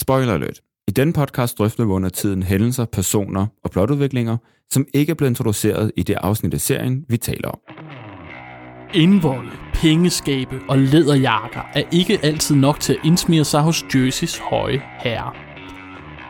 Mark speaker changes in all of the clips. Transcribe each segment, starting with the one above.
Speaker 1: Spoiler alert. I denne podcast drøfter vi under tiden hændelser, personer og plotudviklinger, som ikke er blevet introduceret i det afsnit af serien, vi taler om.
Speaker 2: Indvolde, pengeskabe og læderjakker er ikke altid nok til at indsmire sig hos Jerseys høje herre.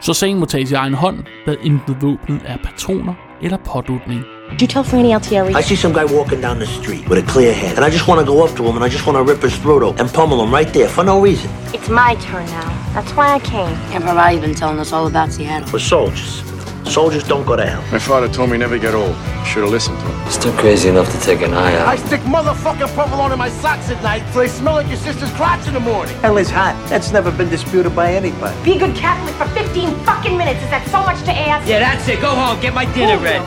Speaker 2: Så sagen må tages i egen hånd, hvad enten våbnet er patroner eller pådutning.
Speaker 3: Did you tell Franny Altieri?
Speaker 4: I see some guy walking down the street with a clear head, and I just want to go up to him and I just want to rip his throat out and pummel him right there for no reason.
Speaker 3: It's my turn now. That's why I came.
Speaker 5: Emperor I've been telling us all about Seattle.
Speaker 4: We're soldiers. Soldiers don't go to hell.
Speaker 6: My father told me never get old. Should have listened to him.
Speaker 7: Still crazy enough to take an eye out.
Speaker 4: stick motherfucking provolone in my socks at night so they smell like your sister's crotch in the morning. Hell is hot. That's never been disputed by anybody.
Speaker 3: Be a good Catholic for 15 fucking minutes. Is that so much to ask?
Speaker 8: Yeah, that's it. Go home. Get my dinner ready.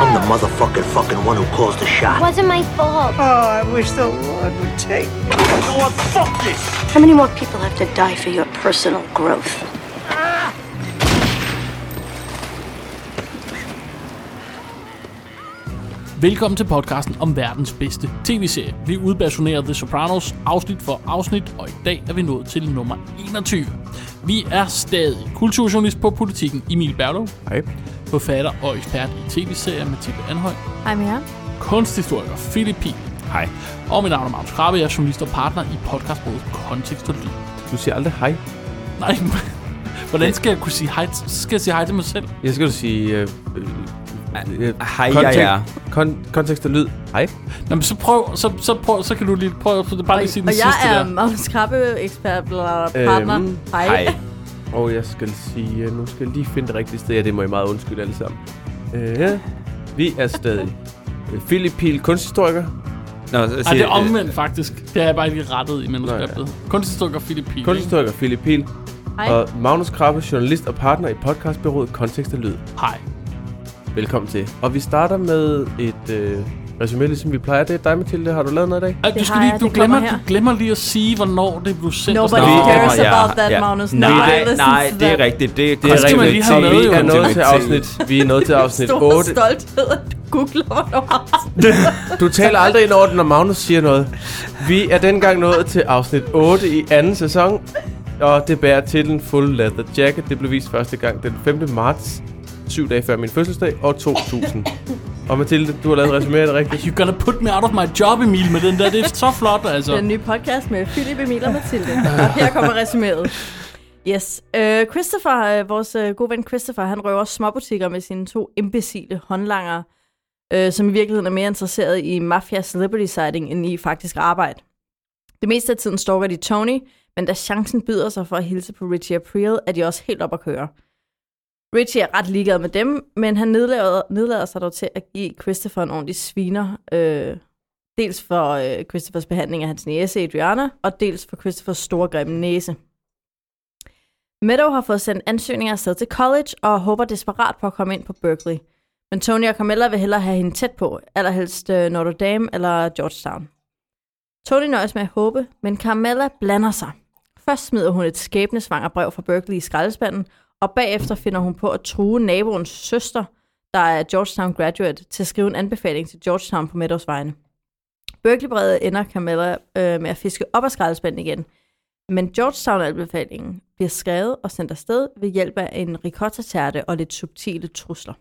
Speaker 4: I'm the motherfucking fucking one who calls the shot.
Speaker 3: wasn't my fault.
Speaker 4: Oh, fuck this!
Speaker 5: How many more people have to die for your personal growth?
Speaker 2: Velkommen til podcasten om verdens bedste tv-serie. Vi udbationerer The Sopranos afsnit for afsnit, og i dag er vi nået til nummer 21. Vi er stadig kulturjournalist på Politiken Emil Berlov,
Speaker 1: Hej.
Speaker 2: forfatter og ekspert i tv-serier Mathilde Anhøj,
Speaker 9: Hej med jer.
Speaker 2: kunsthistoriker Philip Pihl,
Speaker 1: Hej.
Speaker 2: og mit navn er Magnus Krabbe, jeg er journalist og partner i podcastbruget Kontekst og Lyd.
Speaker 1: Du siger aldrig hej.
Speaker 2: Nej, hvordan skal jeg kunne sige hej? Så skal jeg sige hej til mig selv?
Speaker 10: Jeg skal du sige... Øh, øh,
Speaker 1: Hej, jeg er.
Speaker 10: Kon- kontekst og lyd. Hej.
Speaker 2: Nå, men så prøv, så, så prøv, så kan du lige prøve at bare lige sige den
Speaker 9: og jeg
Speaker 2: sidste
Speaker 9: er
Speaker 2: der.
Speaker 9: Magnus Krabbe, ekspert, bla, bla, bla, partner.
Speaker 10: Øhm,
Speaker 9: hej.
Speaker 10: Og jeg skal sige... øh, Nu skal jeg lige finde det rigtige sted. Ja, det må jeg meget undskylde alle sammen. Øh, vi er stadig... øh, Philip Pihl, kunsthistoriker. Ah,
Speaker 1: Nå, så
Speaker 2: Ej,
Speaker 1: siger-
Speaker 2: det er
Speaker 10: øh,
Speaker 2: omvendt faktisk. Det er jeg bare ikke rettet i manuskriptet. Ja. Kunsthistoriker Philip Pihl.
Speaker 10: Kunsthistoriker Philip Pihl.
Speaker 9: Hej.
Speaker 10: Og Magnus Krabbe, journalist og partner i podcastbyrået Kontekst og Lyd.
Speaker 2: ikke? Hej.
Speaker 10: Velkommen til. Og vi starter med et øh, resume, ligesom vi plejer. Det er dig, Mathilde. Har du lavet noget i dag?
Speaker 2: Ej, du,
Speaker 9: Det
Speaker 2: skal
Speaker 9: har
Speaker 2: lige,
Speaker 9: jeg,
Speaker 2: du,
Speaker 9: det kommer
Speaker 2: glemmer, du
Speaker 9: her.
Speaker 2: glemmer lige at sige, hvornår det blev sendt. og
Speaker 9: Nobody
Speaker 2: sådan noget.
Speaker 9: cares about that, Magnus. Nobody
Speaker 1: Nej,
Speaker 9: listens
Speaker 1: nej,
Speaker 9: to
Speaker 1: det er
Speaker 9: that.
Speaker 1: rigtigt. Det, det
Speaker 2: Det skal
Speaker 1: er
Speaker 2: man
Speaker 1: rigtigt.
Speaker 2: lige have med,
Speaker 1: Vi
Speaker 2: jo.
Speaker 10: Vi er nået til
Speaker 1: kontinuitet.
Speaker 10: afsnit, vi er nået til afsnit
Speaker 9: Stor
Speaker 10: 8.
Speaker 9: stolthed, at du googler, hvornår
Speaker 10: Du taler aldrig ind over den, når Magnus siger noget. Vi er dengang nået til afsnit 8 i anden sæson, og det bærer titlen Full Leather Jacket. Det blev vist første gang den 5. marts, syv dage før min fødselsdag, år 2000. Og Mathilde, du har lavet resumeret rigtigt.
Speaker 2: You're gonna put me out of my job, Emil, med den der. Det er så flot, altså.
Speaker 9: Den nye podcast med Philip, Emil og Mathilde. Og her kommer resuméet. Yes. Øh, Christopher, øh, vores øh, gode ven Christopher, han røver småbutikker med sine to imbecile håndlangere, øh, som i virkeligheden er mere interesseret i mafia celebrity sighting end i faktisk arbejde. Det meste af tiden stalker de Tony, men da chancen byder sig for at hilse på Richie April, er de også helt op at køre. Richie er ret ligeglad med dem, men han nedlader, nedlader sig dog til at give Christopher en ordentlig sviner, øh, Dels for øh, Christophers behandling af hans næse Adriana, og dels for Christophers store grimme næse. Meadow har fået sendt ansøgninger afsted til college, og håber desperat på at komme ind på Berkeley. Men Tony og Carmella vil hellere have hende tæt på, allerhelst øh, Notre Dame eller Georgetown. Tony nøjes med at håbe, men Carmella blander sig. Først smider hun et skæbnesvanger brev fra Berkeley i skraldespanden, og bagefter finder hun på at true naboens søster, der er Georgetown graduate, til at skrive en anbefaling til Georgetown på Meadows vegne. Berkeley-brevet ender Carmella øh, med at fiske op af skraldespanden igen. Men Georgetown-anbefalingen bliver skrevet og sendt afsted ved hjælp af en ricotta-tærte og lidt subtile trusler.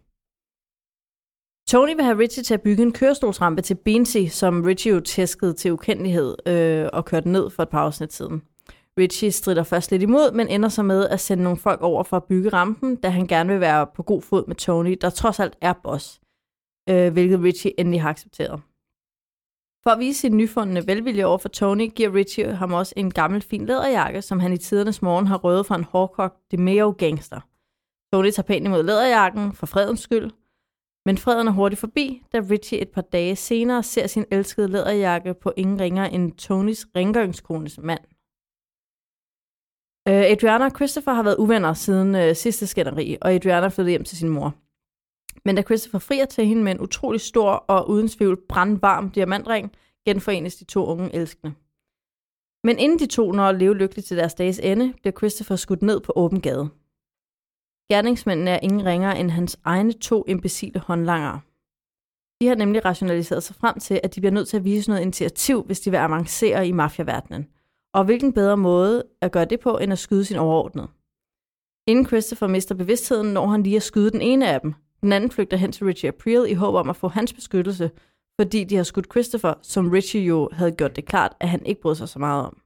Speaker 9: Tony vil have Richie til at bygge en kørestolsrampe til Beansy, som Richie jo tæskede til ukendelighed øh, og kørte ned for et par afsnit siden. Richie strider først lidt imod, men ender så med at sende nogle folk over for at bygge rampen, da han gerne vil være på god fod med Tony, der trods alt er boss, øh, hvilket Richie endelig har accepteret. For at vise sin nyfundne velvilje over for Tony, giver Richie ham også en gammel fin læderjakke, som han i tidernes morgen har røvet fra en hårdkogt DeMeo gangster. Tony tager pænt imod læderjakken, for fredens skyld, men freden er hurtigt forbi, da Richie et par dage senere ser sin elskede læderjakke på ingen ringer end Tonys rengøringskones mand. Øh, Adriana og Christopher har været uvenner siden øh, sidste skænderi, og Adriana flyttede hjem til sin mor. Men da Christopher frier til hende med en utrolig stor og uden tvivl brandvarm diamantring, genforenes de to unge elskende. Men inden de to når at leve lykkeligt til deres dages ende, bliver Christopher skudt ned på åben gade. Gerningsmændene er ingen ringere end hans egne to imbecile håndlangere. De har nemlig rationaliseret sig frem til, at de bliver nødt til at vise noget initiativ, hvis de vil avancere i mafiaverdenen. Og hvilken bedre måde at gøre det på, end at skyde sin overordnede. Inden Christopher mister bevidstheden, når han lige at skyde den ene af dem. Den anden flygter hen til Richie April i håb om at få hans beskyttelse, fordi de har skudt Christopher, som Richie jo havde gjort det klart, at han ikke brød sig så meget om.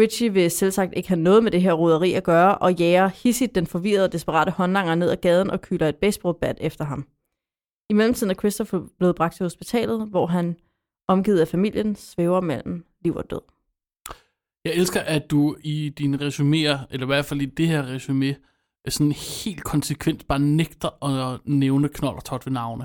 Speaker 9: Richie vil selvsagt ikke have noget med det her roderi at gøre, og jager hissigt den forvirrede og desperate håndlanger ned ad gaden og kylder et baseballbat efter ham. I mellemtiden er Christopher blevet bragt til hospitalet, hvor han, omgivet af familien, svæver mellem liv og død.
Speaker 2: Jeg elsker, at du i dine resuméer, eller i hvert fald i det her resume, sådan helt konsekvent bare nægter at nævne Knold og Tot ved navne.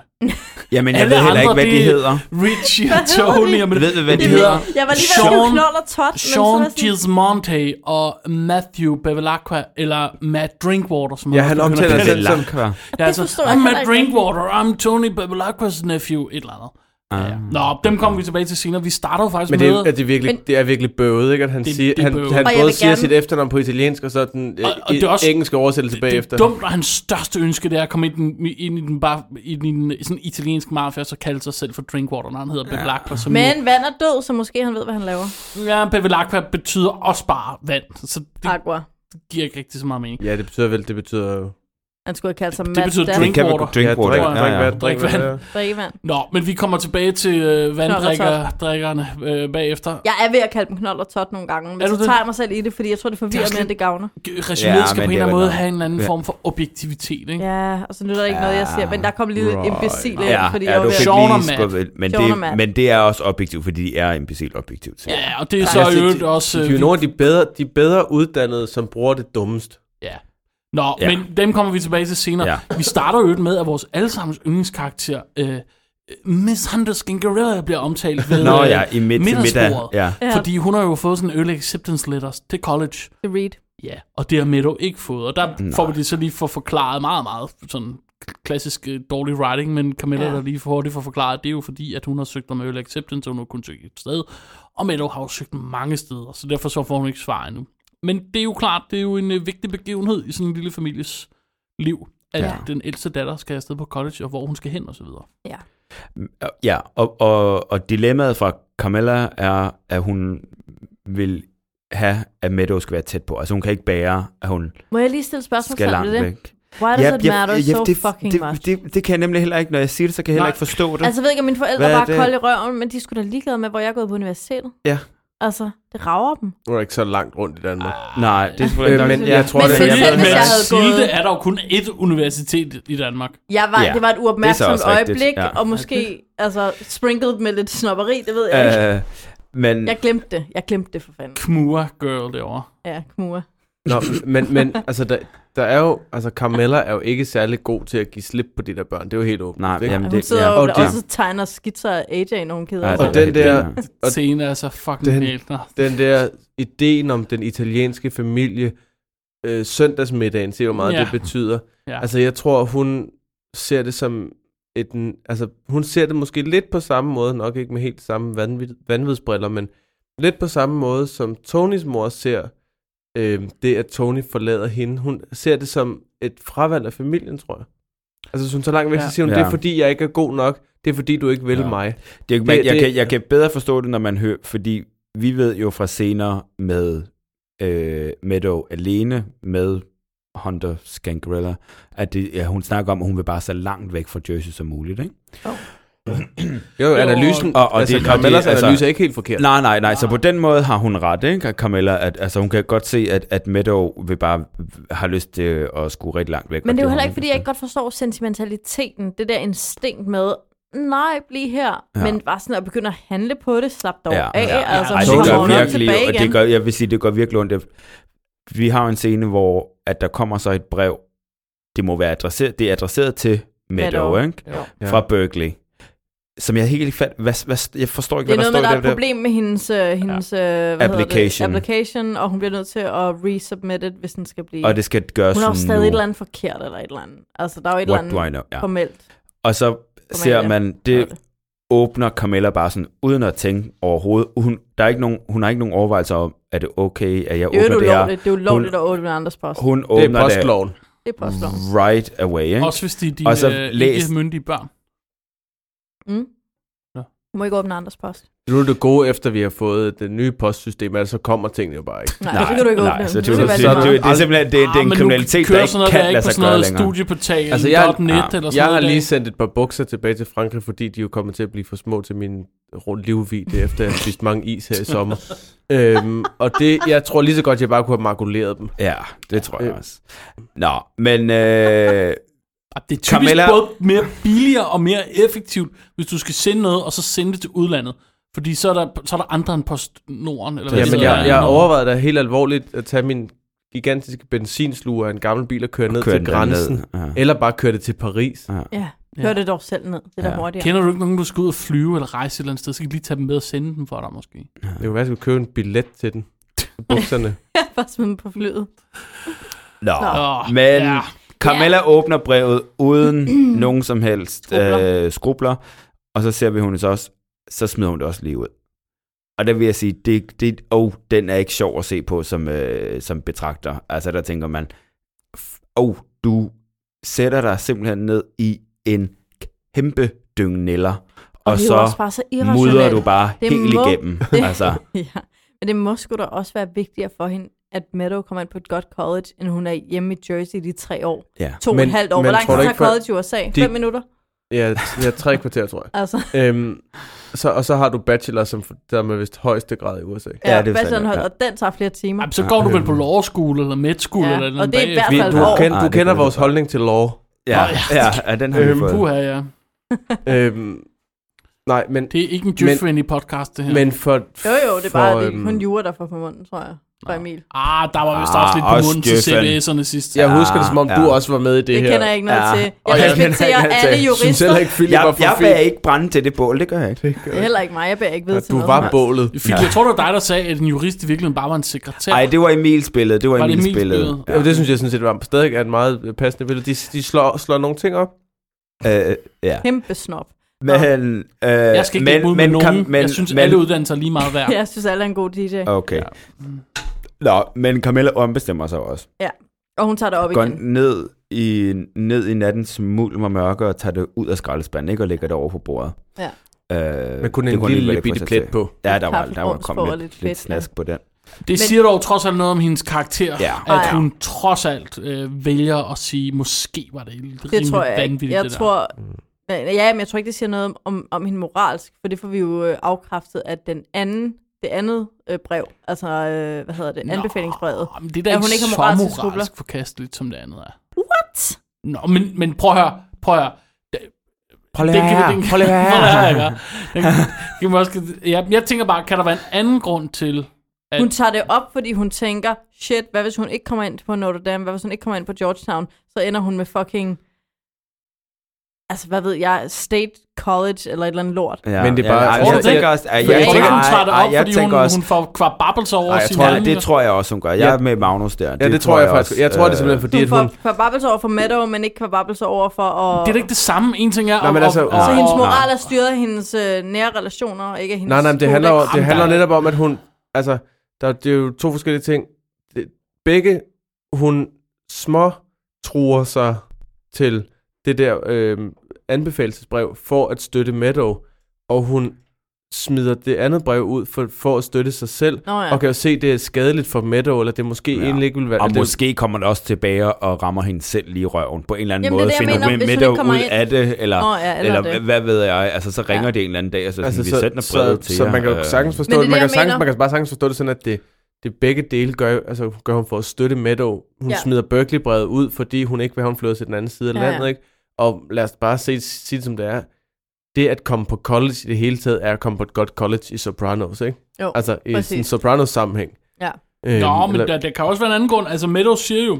Speaker 1: Jamen, jeg
Speaker 2: Alle
Speaker 1: ved heller ikke,
Speaker 2: andre,
Speaker 1: hvad de
Speaker 2: det-
Speaker 1: hedder.
Speaker 2: Richie og
Speaker 9: Hvad hedder
Speaker 2: Tony,
Speaker 9: de?
Speaker 2: og men
Speaker 1: Ved vi, hvad de
Speaker 2: Det
Speaker 1: hedder?
Speaker 9: Jeg var lige ved at sige
Speaker 2: Sean-
Speaker 9: knold og tot, men så
Speaker 2: Sean
Speaker 9: var jeg sådan,
Speaker 2: Gismonte og Matthew Bevilacqua, eller Matt Drinkwater, som
Speaker 10: Ja, han
Speaker 2: også
Speaker 10: omtaler
Speaker 2: begynder at
Speaker 10: sig
Speaker 2: kalde
Speaker 10: selv som...
Speaker 1: Belacqua.
Speaker 2: Ja, altså,
Speaker 9: forstår
Speaker 2: I'm
Speaker 9: jeg heller
Speaker 2: Matt
Speaker 9: ikke
Speaker 2: Drinkwater, I'm Tony Bevilacquas nephew, et eller andet.
Speaker 1: Ah.
Speaker 2: Ja. Ah. Nå, dem kommer vi tilbage til senere. Vi starter jo faktisk
Speaker 10: Men det
Speaker 2: med...
Speaker 10: er, er det, virkelig,
Speaker 9: Men-
Speaker 10: det er virkelig bøvet, ikke? At han,
Speaker 2: Det-
Speaker 10: siger,
Speaker 2: det er
Speaker 10: han,
Speaker 2: bøvet.
Speaker 10: han
Speaker 9: Og jeg
Speaker 10: både
Speaker 9: vil
Speaker 10: siger
Speaker 9: gerne-
Speaker 10: sit efternavn på italiensk, og så den og,
Speaker 2: Og- og det er også-
Speaker 10: engelske oversættelse bagefter.
Speaker 2: Det er dumt, og hans største ønske, det er at komme ind, i den- ind i den, bare, i den sådan italienske mafia, og så kalde sig selv for Drinkwater, når han hedder Bevilacqua. Som
Speaker 9: men vand er død, så måske han ved, hvad han laver.
Speaker 2: jo- ja, Bevilacqua betyder også bare vand, så det
Speaker 9: Aqua.
Speaker 2: giver ikke rigtig så meget mening.
Speaker 10: Ja, det betyder vel, det betyder...
Speaker 9: Han skulle have kaldt sig
Speaker 2: Det
Speaker 9: Matt
Speaker 2: betyder
Speaker 9: Dan-
Speaker 1: Det
Speaker 2: drink.
Speaker 1: kan vi
Speaker 2: Drinkwater.
Speaker 1: drinkwater.
Speaker 10: Ja, drik,
Speaker 1: Ja, ja.
Speaker 10: drik, drik, drik,
Speaker 2: Drikkevand.
Speaker 10: drik,
Speaker 9: drikkevand.
Speaker 2: Nå, men vi kommer tilbage til øh, vanddrikkerne øh, bagefter.
Speaker 9: Jeg er ved at kalde dem knold og tot nogle gange, men
Speaker 2: Er du
Speaker 9: så
Speaker 2: det?
Speaker 9: tager jeg mig selv i det, fordi jeg tror, det forvirrer
Speaker 2: Det er
Speaker 9: mere, end det gavner.
Speaker 2: Regimet
Speaker 1: Ja,
Speaker 2: skal på
Speaker 1: men
Speaker 2: en
Speaker 1: det er
Speaker 2: eller anden
Speaker 1: vel
Speaker 2: måde
Speaker 1: nok.
Speaker 2: have en eller anden
Speaker 1: Ja.
Speaker 2: form for objektivitet, ikke?
Speaker 9: Ja, og så nytter der ikke noget, jeg siger. Men der kom lige lidt
Speaker 10: Right.
Speaker 9: imbecil
Speaker 1: Ja,
Speaker 9: ind, fordi
Speaker 1: ja,
Speaker 9: jeg var
Speaker 1: du
Speaker 9: ved
Speaker 1: fik
Speaker 9: at...
Speaker 2: Sean og
Speaker 1: lige
Speaker 2: Matt.
Speaker 1: skubbet ind. men
Speaker 9: Sean og
Speaker 1: det,
Speaker 9: Matt.
Speaker 1: men det er også objektivt, fordi de er imbecil objektivt. Ja.
Speaker 2: Ja, og det er så i øvrigt også...
Speaker 10: De, de,
Speaker 2: øh,
Speaker 10: de, er jo nogle af de, bedre, de bedre uddannede, som bruger det dummest.
Speaker 2: Ja. Nå,
Speaker 1: Ja.
Speaker 2: ja. men dem kommer vi tilbage til senere.
Speaker 1: Ja.
Speaker 2: Ja. Vi starter jo med, at vores allesammens yndlingskarakter, øh, Miss Hunter Skinkerella, bliver omtalt ved
Speaker 1: Nå
Speaker 2: øh,
Speaker 1: ja, i midt til middag.
Speaker 2: middagsbordet.
Speaker 1: Ja.
Speaker 9: Ja.
Speaker 2: Fordi hun har jo fået sådan en early acceptance letters til college.
Speaker 9: The Read.
Speaker 2: Ja, og det har Meadow ikke fået. Og der Nej. får vi det så lige for forklaret meget, meget sådan klassisk øh, dårlig writing, men Camilla, ja.
Speaker 9: Ja.
Speaker 2: der lige for hurtigt får forklaret, det er jo fordi, at hun har søgt om early acceptance, og hun har kun søgt et sted. Og Meadow har jo søgt mange steder, så derfor så får hun ikke svar endnu. Men det er jo klart, det er jo en øh, vigtig begivenhed i sådan en lille families liv, at ja.
Speaker 1: Ja.
Speaker 2: den ældste datter skal afsted på college, og hvor hun skal hen, og så videre.
Speaker 9: Ja.
Speaker 1: Ja, og, og, og dilemmaet fra Carmella er, at hun vil have, at Meadow skal være tæt på. Altså hun kan ikke bære, at hun
Speaker 9: Må jeg lige stille spørgsmål
Speaker 1: skal langt
Speaker 9: til det?
Speaker 1: væk.
Speaker 9: Why does it matter so
Speaker 1: det,
Speaker 9: fucking
Speaker 1: det,
Speaker 9: much?
Speaker 1: Det, det, det kan jeg nemlig heller ikke. Når jeg siger det, så kan jeg heller
Speaker 2: Nej.
Speaker 1: ikke forstå det.
Speaker 9: Altså, jeg ved ikke, om mine forældre
Speaker 1: Hvad er
Speaker 9: var
Speaker 1: det?
Speaker 9: kolde i røven, men de skulle da ligeglade med, hvor jeg er gået på universitetet.
Speaker 1: Ja.
Speaker 9: Altså, det rager dem.
Speaker 10: Nu er der ikke så langt rundt i Danmark.
Speaker 1: Nej, det er selvfølgelig
Speaker 10: Øh,
Speaker 1: ikke
Speaker 10: men
Speaker 1: nok.
Speaker 10: jeg tror,
Speaker 9: Ah, Men
Speaker 10: det
Speaker 9: selv-
Speaker 10: er...
Speaker 9: selv hvis
Speaker 2: men
Speaker 9: jeg havde
Speaker 2: Silde
Speaker 9: gået-
Speaker 2: er der jo kun ét universitet i Danmark.
Speaker 9: Jeg var,
Speaker 1: Ja,
Speaker 9: ja, det var et uopmærksomt
Speaker 1: også rigtigt,
Speaker 9: øjeblik,
Speaker 1: ja.
Speaker 9: ja. og måske altså, sprinkled med lidt snopperi, det ved jeg ikke.
Speaker 1: Øh, men
Speaker 9: Jeg glemte det. Jeg glemte det for fanden.
Speaker 2: Kmua girl derovre.
Speaker 9: Ja, Kmua.
Speaker 10: Nå, men, men altså, der, der er jo... Altså, Carmella er jo ikke særlig god til at give slip på de der børn. Det er jo helt åbent.
Speaker 1: nej,
Speaker 10: ikke?
Speaker 1: jamen,
Speaker 9: Hun
Speaker 1: det,
Speaker 9: sidder
Speaker 1: ja.
Speaker 9: jo
Speaker 10: Og
Speaker 9: der
Speaker 10: det-
Speaker 9: også og tegner skitser af AJ, når hun keder
Speaker 1: Ja,
Speaker 9: sig.
Speaker 1: det er
Speaker 10: Og den
Speaker 1: helt
Speaker 10: der-
Speaker 1: vildt, ja.
Speaker 10: Og-
Speaker 2: Scene er så fucking
Speaker 10: Den-
Speaker 2: galt. Nå.
Speaker 10: den der ideen om den italienske familie, øh, søndagsmiddagen, se hvor meget
Speaker 2: Ja.
Speaker 10: ja. det betyder.
Speaker 2: Ja.
Speaker 10: Ja. Altså, jeg tror, hun ser det som et... Altså, hun ser det måske lidt på samme måde, nok ikke med helt samme vanvid, vanvidsbriller, men lidt på samme måde, som Tonys mor ser øh, det, at Tony forlader hende. Hun ser det som et fravalg af familien, tror jeg. Altså, hvis hun så langt væk,
Speaker 2: Ja.
Speaker 10: så siger hun,
Speaker 1: Ja.
Speaker 10: det er fordi, jeg ikke er god nok. Det er fordi, du ikke vil
Speaker 1: Ja.
Speaker 10: ja. mig.
Speaker 1: Det, man,
Speaker 10: Det-
Speaker 1: jeg,
Speaker 10: det-
Speaker 1: kan, jeg kan bedre forstå det, når man hører, fordi vi ved jo fra senere med øh, Meadow alene med Hunter Scangarella, at det, ja, hun snakker om, at hun vil bare så langt væk fra Jersey som muligt. Ikke?
Speaker 10: Jo, jo, analysen...
Speaker 1: og- og
Speaker 10: altså,
Speaker 1: det- og det-
Speaker 10: Carmellas
Speaker 1: altså-
Speaker 10: analyse er ikke helt forkert.
Speaker 1: Nej, nej, nej. Så på den måde har hun ret, ikke, Carmella? At, altså, hun kan godt se, at, at Meadow vil bare har lyst til at skue rigtig langt væk.
Speaker 9: Men
Speaker 1: og
Speaker 9: det er jo
Speaker 1: har
Speaker 9: heller
Speaker 1: hun
Speaker 9: ikke, fordi jeg ikke godt forstår sentimentaliteten. Det der instinkt med, nej, bliv her.
Speaker 1: Ja.
Speaker 9: Ja. Men bare sådan at begynde at handle på det, slap dig
Speaker 1: Ja,
Speaker 9: ja,
Speaker 1: ja,
Speaker 9: af. Ja,
Speaker 2: ja.
Speaker 9: altså,
Speaker 2: Ej,
Speaker 9: ja,
Speaker 1: Ej,
Speaker 2: så
Speaker 1: det
Speaker 9: så
Speaker 1: gør
Speaker 9: kommer hun
Speaker 1: virkelig,
Speaker 9: tilbage
Speaker 1: og det
Speaker 9: igen.
Speaker 1: gør, jeg vil sige, det gør virkelig ondt. Vi har jo en scene, hvor at der kommer så et brev, det må være adresseret, det er adresseret til Meadow,
Speaker 9: Meadow.
Speaker 1: ikke?
Speaker 10: Ja.
Speaker 1: Fra Berkeley. Som jeg helt ikke fat, hvad, hvad, jeg forstår ikke,
Speaker 9: Det er
Speaker 1: hvad
Speaker 9: noget med, der
Speaker 1: står
Speaker 9: er
Speaker 1: i
Speaker 9: et
Speaker 1: den
Speaker 9: problem med hendes, øh, hendes øh, hvad
Speaker 1: Application.
Speaker 9: Hedder det? application, og hun bliver nødt til at resubmit it, hvis den skal blive...
Speaker 1: der, og det skal gøres
Speaker 9: hun har jo stadig
Speaker 1: nu.
Speaker 9: et eller andet forkert, eller et eller andet. Altså, der er jo et eller
Speaker 1: What
Speaker 9: andet
Speaker 1: do I know? Ja.
Speaker 9: formelt.
Speaker 1: Og så ser man, det åbner Camilla bare sådan, uden at tænke overhovedet. Hun, der er ikke nogen, hun har ikke nogen overvejelser om, er det okay, at jeg
Speaker 9: Det er jo
Speaker 1: åbner det her?
Speaker 9: ulovligt. Det er ulovligt
Speaker 1: Hun-
Speaker 9: at åbne andres post.
Speaker 1: Hun
Speaker 10: Det er
Speaker 1: åbner det,
Speaker 10: postloven.
Speaker 9: Det er postloven.
Speaker 1: right away, ikke?
Speaker 2: Også hvis de er dine
Speaker 1: Og så
Speaker 2: øh,
Speaker 1: læs-
Speaker 2: ikke myndige børn.
Speaker 9: Mm.
Speaker 2: Nå.
Speaker 9: Du må ikke åbne andres post.
Speaker 10: Nu er det gode, efter vi har fået det nye postsystem, altså så kommer tingene jo bare ikke.
Speaker 9: Nej, nej, så kan du ikke åbne
Speaker 1: nej,
Speaker 9: den.
Speaker 1: så det,
Speaker 9: kan
Speaker 1: det, det,
Speaker 9: være
Speaker 1: det, det,
Speaker 9: lige
Speaker 1: det er
Speaker 9: meget.
Speaker 1: simpelthen det,
Speaker 2: Ah,
Speaker 1: det er en kriminalitet, der ikke kan lade sig gøre længere.
Speaker 2: studieportal,
Speaker 10: Altså,
Speaker 2: altså,
Speaker 10: jeg-
Speaker 2: jeg, .net
Speaker 1: ja,
Speaker 2: ja, eller sådan
Speaker 10: Jeg har
Speaker 2: noget
Speaker 10: lige
Speaker 2: der.
Speaker 10: sendt et par bukser tilbage til Frankrig, fordi de er jo kommet til at blive for små til min rund livvidde, efter jeg har spist mange is her i sommer. øhm, og det, jeg tror lige så godt, jeg bare kunne have makuleret dem. Øh.
Speaker 1: Ja, det tror jeg også. Nå, men øh,
Speaker 2: Ah, Det er typisk
Speaker 1: Carmella-
Speaker 2: Carmella... både mere billigere og mere effektivt, hvis du skal sende noget, og så sende det til udlandet. Fordi så er der, så er der andre end PostNorden. Eller hvad det
Speaker 10: Jamen,
Speaker 2: hedder.
Speaker 10: jeg, jeg overvejede da helt alvorligt at tage min gigantiske benzinsluger af en gammel bil og køre ned
Speaker 1: kør
Speaker 10: til
Speaker 1: den
Speaker 10: grænsen.
Speaker 1: derned. Ja.
Speaker 10: Eller bare køre det til Paris.
Speaker 9: Ja, hør det dog selv ned. Det er
Speaker 1: Ja.
Speaker 9: der hurtigere.
Speaker 2: Kender du ikke nogen, du skal ud og flyve eller rejse et eller andet sted, så kan de lige tage dem med og sende dem for dig måske.
Speaker 10: Det kunne være, at jeg skulle købe en billet til den. Til Bukserne.
Speaker 9: Bare smid den på flyet.
Speaker 1: Nå,
Speaker 2: Nå,
Speaker 1: men
Speaker 2: ja.
Speaker 1: Carmella åbner brevet uden nogen som helst
Speaker 9: Skrubler.
Speaker 1: øh, skrubler, og så ser vi hun så også, så smider hun det også lige ud. Og der vil jeg sige, det, det, oh, den er ikke sjov at se på som, øh, som betragter. Altså der tænker man, f- oh, du sætter dig simpelthen ned i en kæmpe dyngneller, og,
Speaker 9: Og,
Speaker 1: og
Speaker 9: det er jo også
Speaker 1: så
Speaker 9: bare så
Speaker 1: mudrer
Speaker 9: irrationelt.
Speaker 1: du bare
Speaker 9: Det
Speaker 1: helt
Speaker 9: må-
Speaker 1: igennem. Altså,
Speaker 9: ja. Men det må sgu da også være vigtigere for hende, at Meadow kommer ind på et godt college, end hun er hjemme i Jersey de tre år.
Speaker 1: ja.
Speaker 9: To men, og
Speaker 10: Men-
Speaker 9: et halvt år.
Speaker 10: men
Speaker 9: Hvor lang
Speaker 10: tror
Speaker 9: tid
Speaker 10: du
Speaker 9: tager
Speaker 10: ikke, for-
Speaker 9: college i USA?
Speaker 10: de-
Speaker 9: Fem minutter?
Speaker 10: Ja, ja, tre kvarter, tror jeg.
Speaker 9: Altså,
Speaker 10: Øhm, så, og så har du bachelor, som der er med vist højeste grad i USA.
Speaker 1: Ja, det
Speaker 9: ja,
Speaker 1: er
Speaker 9: ja bacheloren
Speaker 1: sandt,
Speaker 9: holdt,
Speaker 1: ja.
Speaker 9: og den tager flere timer.
Speaker 2: Jamen, så går du vel på law school eller med school
Speaker 9: Ja,
Speaker 2: eller noget
Speaker 9: og det er i hvert
Speaker 10: Vi,
Speaker 2: bagefter.
Speaker 9: fald-
Speaker 10: du,
Speaker 9: Halvt år.
Speaker 10: kender,
Speaker 1: Ah,
Speaker 10: du
Speaker 1: det
Speaker 10: kender
Speaker 1: kan jeg
Speaker 10: vores
Speaker 1: godt.
Speaker 10: holdning til lov.
Speaker 1: Ja,
Speaker 2: Nå,
Speaker 1: ja, ja, den har vi
Speaker 2: Um,
Speaker 10: Øhm,
Speaker 1: fået.
Speaker 2: Puha, ja.
Speaker 10: Øhm, nej, men,
Speaker 2: Det er ikke en Jeff-friendly podcast, det her.
Speaker 10: men for...
Speaker 9: Jo jo, det er bare
Speaker 10: for, øhm,
Speaker 9: det, er kun jure, der får på munden, tror jeg. Fra Emil.
Speaker 2: Ah, der var vist
Speaker 1: Ah,
Speaker 2: også lidt på
Speaker 1: også
Speaker 2: munden til
Speaker 1: Jeffen.
Speaker 2: CBS'erne sidst.
Speaker 10: Jeg husker det, som om
Speaker 1: Ja.
Speaker 10: ja. du også var med i det,
Speaker 9: Det,
Speaker 10: her.
Speaker 9: kender jeg ikke noget
Speaker 1: Ja.
Speaker 9: til.
Speaker 1: Og
Speaker 9: Jeg
Speaker 1: jeg
Speaker 9: respekterer
Speaker 10: kender ikke
Speaker 9: alle
Speaker 10: til. synes
Speaker 9: jurister.
Speaker 10: heller ikke, Philip var
Speaker 1: Jeg,
Speaker 10: for
Speaker 1: jeg
Speaker 10: fed.
Speaker 1: bærer ikke brænde til det bål, det gør jeg ikke.
Speaker 9: Det er heller ikke mig. Jeg bærer ikke ved
Speaker 10: Ja,
Speaker 9: til
Speaker 10: Ah,
Speaker 9: noget.
Speaker 10: Du var
Speaker 9: som helst.
Speaker 10: bålet.
Speaker 2: Fik, jeg tror, det var dig, der sagde, at en jurist i virkeligheden bare var en sekretær.
Speaker 1: Nej, det var Emils billede. Det var,
Speaker 2: Var det
Speaker 1: Emils
Speaker 2: Emils
Speaker 1: billede.
Speaker 10: Ja. Det synes jeg sådan set var stadig er en meget passende billede. De, de slår, slår nogle ting op.
Speaker 1: Ja. Øh, ja.
Speaker 9: Kæmpe snop.
Speaker 1: Men, øh,
Speaker 2: Jeg skal ikke men, ud med
Speaker 1: kom-
Speaker 2: nogen. Men, jeg synes, men, alle uddannelser er lige meget værd.
Speaker 10: øh,
Speaker 9: Jeg synes, alle er en god DJ.
Speaker 1: Okay. Ja. Nå, men Carmella ombestemmer sig også.
Speaker 9: Og hun tager det op
Speaker 1: Går
Speaker 9: igen.
Speaker 1: ned i, ned i nattens mulm og mørke og tager det ud af skraldespanden, ikke? Og lægger det over på bordet.
Speaker 9: Ja.
Speaker 1: Øh,
Speaker 10: Men kun
Speaker 1: det
Speaker 10: en
Speaker 1: kunne hun alligevel
Speaker 10: lille
Speaker 1: ikke få
Speaker 10: bitte
Speaker 1: sig
Speaker 10: plet
Speaker 1: til.
Speaker 10: på.
Speaker 1: Ja, der var, der var
Speaker 9: Kaffebrunst
Speaker 1: kommet
Speaker 9: får
Speaker 1: lidt, lidt,
Speaker 9: lidt
Speaker 1: lidt
Speaker 9: fedt,
Speaker 1: snask på den.
Speaker 2: Det siger dog trods alt noget om hendes karakter,
Speaker 1: Ja.
Speaker 2: at
Speaker 9: Ja.
Speaker 2: hun trods alt øh, vælger at sige, måske var det rimelig
Speaker 9: Det tror jeg ikke.
Speaker 2: vanvittigt,
Speaker 9: Jeg
Speaker 2: det der.
Speaker 9: tror...
Speaker 10: Mm.
Speaker 9: Ja, men jeg tror ikke, det siger noget om, om, om hende moralsk, for det får vi jo øh, afkræftet at den anden, det andet øh, brev, altså, øh, hvad hedder det, anbefalingsbrevet.
Speaker 2: Nå, ah, men det er da
Speaker 9: At
Speaker 2: ikke,
Speaker 9: hun
Speaker 2: ikke så
Speaker 9: ikke har moral til
Speaker 2: moralsk
Speaker 9: skrubler.
Speaker 2: forkasteligt, som det andet er.
Speaker 9: What?
Speaker 2: Nå, men, men prøv at høre, prøv at høre.
Speaker 10: Prøv
Speaker 2: Den kan, vi- den,
Speaker 10: prøv lige
Speaker 2: her.
Speaker 10: her.
Speaker 2: Den, kan vi også, jeg, jeg tænker bare, kan der være en anden grund til, at
Speaker 9: Hun tager det op, fordi hun tænker, shit, hvad hvis hun ikke kommer ind på Notre Dame, hvad hvis hun ikke kommer ind på Georgetown, så ender hun med fucking, altså, hvad ved jeg, State College eller et eller andet lort.
Speaker 1: Ja,
Speaker 10: Men det er bare-
Speaker 1: Ja, jeg, jeg,
Speaker 2: Tror du
Speaker 1: jeg
Speaker 2: det?
Speaker 1: tænker også... at-
Speaker 2: jeg,
Speaker 1: jeg
Speaker 2: jeg
Speaker 1: tænker-
Speaker 2: ikke, hun tager det
Speaker 1: ej,
Speaker 2: op,
Speaker 1: ej, jeg
Speaker 2: fordi hun,
Speaker 1: tænker også-
Speaker 2: hun får kvababbelser over
Speaker 10: Ej, jeg
Speaker 2: sin
Speaker 10: tror,
Speaker 1: Ja,
Speaker 2: handlinger.
Speaker 1: det tror jeg også, hun gør. Jeg er med Magnus der.
Speaker 10: Ja, det tror jeg faktisk. Jeg tror, det er
Speaker 1: øh,
Speaker 10: simpelthen fordi,
Speaker 9: Hun
Speaker 10: at hun...
Speaker 9: får kvababelser over for Meadow, men ikke kvababelser over for... Og...
Speaker 2: Det er da ikke det samme. En ting er...
Speaker 10: Nej, men altså-
Speaker 9: Så
Speaker 1: Nej,
Speaker 9: hendes
Speaker 1: nej.
Speaker 9: moral er styret af hendes øh, nære relationer, og ikke af hendes
Speaker 10: Nej, nej, men det handler, jo,
Speaker 9: kodex.
Speaker 10: det handler
Speaker 2: der-
Speaker 10: netop om, at hun... Altså, der, det er jo to forskellige ting. Det- Begge, hun små truer sig til det der øh, anbefalesbrev for at støtte Meadow, og hun smider det andet brev ud for, for at støtte sig selv,
Speaker 9: Nå ja.
Speaker 10: og kan jo se, at det er skadeligt for Meadow, eller det måske
Speaker 1: Ja.
Speaker 10: ja. egentlig ikke vil være...
Speaker 1: Og
Speaker 10: det,
Speaker 1: måske kommer det også tilbage og rammer hende selv lige i røven. På en eller anden
Speaker 9: Jamen, det er
Speaker 1: måde
Speaker 9: det, jeg
Speaker 1: finder
Speaker 9: mener,
Speaker 1: hun
Speaker 9: hvis hun
Speaker 1: Meadow
Speaker 9: ikke kommer
Speaker 1: ud
Speaker 9: ind.
Speaker 1: af det, eller,
Speaker 9: Nå ja, eller
Speaker 1: eller,
Speaker 9: det.
Speaker 1: hvad ved jeg. Altså, så ringer
Speaker 9: Ja.
Speaker 1: ja. det en eller anden dag, og så, altså,
Speaker 10: Altså,
Speaker 1: vi
Speaker 10: så,
Speaker 1: sender
Speaker 10: så,
Speaker 1: brevet til
Speaker 10: så, så man kan
Speaker 1: jer, Øh.
Speaker 10: jo sagtens forstå
Speaker 9: Men det er
Speaker 10: det.
Speaker 9: det,
Speaker 10: Man kan,
Speaker 9: jeg
Speaker 10: sagtens,
Speaker 9: mener.
Speaker 10: man kan bare sagtens forstå det sådan, at det, det begge dele gør, altså, gør hun for at støtte Meadow. Hun
Speaker 9: Ja.
Speaker 10: ja. smider Berkeley-brevet ud, fordi hun ikke vil have, hun flytter til den anden side af
Speaker 9: Ja,
Speaker 10: ja,
Speaker 9: ja.
Speaker 10: landet. Ikke? Og lad os bare se, sige det, som det er. Det at komme på college i det hele taget, er at komme på et godt college i Sopranos. Ikke?
Speaker 9: Jo,
Speaker 10: altså i
Speaker 9: præcis.
Speaker 10: sådan en Sopranos-sammenhæng.
Speaker 9: Ja.
Speaker 10: Øhm,
Speaker 2: Nå, men
Speaker 10: eller-
Speaker 2: der, der kan også være en anden grund. Altså, Meadows siger jo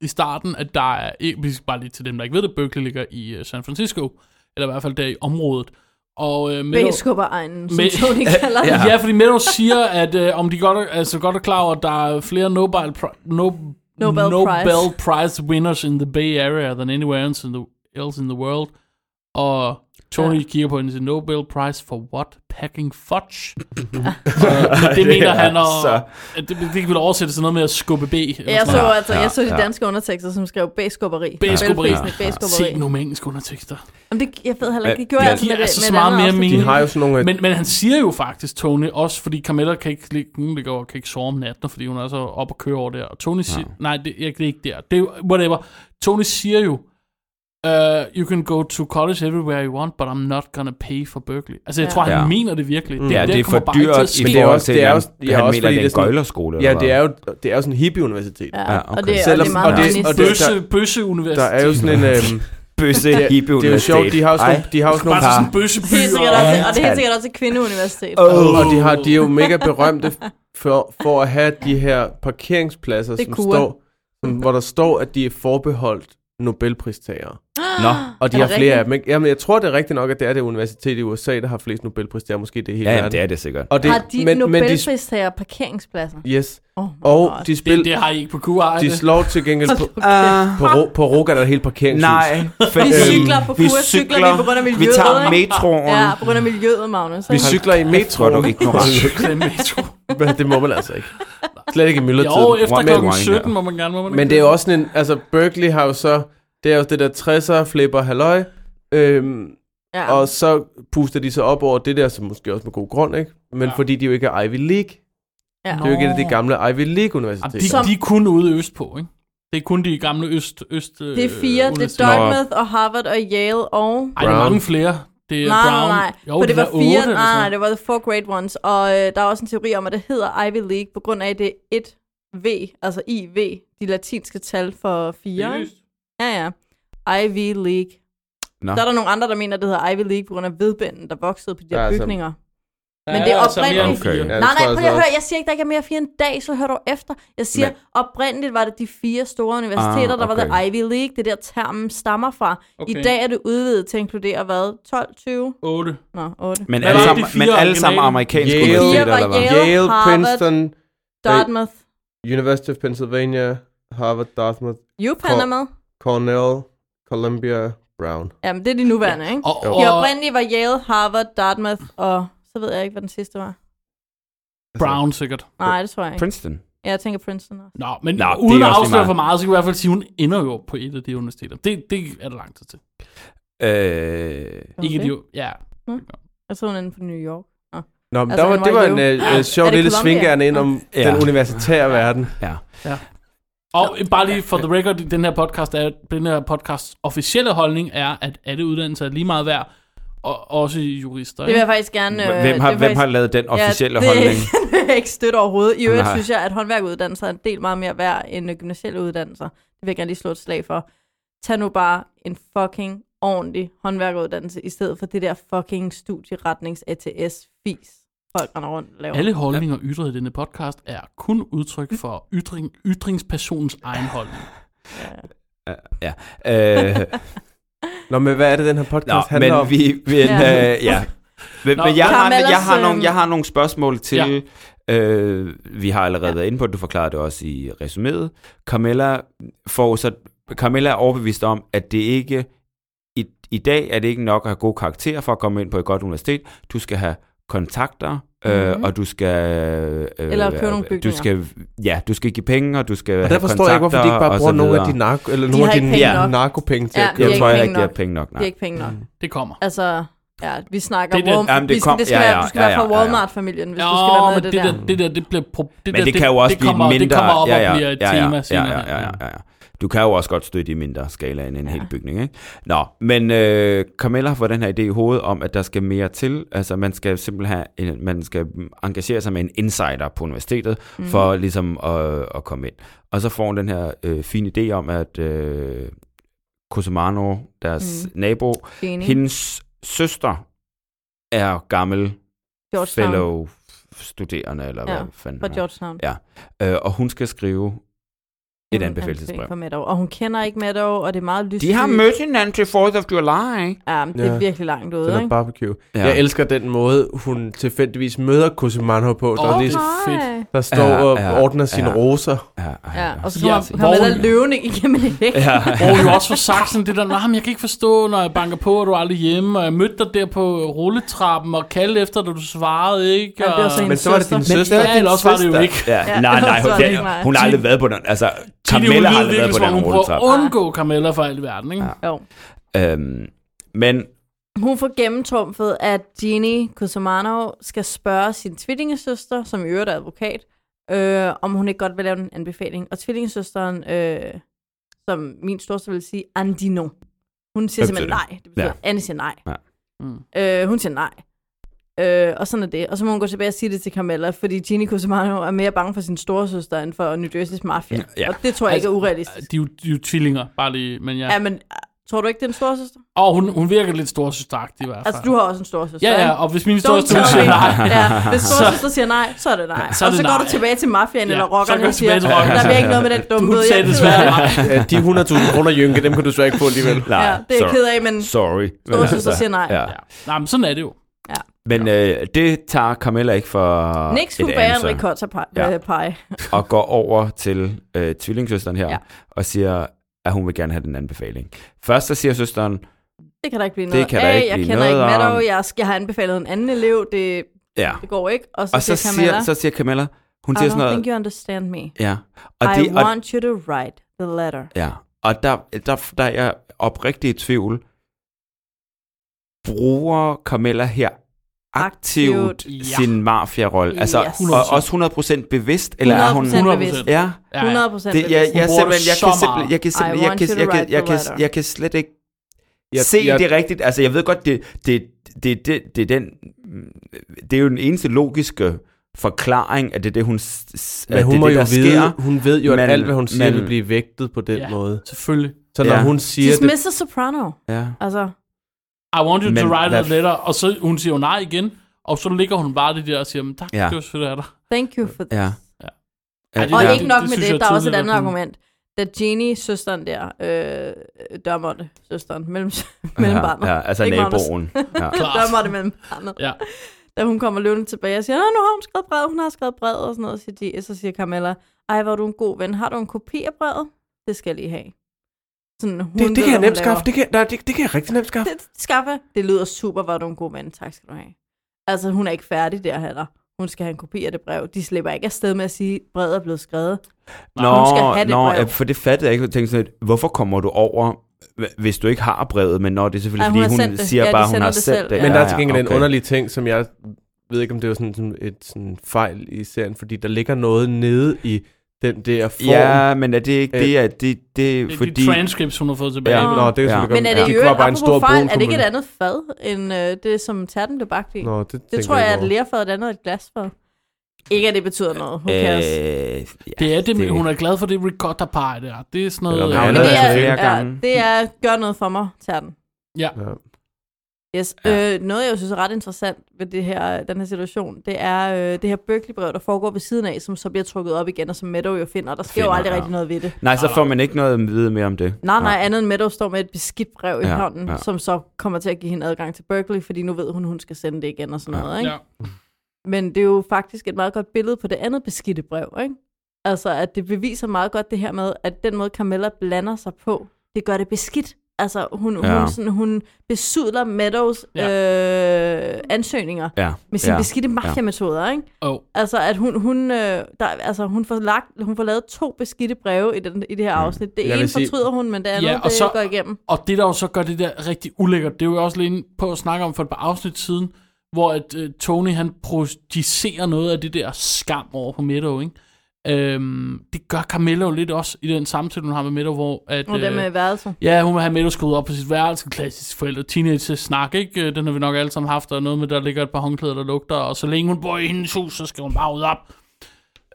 Speaker 2: i starten, at der er... ikke- Vi skal bare lige til dem, der ikke ved det. Berkeley ligger i øh, San Francisco. Eller i hvert fald der i området. Og øh, Meadow...
Speaker 9: Bæskubberegnen, som
Speaker 2: Men-
Speaker 9: Tony kalder
Speaker 2: Ja.
Speaker 9: det.
Speaker 2: ja, fordi Meadows siger, at øh, om de godt, er- altså godt er klar over, at der er flere Nobel, pri- no,
Speaker 9: Nobel
Speaker 2: Nobel Prize winners in the Bay Area than anywhere else in the, else in the world. Og Tony ja. kigger på en og siger, Nobel Prize for what? Packing fudge? og det, det mener
Speaker 1: er
Speaker 2: han, og
Speaker 1: så-
Speaker 2: at det, det kan vel oversætte sådan noget med at skubbe B. eller
Speaker 9: Jeg
Speaker 2: sådan
Speaker 9: så,
Speaker 2: noget.
Speaker 9: altså, jeg så de
Speaker 1: ja.
Speaker 9: danske undertekster, som skrev bæskubberi.
Speaker 2: Bæskubberi.
Speaker 9: Velprisende
Speaker 2: Ja, Se
Speaker 9: Bæskubberi.
Speaker 2: nogle engelske undertekster.
Speaker 9: Jamen, det, jeg ved heller ikke, det gjorde
Speaker 1: Men-
Speaker 9: jeg
Speaker 2: Det
Speaker 9: altså
Speaker 2: giver
Speaker 9: med, det,
Speaker 2: altså
Speaker 9: med
Speaker 2: så
Speaker 9: et
Speaker 2: meget
Speaker 9: andet
Speaker 2: mere
Speaker 9: afsnit.
Speaker 2: mening.
Speaker 10: De har jo sådan nogle...
Speaker 2: Men, men han siger jo faktisk, Tony, også fordi Carmella kan ikke, ligge, hun ligger og kan ikke sove om natten, fordi hun er så op og køre over der. Og Tony siger, nej, det, jeg, det er ikke der. Det er jo, whatever. Tony siger jo, uh, you can go to college everywhere you want, but I'm not gonna pay for Berkeley. Altså, jeg
Speaker 9: Ja.
Speaker 2: tror, han
Speaker 1: Ja.
Speaker 2: mener det virkelig.
Speaker 1: Ja, det er
Speaker 2: kommer
Speaker 1: for
Speaker 2: bare ikke til at
Speaker 1: dyrt
Speaker 2: ske.
Speaker 1: i
Speaker 10: Men det er
Speaker 1: forhold
Speaker 10: også-
Speaker 1: til,
Speaker 10: det er
Speaker 1: at
Speaker 10: også- det er
Speaker 1: han
Speaker 10: også
Speaker 1: mener,
Speaker 10: fordi
Speaker 1: det er
Speaker 10: det er
Speaker 1: en
Speaker 10: sådan-
Speaker 1: gøjlerskole.
Speaker 10: Ja,
Speaker 1: eller
Speaker 10: det
Speaker 1: hvad?
Speaker 10: er jo det er jo sådan en hippie-universitet.
Speaker 9: Ja,
Speaker 1: Ja,
Speaker 9: og
Speaker 1: okay.
Speaker 9: det, og det
Speaker 10: Selvom-
Speaker 9: er
Speaker 10: og
Speaker 9: meget
Speaker 10: det-
Speaker 9: humanistisk.
Speaker 10: og det-
Speaker 2: Bøsse, bøsse universitet.
Speaker 10: Der er jo sådan en... Øhm,
Speaker 1: Bøsse
Speaker 10: det,
Speaker 1: hippie
Speaker 10: det er jo sjovt, de har jo sådan, nogle- de har jo sådan
Speaker 2: Bare
Speaker 10: nogle
Speaker 2: til sådan
Speaker 10: par...
Speaker 2: en bøsseby.
Speaker 9: Helt sikkert også, og det er helt sikkert også et kvindeuniversitet.
Speaker 10: Og de, har, de er jo mega berømte for, for at have de her parkeringspladser,
Speaker 9: Det
Speaker 10: som
Speaker 9: kunne.
Speaker 10: står, som, hvor der står, at de er forbeholdt Nobelpristagere.
Speaker 1: Nå,
Speaker 10: Og de
Speaker 9: Ah, Er
Speaker 10: har
Speaker 9: det
Speaker 10: flere
Speaker 9: rigtigt?
Speaker 10: af dem. Ikke? Jamen, jeg tror, det er rigtigt nok, at det er det universitet i USA, der har flest Nobelpristagere. Måske det hele
Speaker 1: ja, jamen,
Speaker 10: verden.
Speaker 1: det er det sikkert.
Speaker 10: Og det,
Speaker 9: Har de
Speaker 10: men, men de,
Speaker 9: Nobelpristager parkeringspladser?
Speaker 10: yes.
Speaker 9: Oh
Speaker 10: Og de, spil,
Speaker 2: Det, det har I ikke på QR, er
Speaker 10: de
Speaker 2: det?
Speaker 10: slår til gengæld
Speaker 9: Altså,
Speaker 10: på,
Speaker 9: Ah.
Speaker 10: på, ro, på Roga, der er et helt parkeringshus.
Speaker 1: for,
Speaker 9: øh, Vi
Speaker 10: Øhm,
Speaker 9: cykler på kur, cykler, vi på grund af miljøet.
Speaker 1: Vi tager
Speaker 9: ikke?
Speaker 1: metroen.
Speaker 9: Ja, på grund af miljøet, Magnus.
Speaker 10: Vi cykler i metro.
Speaker 1: Hvor er du ignorant.
Speaker 2: Klemme i to.
Speaker 10: Men det må man altså ikke. Slet ikke i myldretiden.
Speaker 2: Jo, efter
Speaker 1: One
Speaker 2: klokken
Speaker 1: wine,
Speaker 2: 17 må man gerne. Må man
Speaker 10: Men
Speaker 2: ikke
Speaker 10: det er jo også sådan en, altså Berkeley har jo så, det er jo det der 60'er, flipper, halløj, øhm,
Speaker 9: Ja.
Speaker 10: og så puster de sig op over det der, som måske også med god grund, ikke? Men
Speaker 2: Ja.
Speaker 10: ja. fordi de jo ikke er Ivy
Speaker 9: ja.
Speaker 10: League. Det er jo ikke et af de
Speaker 2: Nå.
Speaker 10: gamle Ivy
Speaker 2: Jamen,
Speaker 1: Altså,
Speaker 10: League-universiteter.
Speaker 2: de, de er kun ude øst på, ikke? Det er kun de gamle øst... øst
Speaker 9: Det er fire. Det er Dartmouth og Harvard og Yale og...
Speaker 2: Ej, der er
Speaker 10: Brown.
Speaker 2: mange flere. Det er
Speaker 9: Nej,
Speaker 2: Brown.
Speaker 9: nej, nej.
Speaker 2: Jo,
Speaker 9: For det
Speaker 2: er
Speaker 9: var fire,
Speaker 2: otte eller
Speaker 9: nej,
Speaker 2: sådan
Speaker 9: nej,
Speaker 2: noget.
Speaker 9: det var the four great ones. Og øh, der er også en teori om, at det hedder Ivy League, på grund af, at det er et V, altså IV, de latinske tal for fire. ikke? Ja, ja. Ivy League.
Speaker 1: Nå.
Speaker 9: Så er der nogle andre, der mener, at det hedder Ivy League, på grund af vedbænden, der voksede på de
Speaker 10: Ja,
Speaker 9: her
Speaker 10: altså.
Speaker 2: Der
Speaker 9: bygninger. Men
Speaker 2: er
Speaker 9: det er
Speaker 2: altså mere end
Speaker 9: oprindeligt.
Speaker 2: fire.
Speaker 1: Okay.
Speaker 10: Ja,
Speaker 9: nej,
Speaker 10: det tror altså
Speaker 9: nej,
Speaker 10: jeg
Speaker 9: prøv lige at
Speaker 10: så
Speaker 9: høre, jeg siger ikke, der ikke er mere fire end dag, så hør dog efter. Jeg siger,
Speaker 1: Men-
Speaker 9: Men... oprindeligt var det de fire store universiteter,
Speaker 1: Ah,
Speaker 9: ah, okay. der var
Speaker 1: okay.
Speaker 9: The Ivy League, det der termen stammer fra. Okay. I dag er det udvidet til at inkludere hvad? 12, 20?
Speaker 2: Otte.
Speaker 9: Nå, 8.
Speaker 1: Men
Speaker 2: Hvad
Speaker 1: alle
Speaker 2: var
Speaker 1: sammen,
Speaker 2: de fire
Speaker 1: men alle sammen
Speaker 2: originale?
Speaker 1: amerikanske
Speaker 10: Yale.
Speaker 1: universiteter, eller
Speaker 9: Fire var
Speaker 1: hvad?
Speaker 9: Yale.
Speaker 10: Yale,
Speaker 9: Harvard.
Speaker 10: Princeton,
Speaker 9: Dartmouth.
Speaker 10: University of Pennsylvania, Harvard, Dartmouth,
Speaker 9: UPenn
Speaker 10: Kor-
Speaker 9: er med.
Speaker 10: Cornell, Columbia, Brown.
Speaker 9: Jamen, det er de nuværende, ikke?
Speaker 2: Og,
Speaker 9: De
Speaker 2: og
Speaker 9: oprindelige var Yale, Harvard, Dartmouth og... Så ved jeg ikke, hvad den sidste var.
Speaker 2: Brown sikkert.
Speaker 9: Nej, det tror jeg ikke.
Speaker 1: Princeton.
Speaker 9: Ja, jeg tænker Princeton også.
Speaker 2: Nå, men
Speaker 1: Nå,
Speaker 2: Nå,
Speaker 1: det er
Speaker 2: uden at
Speaker 1: også lige
Speaker 2: afsløre
Speaker 1: meget.
Speaker 2: for meget, så kan jeg i hvert fald sige, at hun ender jo på et af de universiteter. Det, det er der lang tid til.
Speaker 1: Øh,
Speaker 9: Kan man
Speaker 2: Ikke
Speaker 9: det?
Speaker 2: de, ja.
Speaker 9: Jeg tror, hun er inde på New York.
Speaker 10: Nå, men
Speaker 9: Altså,
Speaker 10: der var,
Speaker 9: NYU.
Speaker 10: det var en øh, øh,
Speaker 9: Er
Speaker 10: sjov
Speaker 9: det
Speaker 10: lille
Speaker 9: Columbia?
Speaker 10: svingerne ind om
Speaker 1: Ja.
Speaker 10: den universitære verden.
Speaker 2: Og bare lige for the record, den her podcast er, den her podcasts officielle holdning er, at alle uddannelser er lige meget værd, og også jurister.
Speaker 9: Det vil
Speaker 2: ikke?
Speaker 9: jeg faktisk gerne... øh,
Speaker 1: hvem har, hvem
Speaker 9: det vil faktisk-
Speaker 1: har lavet den officielle
Speaker 9: ja, det,
Speaker 1: holdning?
Speaker 9: det er ikke støtte overhovedet. I øvrigt
Speaker 1: Nej.
Speaker 9: synes jeg, at håndværkuddannelser er en del meget mere værd end øh, gymnasielle uddannelser. Det vil jeg gerne lige slå et slag for. Tag nu bare en fucking ordentlig håndværkeruddannelse, i stedet for det der fucking studieretnings-ATS-fis, folk render rundt og laver.
Speaker 2: Alle holdninger ytret i denne podcast er kun udtryk for ytring, ytringspersonens egen holdning.
Speaker 1: Øh,
Speaker 10: Nå, men hvad er det, den her podcast
Speaker 1: nå, men
Speaker 10: handler om?
Speaker 1: vi... Men,
Speaker 9: Ja.
Speaker 1: øh, ja. Men,
Speaker 2: Nå,
Speaker 1: men jeg, har,
Speaker 9: Karamellas,
Speaker 1: jeg, har
Speaker 9: øhm,
Speaker 10: øh,
Speaker 1: nogle, jeg har nogle spørgsmål til... Øh, vi har allerede været inde på det, du forklarede det også i resuméet. Carmella, får så, Carmella er overbevist om, at det ikke... I, I dag er det ikke nok at have gode karakterer for at komme ind på et godt universitet. Du skal have kontakter, øh,
Speaker 9: Mhm.
Speaker 1: mm-hmm. og du skal... Øh,
Speaker 9: Eller købe nogle
Speaker 1: du
Speaker 9: bygninger.
Speaker 1: skal, Ja, du skal give penge, og du skal
Speaker 10: Og
Speaker 1: have
Speaker 10: der forstår jeg ikke, hvorfor de ikke
Speaker 1: kontakter,
Speaker 10: bare bruger
Speaker 1: og så
Speaker 10: nogle af
Speaker 1: videre.
Speaker 10: de, narko, eller
Speaker 9: De
Speaker 10: nogle
Speaker 9: har
Speaker 10: af
Speaker 9: ikke
Speaker 10: de
Speaker 9: penge
Speaker 10: ja.
Speaker 9: nok.
Speaker 10: narkopenge til
Speaker 9: Ja,
Speaker 10: at
Speaker 9: de har
Speaker 1: Jeg
Speaker 10: købe. Mm.
Speaker 1: tror
Speaker 9: ikke
Speaker 1: heller ikke, de
Speaker 9: penge
Speaker 1: har penge nok.
Speaker 9: nok. Det er
Speaker 1: Nej.
Speaker 9: ikke penge nok.
Speaker 2: Det kommer.
Speaker 9: Altså, ja, vi snakker
Speaker 2: Det
Speaker 9: det
Speaker 2: der-
Speaker 9: der, Walmart.
Speaker 1: Jamen, det
Speaker 9: vi,
Speaker 1: kom-
Speaker 9: det skal,
Speaker 1: ja,
Speaker 9: være-
Speaker 1: ja,
Speaker 9: du skal
Speaker 1: ja,
Speaker 9: være fra
Speaker 1: ja, ja.
Speaker 9: Walmart-familien, hvis du
Speaker 2: Åh,
Speaker 9: skal være med i
Speaker 2: men
Speaker 9: det, der.
Speaker 2: der. Det der, det bliver... Pro, det
Speaker 1: Men
Speaker 2: der,
Speaker 1: det kan jo også
Speaker 2: det
Speaker 1: blive
Speaker 2: kommer,
Speaker 1: mindre.
Speaker 2: Det kommer op
Speaker 1: ja,
Speaker 2: og
Speaker 1: ja,
Speaker 2: bliver et
Speaker 1: ja, ja,
Speaker 2: tema senere.
Speaker 1: Ja, ja, ja, ja, ja. Du kan jo også godt støtte i mindre skala end en hel bygning, ikke? Nå, men øh, Carmella får den her idé i hovedet om, at der skal mere til. Altså, man skal simpelthen have en, man skal engagere sig med en insider på universitetet, mm. for ligesom at, at komme ind. Og så får hun den her øh, fine idé om, at øh, Cosumano, deres mm. nabo,
Speaker 9: Enig.
Speaker 1: hendes søster er gammel
Speaker 9: Georgetown.
Speaker 1: fellow studerende, eller
Speaker 9: Ja,
Speaker 1: hvad fanden
Speaker 9: Fra
Speaker 1: hun er.
Speaker 9: Georgetown.
Speaker 1: Øh, og hun skal skrive Et
Speaker 9: hun
Speaker 1: anbefalelsesbrev.
Speaker 9: anbefaling For Meadow. Og hun kender ikke Meadow, og det er meget lyst.
Speaker 1: De har mødt hinanden til 4th of July.
Speaker 9: Ja, men det er
Speaker 10: Ja.
Speaker 9: virkelig langt ude,
Speaker 10: Den er
Speaker 9: ikke?
Speaker 10: barbecue.
Speaker 1: Ja.
Speaker 10: Ja. Jeg elsker den måde, hun tilfældigvis møder Cosimanho på, der,
Speaker 2: Åh,
Speaker 10: oh, lige,
Speaker 9: Nej.
Speaker 10: der står
Speaker 1: Ja,
Speaker 10: og
Speaker 1: ja,
Speaker 10: ordner sine
Speaker 1: ja.
Speaker 10: roser.
Speaker 1: Ja, ja.
Speaker 9: Ja, og så
Speaker 2: Ja,
Speaker 9: kommer ja,
Speaker 2: hvor-
Speaker 9: Meadow løvende igennem det væk.
Speaker 1: ja.
Speaker 2: Og jo også for sagt sådan det der, nej, men jeg kan ikke forstå, når jeg banker på, og du er aldrig hjemme, og jeg mødte dig der på rulletrappen og kaldte efter dig, du svarede ikke.
Speaker 9: Ja, det var
Speaker 2: Og...
Speaker 9: så
Speaker 10: Men
Speaker 9: hendes
Speaker 10: så var det
Speaker 9: søster.
Speaker 10: din søster.
Speaker 2: Ja, eller også var det jo ikke.
Speaker 1: Ja,
Speaker 9: Ja,
Speaker 1: nej, nej, hun,
Speaker 9: så er det ikke mig.
Speaker 1: hun har aldrig været på den. Altså, Carmella har aldrig været på den
Speaker 2: hun prøver at
Speaker 1: rulletrap.
Speaker 2: undgå Carmella for alt i verden, ikke? Ja.
Speaker 9: Jo.
Speaker 1: Øhm, men
Speaker 9: Hun får gennemtrumfet, at Jeannie Cusumano skal spørge sin tvillingesøster, som i øvrigt er advokat, øh, om hun ikke godt vil lave en anbefaling. Og tvillingesøsteren, øh, som min storste vil sige, Andino. Hun siger
Speaker 1: Hvad
Speaker 9: simpelthen
Speaker 1: betyder det?
Speaker 9: nej. Det betyder,
Speaker 1: Ja.
Speaker 9: ja. Anne siger nej.
Speaker 1: Ja.
Speaker 2: Mm.
Speaker 9: Øh, hun siger nej. Øh, og sådan er det. Og så må hun gå tilbage og sige det til Carmella, fordi Jeannie Cusumano er mere bange for sin storesøster end for New Jersey's mafia.
Speaker 1: Ja.
Speaker 9: Og det tror jeg altså, ikke er urealistisk.
Speaker 2: De, er jo- de er jo tvillinger, bare lige, men ja.
Speaker 9: Ja, men tror du ikke, det er en storesøster?
Speaker 2: Og hun, hun virker lidt storsystagtig i hvert fald.
Speaker 9: Altså, du har også en storesøster,
Speaker 2: Ja, ja,
Speaker 9: ikke?
Speaker 2: og hvis min
Speaker 9: Don't
Speaker 2: storsøster hun
Speaker 9: tell
Speaker 2: siger
Speaker 9: me.
Speaker 2: nej,
Speaker 9: Ja, hvis storsøster siger nej, så er det nej.
Speaker 2: så er
Speaker 9: og
Speaker 2: det
Speaker 9: så går
Speaker 2: nej.
Speaker 9: du tilbage til mafiaen
Speaker 2: Ja,
Speaker 9: eller
Speaker 2: så går
Speaker 9: rockerne
Speaker 2: jeg
Speaker 9: og siger,
Speaker 2: tilbage til rockerne.
Speaker 9: der bliver ikke noget med den dumme
Speaker 2: hun
Speaker 9: bøde.
Speaker 2: sagde
Speaker 9: jeg er ked
Speaker 2: desværre
Speaker 9: af det."
Speaker 2: nej.
Speaker 10: Ja, de 100.000 kroner, Jynke, dem kan du så ikke få alligevel.
Speaker 1: nej,
Speaker 9: Ja, det er
Speaker 1: sorry.
Speaker 9: jeg ked af, men
Speaker 1: Sorry. altså,
Speaker 9: storsøster siger nej.
Speaker 1: Ja.
Speaker 2: Ja. Nej, men sådan er det jo.
Speaker 1: Men øh, det tager Carmella ikke for
Speaker 9: Nick skulle
Speaker 1: et
Speaker 9: bære en
Speaker 1: answer,
Speaker 9: ricotta pie.
Speaker 1: Ja.
Speaker 9: øh, pie.
Speaker 1: og går over til øh, tvillingssøsteren her, ja.
Speaker 9: Ja.
Speaker 1: og siger, at hun vil gerne have den anbefaling. Først så siger søsteren,
Speaker 9: Det kan der ikke blive
Speaker 1: Det
Speaker 9: noget
Speaker 1: kan der
Speaker 9: af.
Speaker 1: ikke
Speaker 9: jeg
Speaker 1: blive
Speaker 9: kender ikke
Speaker 1: noget
Speaker 9: Meadow.
Speaker 1: om.
Speaker 9: Jeg, jeg har anbefalet en anden elev. Det,
Speaker 1: ja.
Speaker 9: det går ikke. Og så,
Speaker 1: Og så
Speaker 9: Camilla,
Speaker 1: siger, så siger Camilla, hun
Speaker 9: I
Speaker 1: siger
Speaker 9: don't
Speaker 1: sådan noget,
Speaker 9: think you understand me.
Speaker 1: ja.
Speaker 9: Og
Speaker 1: Og
Speaker 9: I
Speaker 1: det, og,
Speaker 9: want you to write the letter.
Speaker 1: ja. og der, der, der er jeg oprigtig i tvivl. Bruger Carmella her aktivt
Speaker 2: Aktivt,
Speaker 1: ja.
Speaker 2: ja.
Speaker 1: sin mafia-rolle? Altså,
Speaker 9: Yes.
Speaker 1: og også 100% bevidst? Eller er hun...
Speaker 9: 100%
Speaker 2: 100%.
Speaker 9: bevidst.
Speaker 1: Ja,
Speaker 9: 100 procent
Speaker 1: det, jeg, jeg,
Speaker 2: Hun bruger det
Speaker 1: simpelthen, jeg, kan
Speaker 2: så
Speaker 1: simpelthen,
Speaker 2: meget.
Speaker 1: jeg kan simpelthen,
Speaker 9: I
Speaker 1: jeg kan,
Speaker 9: want you
Speaker 1: jeg,
Speaker 9: to
Speaker 1: kan,
Speaker 9: write
Speaker 1: jeg,
Speaker 9: the
Speaker 1: kan,
Speaker 9: letter.
Speaker 1: jeg kan slet ikke se det rigtigt. Altså, jeg ved godt, det, det, det, det, det, er den, mm, det er jo den eneste logiske forklaring, at det er det, hun, s- s- at
Speaker 10: Men hun
Speaker 1: det, er
Speaker 10: må
Speaker 1: det,
Speaker 10: jo
Speaker 1: der
Speaker 10: vide,
Speaker 1: sker.
Speaker 10: hun ved jo, at
Speaker 1: Men-
Speaker 10: alt, hvad hun siger,
Speaker 1: men-
Speaker 10: vil blive vægtet på den
Speaker 2: Ja.
Speaker 10: måde.
Speaker 2: Selvfølgelig.
Speaker 10: Så når
Speaker 1: Ja.
Speaker 10: hun siger
Speaker 9: She's
Speaker 10: det...
Speaker 9: Mrs. Soprano.
Speaker 1: Ja.
Speaker 9: Altså,
Speaker 2: I want you
Speaker 1: Men
Speaker 2: to write
Speaker 1: hvad-
Speaker 2: a letter, og så hun siger jo nej igen, og så ligger hun bare det der og siger, men tak,
Speaker 1: Ja.
Speaker 2: det var selvfølgelig af dig.
Speaker 9: thank you for this.
Speaker 1: Ja.
Speaker 2: Ej, det
Speaker 9: Og
Speaker 2: der-
Speaker 9: ikke
Speaker 2: det
Speaker 9: nok med
Speaker 2: synes
Speaker 9: det,
Speaker 2: jeg
Speaker 9: der er også et
Speaker 2: tidligere,
Speaker 9: andet
Speaker 2: der kom.
Speaker 9: argument. Da Jeannie, søsteren der, øh, dømmer det, søsteren, mellem, mellem
Speaker 1: ja,
Speaker 9: barnet.
Speaker 1: ja, altså
Speaker 9: Ikke Magnus.
Speaker 1: naboen. Ja.
Speaker 2: Klart.
Speaker 9: dømmer det mellem barnet.
Speaker 2: Ja.
Speaker 9: Da hun kommer løbende tilbage og siger, "Nå, nu har hun skrevet brevet, hun har skrevet brevet og sådan noget, siger de. Så siger Carmella, ej, hvor er du en god ven. Har du en kopi af brevet? Det skal jeg lige have. Sådan, hun
Speaker 10: Det, det kan jeg nemt skaffe.
Speaker 9: Det,
Speaker 10: Det kan, nej, det, det kan jeg rigtig nemt skaffe.
Speaker 9: det skaffe. jeg. Det lyder super, hvor er du en god ven. Tak skal du have. Altså, hun er ikke færdig der heller. Hun skal have en kopi af det brev. De slipper ikke afsted med at sige, at brevet er blevet skrevet. hun skal have det
Speaker 1: nå,
Speaker 9: brev.
Speaker 1: ja, for det fattede jeg ikke. Jeg tænkte sådan lidt, hvorfor kommer du over, hv- hvis du ikke har brevet? Men når det er selvfølgelig,
Speaker 9: Ej,
Speaker 1: fordi
Speaker 9: hun har
Speaker 1: hun,
Speaker 9: sendt det.
Speaker 1: siger
Speaker 9: Ja, de
Speaker 1: bare, hun
Speaker 9: sender
Speaker 1: har
Speaker 9: det
Speaker 1: sendt
Speaker 9: selv.
Speaker 1: det.
Speaker 9: Ja.
Speaker 10: Men der
Speaker 1: Ja,
Speaker 10: er til gengæld
Speaker 1: ja,
Speaker 10: en underlig ting, som jeg ved ikke, om det var sådan, sådan et sådan fejl i serien, fordi der ligger noget nede i den der form. Øh.
Speaker 1: Ja, men er det ikke det, at det, det,
Speaker 2: Det er
Speaker 1: fordi...
Speaker 2: de transcripts, hun har fået tilbage.
Speaker 1: Ja.
Speaker 2: vel?
Speaker 10: Nå, det er
Speaker 1: Ja.
Speaker 10: selvfølgelig
Speaker 9: Men er det
Speaker 10: godt.
Speaker 9: jo
Speaker 10: var
Speaker 9: øvrigt,
Speaker 10: bare en stor
Speaker 9: apropos fejl,
Speaker 10: brun
Speaker 9: er det ikke et
Speaker 10: kummel.
Speaker 9: andet fad, end øh, det, som terten blev bagt i?
Speaker 10: Nå, det,
Speaker 9: det
Speaker 10: tænker
Speaker 9: tror jeg er et
Speaker 10: ikke over.
Speaker 9: lærfad, og det andet er et glasfad. Ikke, at det betyder noget. Who cares?
Speaker 1: Øh, ja,
Speaker 2: Det er det, det, hun er glad for det ricotta pie der. Det er sådan noget...
Speaker 1: Det er
Speaker 2: Ja,
Speaker 1: noget,
Speaker 9: Men
Speaker 1: der
Speaker 9: det,
Speaker 1: altså
Speaker 9: er,
Speaker 1: flere
Speaker 9: ja,
Speaker 1: gange.
Speaker 9: det er, gør noget for mig, terten.
Speaker 10: Ja.
Speaker 9: Yes.
Speaker 1: Ja.
Speaker 9: Ja. Øh, noget, jeg jo synes er ret interessant ved det her, den her situation, det er øh, det her Berkeley-brev, der foregår ved siden af, som så bliver trukket op igen, og som Meadow jo finder. Der sker
Speaker 1: Finder,
Speaker 9: jo aldrig
Speaker 1: ja.
Speaker 9: rigtig noget ved det.
Speaker 1: Nej, så får man ikke noget at vide mere om det.
Speaker 9: Nej, nej, andet end Meadow står med et beskidt brev i
Speaker 1: Ja,
Speaker 9: hånden,
Speaker 1: ja.
Speaker 9: som så kommer til at give hende adgang til Berkeley, fordi nu ved hun, hun skal sende det igen og sådan
Speaker 1: Ja.
Speaker 9: noget. Ikke?
Speaker 2: Ja.
Speaker 9: Men det er jo faktisk et meget godt billede på det andet beskidte brev, ikke? Altså, at det beviser meget godt det her med, at den måde Carmella blander sig på, det gør det beskidt. Altså, hun,
Speaker 1: Ja.
Speaker 9: ja. hun, sådan, hun besudler Meadows
Speaker 2: Ja.
Speaker 9: ja. øh, ansøgninger
Speaker 1: Ja.
Speaker 9: med sine
Speaker 1: ja.
Speaker 9: ja. beskidte mafiametoder, ikke?
Speaker 2: Oh.
Speaker 9: Altså, at hun, hun, øh, der, altså, hun, får lagt, hun får lavet to beskidte breve i, den, i det her afsnit. Det
Speaker 10: Jeg
Speaker 9: ene
Speaker 10: vil sige-
Speaker 9: fortryder hun, men det andet,
Speaker 2: Ja,
Speaker 9: ja,
Speaker 2: og
Speaker 9: det
Speaker 2: så-
Speaker 9: så... går igennem.
Speaker 2: Og det, der jo så gør det der rigtig ulækkert, det er jo også lige inde på at snakke om for et par afsnit siden, hvor at, øh, Tony han projicerer noget af det der skam over på Meadow, ikke? Øhm, det gør Carmella jo lidt også i den samtale, hun har med Meadow, hvor at...
Speaker 9: Og det
Speaker 2: øh,
Speaker 9: med værelser.
Speaker 2: Ja, hun vil have Meadow skruet op på sit værelse, klassisk forældre, teenage snak, ikke? Øh, Den har vi nok alle sammen haft, og noget med, der ligger et par håndklæder, der lugter, og så længe hun bor i hendes hus, så skal hun bare ud op.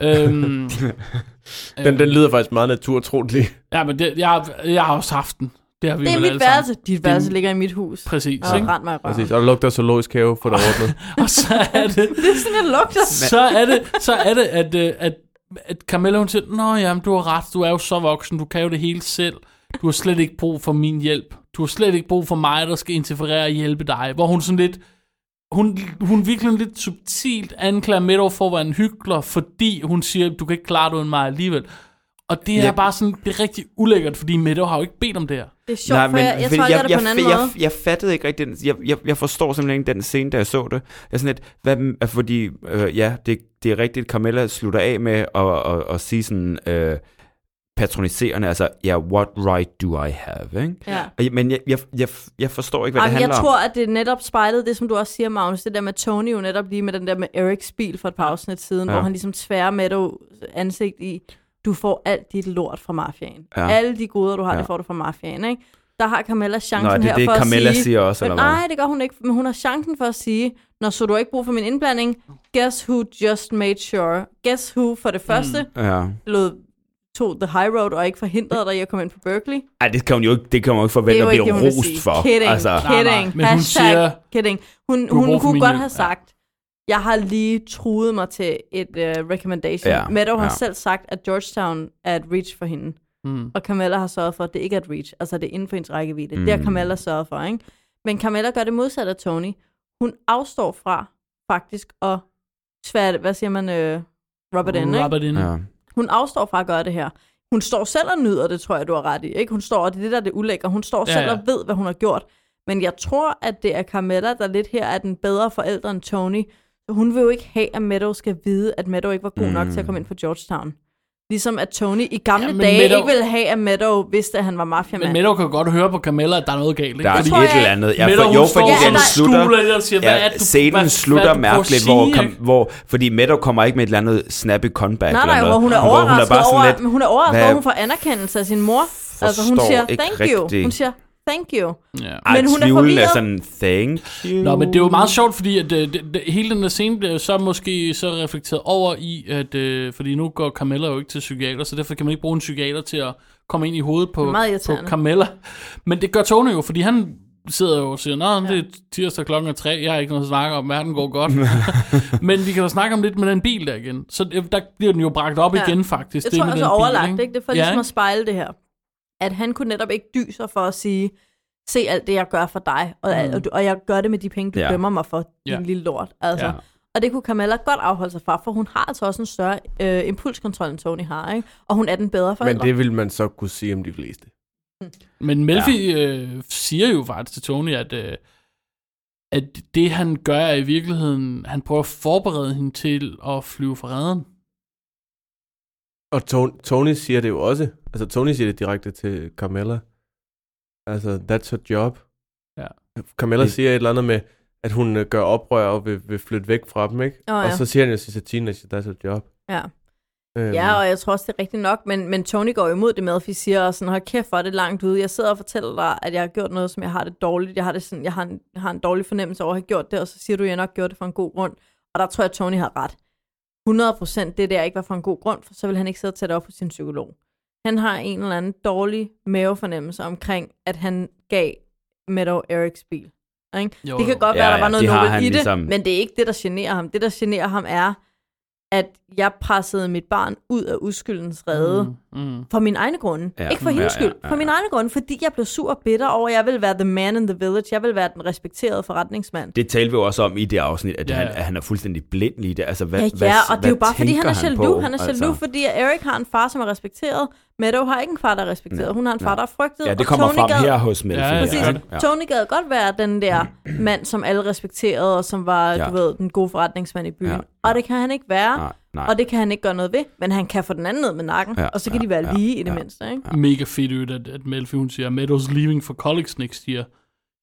Speaker 2: øhm, øh,
Speaker 10: Den,
Speaker 9: Øh.
Speaker 10: den lyder faktisk meget naturtrolig.
Speaker 2: ja, men det, jeg, jeg har også haft den. Det har vi
Speaker 9: Det er
Speaker 2: vel
Speaker 9: mit
Speaker 2: alle sammen.
Speaker 9: værelse. Dit værelse ligger i mit hus.
Speaker 2: Præcis,
Speaker 9: Og
Speaker 2: ikke?
Speaker 9: rend mig i røven.
Speaker 10: Præcis, og der lugter zoologisk have for det ordnet.
Speaker 2: Og så er det,
Speaker 9: Det er sådan, jeg lugter.
Speaker 2: så er det, så er det at, øh, at at Carmella hun siger, Nå ja, men du har ret, du er jo så voksen, du kan jo det hele selv. Du har slet ikke brug for min hjælp. Du har slet ikke brug for mig, der skal interferere og hjælpe dig. Hvor hun sådan lidt, hun, hun virkelig lidt subtilt anklager Meadow for at være en hyggelig, fordi hun siger, du kan ikke klare det uden mig alligevel. Og det er bare sådan, det er rigtig ulækkert, fordi Meadow har jo ikke bedt om det her.
Speaker 9: Det er sjovt, Nej, for jeg, jeg tolker jeg, det på en anden
Speaker 1: jeg,
Speaker 9: måde.
Speaker 1: Jeg, jeg fattede ikke rigtig den. Jeg, jeg, jeg forstår simpelthen ikke den scene, da jeg så det. Jeg er sådan lidt, hvad, altså, fordi, øh, ja, det, det er rigtigt, Carmella slutter af med at, at, at, at sige sådan øh, patroniserende, altså, ja, yeah, what right do I have, ikke?
Speaker 9: Ja.
Speaker 1: Og jeg- Men jeg, jeg, jeg, jeg forstår ikke, hvad
Speaker 9: Jamen,
Speaker 1: det handler
Speaker 9: jeg
Speaker 1: om.
Speaker 9: tror, at det netop spejlede det, som du også siger, Magnus, det der med Tony jo netop lige med den der med Erics bil for et par afsnit siden,
Speaker 1: Ja.
Speaker 9: ja. hvor han ligesom tværer Meadow ansigt i, du får alt dit lort fra mafiaen.
Speaker 1: Ja.
Speaker 9: Ja. Alle de goder, du har,
Speaker 1: Ja.
Speaker 9: ja. det får du fra mafiaen, ikke? Der har Carmella chancen
Speaker 1: Nå, er det
Speaker 9: her
Speaker 1: det,
Speaker 9: for
Speaker 1: Carmella
Speaker 9: at sige...
Speaker 1: siger også,
Speaker 9: men,
Speaker 1: eller hvad?
Speaker 9: nej, det gør hun ikke, men hun har chancen for at sige, når så du har ikke brug for min indblanding, guess who just made sure. Guess who for det første mm.
Speaker 1: Ja.
Speaker 9: lod tog the high road og ikke forhindrede dig i at komme ind på Berkeley.
Speaker 1: Ej, det kan hun jo ikke, det kan hun jo ikke
Speaker 9: Det
Speaker 1: forvente
Speaker 9: er
Speaker 1: at
Speaker 9: jo ikke
Speaker 1: blive
Speaker 9: det, hun vil sige.
Speaker 1: rost for.
Speaker 9: Kidding,
Speaker 1: Altså,
Speaker 2: Nej, nej,
Speaker 9: kidding.
Speaker 2: men hun
Speaker 9: Hashtag
Speaker 2: siger,
Speaker 9: kidding. Hun,
Speaker 2: "Du har brug
Speaker 9: hun
Speaker 2: for
Speaker 9: kunne
Speaker 2: min
Speaker 9: godt
Speaker 2: hjælp."
Speaker 9: have sagt, jeg har lige truet mig til et uh, recommendation.
Speaker 1: Ja,
Speaker 9: Ja, Meadow har
Speaker 1: ja.
Speaker 9: selv sagt, at Georgetown er et reach for hende.
Speaker 2: Mm.
Speaker 9: Og Carmella har sørget for, at det ikke er et reach. Altså, det er inden for hendes rækkevidde. Mm. Det har
Speaker 1: Mm.
Speaker 9: Carmella sørget for, ikke? Men Carmella gør det modsatte af Tony. Hun afstår fra faktisk at tvære, hvad siger man, øh, rubber it in, ikke?
Speaker 2: Rub it in.
Speaker 1: ja.
Speaker 9: Hun afstår fra at gøre det her. Hun står selv og nyder det, tror jeg, du har ret i. Ikke? Hun står, og det er det, der er det ulækre. Hun står
Speaker 2: Ja,
Speaker 9: ja, selv
Speaker 2: ja.
Speaker 9: ja. og ved, hvad hun har gjort. Men jeg tror, at det er Carmella, der lidt her er den bedre forældre end Tony. Hun vil jo ikke have, at Meadow skal vide, at Meadow ikke var god nok
Speaker 1: Mm.
Speaker 9: til at komme ind på Georgetown. Ligesom at Tony i gamle
Speaker 2: Ja,
Speaker 9: ja,
Speaker 2: men
Speaker 9: dage
Speaker 2: Meadow-
Speaker 9: ikke ville have, at Meadow vidste, at han var mafiamand.
Speaker 2: Men Meadow kan godt høre på Camilla, at der er noget galt. Ikke?
Speaker 1: Der er
Speaker 2: Fordi
Speaker 9: tror
Speaker 1: et
Speaker 9: jeg
Speaker 1: eller
Speaker 9: ikke.
Speaker 1: andet. Ja,
Speaker 2: Mette,
Speaker 1: for,
Speaker 2: hun
Speaker 1: jo,
Speaker 2: står
Speaker 1: fordi
Speaker 9: og
Speaker 1: den slutter...
Speaker 2: skuler i og siger, hvad er det, du-
Speaker 1: scenen
Speaker 2: hvad- hvad er
Speaker 1: slutter
Speaker 2: det, du
Speaker 1: mærkeligt,
Speaker 2: prøver at
Speaker 1: hvor,
Speaker 2: sige,
Speaker 1: kom, hvor, fordi Meadow kommer ikke med et eller andet snappy comeback
Speaker 9: Nej,
Speaker 1: eller
Speaker 9: nej,
Speaker 1: noget.
Speaker 9: hvor hun er
Speaker 1: Hvor hun er
Speaker 9: overrasket
Speaker 1: bare sådan
Speaker 9: over,
Speaker 1: lidt,
Speaker 9: men hun er overrasket
Speaker 1: hvad-
Speaker 9: over, at hun får anerkendelse af sin mor. Altså, hun
Speaker 1: Forstår
Speaker 9: siger,
Speaker 1: ikke
Speaker 9: thank you. Hun
Speaker 1: rigtig.
Speaker 9: siger, thank you.
Speaker 2: Ja.
Speaker 1: Ej,
Speaker 9: Men hun er
Speaker 1: tvivlen er
Speaker 9: forvirret.
Speaker 1: sådan, thank you.
Speaker 2: Nå, men det er jo meget sjovt, fordi at, øh, det, det, hele den der scene bliver jo så måske så reflekteret over i, at øh, fordi nu går Carmella jo ikke til psykiater, så derfor kan man ikke bruge en psykiater til at komme ind i hovedet på,
Speaker 9: Meget
Speaker 2: på
Speaker 9: irriterende.
Speaker 2: Carmella. Men det gør Tony jo, fordi han sidder jo og siger, nej, det er tirsdag klokken er tre, jeg har ikke noget at snakke om, verden går godt. men vi kan jo snakke om lidt med den bil der igen. Så det- der bliver den jo bragt op ja.
Speaker 9: Ja.
Speaker 2: igen faktisk.
Speaker 9: Jeg
Speaker 2: det
Speaker 9: tror
Speaker 2: med
Speaker 9: også
Speaker 2: den bil,
Speaker 9: overlagt, ikke? Det er for
Speaker 2: Ja,
Speaker 9: ligesom
Speaker 2: ikke?
Speaker 9: at spejle det her. At han kunne netop ikke dyse for at sige, se alt det, jeg gør for dig, og,
Speaker 2: Mm.
Speaker 9: mm. og, du- og jeg gør det med de penge, du
Speaker 1: Ja.
Speaker 9: ja. dømmer mig for, din
Speaker 2: Ja.
Speaker 9: ja. lille lort. Altså.
Speaker 1: Ja.
Speaker 9: Ja. Og det kunne Carmella godt afholde sig fra, for hun har altså også en større øh, impulskontrol, end Tony har, ikke? Og hun er den bedre
Speaker 10: Men
Speaker 9: forældre.
Speaker 10: det vil man så kunne sige om de fleste.
Speaker 2: Men Melfi ja. øh, siger jo faktisk til Tony, at, øh, at det han gør er i virkeligheden, han prøver at forberede hende til at flyve fra redden.
Speaker 10: Og Tony, Tony siger det jo også. Altså, Tony siger det direkte til Carmella. Altså, that's her job.
Speaker 2: Ja.
Speaker 10: Carmella
Speaker 1: Det-
Speaker 10: siger et eller andet med, at hun øh, gør oprør og vil, vil flytte væk fra dem, ikke?
Speaker 9: Åh, ja.
Speaker 10: Og så siger han jo til teenager, that's her job.
Speaker 9: Ja.
Speaker 10: Øhm,
Speaker 9: Ja, og jeg tror også, det er rigtigt nok, men, men Tony går jo imod det med, at vi siger også sådan, hold kæft, hvor er det langt ude. Jeg sidder og fortæller dig, at jeg har gjort noget, som jeg har det dårligt. Jeg har, det sådan, jeg har, en, jeg har en dårlig fornemmelse over at have gjort det, og så siger du, at jeg nok gjorde det for en god grund. Og der tror jeg, at Tony har ret. 100 procent det der ikke var for en god grund, for så vil han ikke sidde og tage det op hos sin psykolog. Han har en eller anden dårlig mavefornemmelse omkring, at han gav Meadow Eriks bil. Ikke?
Speaker 2: Jo,
Speaker 9: det kan
Speaker 2: jo.
Speaker 9: godt
Speaker 1: Ja,
Speaker 9: være, at
Speaker 1: ja,
Speaker 9: der var noget
Speaker 1: det har
Speaker 9: nobel
Speaker 1: han
Speaker 9: i det,
Speaker 1: ligesom-
Speaker 9: ligesom... men det er ikke det, der generer ham. Det, der generer ham, er, at jeg pressede mit barn ud af uskyldens rede mm.
Speaker 2: Mm.
Speaker 9: for min egne grunde.
Speaker 1: Ja.
Speaker 9: Ja. Ikke for
Speaker 1: Ja,
Speaker 9: hendes
Speaker 1: ja,
Speaker 9: skyld,
Speaker 1: ja,
Speaker 9: for min egne grunde, fordi jeg blev sur og bitter over, at jeg ville være the man in the village, jeg ville være den respekterede forretningsmand.
Speaker 1: Det talte vi jo også om i det afsnit, at,
Speaker 2: Ja,
Speaker 1: ja.
Speaker 2: ja.
Speaker 1: han, at han er fuldstændig blind lige der. Altså, hvad,
Speaker 9: Ja,
Speaker 1: hvad,
Speaker 9: ja, og det er jo
Speaker 1: hvad
Speaker 9: bare, fordi han er
Speaker 1: tænker
Speaker 9: jaloux.
Speaker 1: på?
Speaker 9: Han, er jaloux,
Speaker 1: Altså,
Speaker 9: fordi Eric har en far, som er respekteret. Meadow har ikke en far, der er respekteret.
Speaker 1: Nej,
Speaker 9: Hun har en
Speaker 1: nej.
Speaker 9: far, der er frygtet.
Speaker 1: ja,
Speaker 9: og
Speaker 1: det kommer
Speaker 9: Tony
Speaker 1: frem
Speaker 9: gad-
Speaker 1: her hos Melfi.
Speaker 2: Ja, ja,
Speaker 9: Præcis.
Speaker 2: gør
Speaker 9: Ja,
Speaker 2: det.
Speaker 1: Ja.
Speaker 9: Tony gad godt være den der mand, som alle respekterede, og som var,
Speaker 1: Ja.
Speaker 9: ja. du ved, den gode forretningsmand i byen.
Speaker 1: Ja.
Speaker 9: Ja. Og det kan han ikke være,
Speaker 1: Nej, nej.
Speaker 9: og det kan han ikke gøre noget ved, men han kan få den anden ned med nakken,
Speaker 1: Ja,
Speaker 9: ja. og så kan
Speaker 1: ja,
Speaker 9: de være
Speaker 1: ja,
Speaker 9: lige i det
Speaker 1: ja.
Speaker 9: mindste, ikke?
Speaker 2: Mega fedt ud, at, at Melfi hun siger, Meadows leaving for college next year.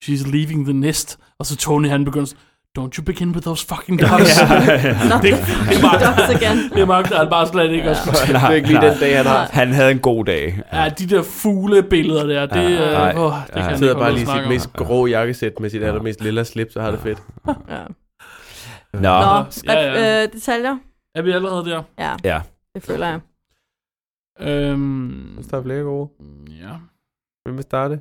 Speaker 2: She's leaving the nest. Og så Tony han begynder sådan, Don't you begin with those fucking dogs.
Speaker 9: Nå, det,
Speaker 2: det
Speaker 9: det
Speaker 2: er
Speaker 9: var
Speaker 2: bare-
Speaker 9: igen.
Speaker 2: det magter han bare slet ikke. Ja.
Speaker 1: Nej,
Speaker 10: Det er ikke lige
Speaker 1: nej.
Speaker 10: den dag, han har.
Speaker 1: Han havde en god dag.
Speaker 2: ja, de der fuglebilleder der, det,
Speaker 1: Ja,
Speaker 2: ja,
Speaker 1: nej.
Speaker 2: øh, åh, det
Speaker 1: Ja.
Speaker 2: kan jeg
Speaker 10: Han
Speaker 2: ikke holde
Speaker 10: sidder
Speaker 2: ud
Speaker 10: bare
Speaker 2: at
Speaker 10: lige i
Speaker 2: snakke
Speaker 10: sit
Speaker 2: om.
Speaker 10: mest grå jakkesæt med sit allermest lille slips og har det fedt.
Speaker 9: Ja.
Speaker 1: Nå,
Speaker 9: Nå,
Speaker 1: Nå.
Speaker 9: ja,
Speaker 2: Ja, ja.
Speaker 9: ja. Øh, detaljer?
Speaker 2: Er vi allerede der?
Speaker 9: Ja,
Speaker 1: ja.
Speaker 9: det føler jeg.
Speaker 2: Øhm,
Speaker 10: Så der er flere gode.
Speaker 2: mm, ja.
Speaker 10: Hvem vil starte?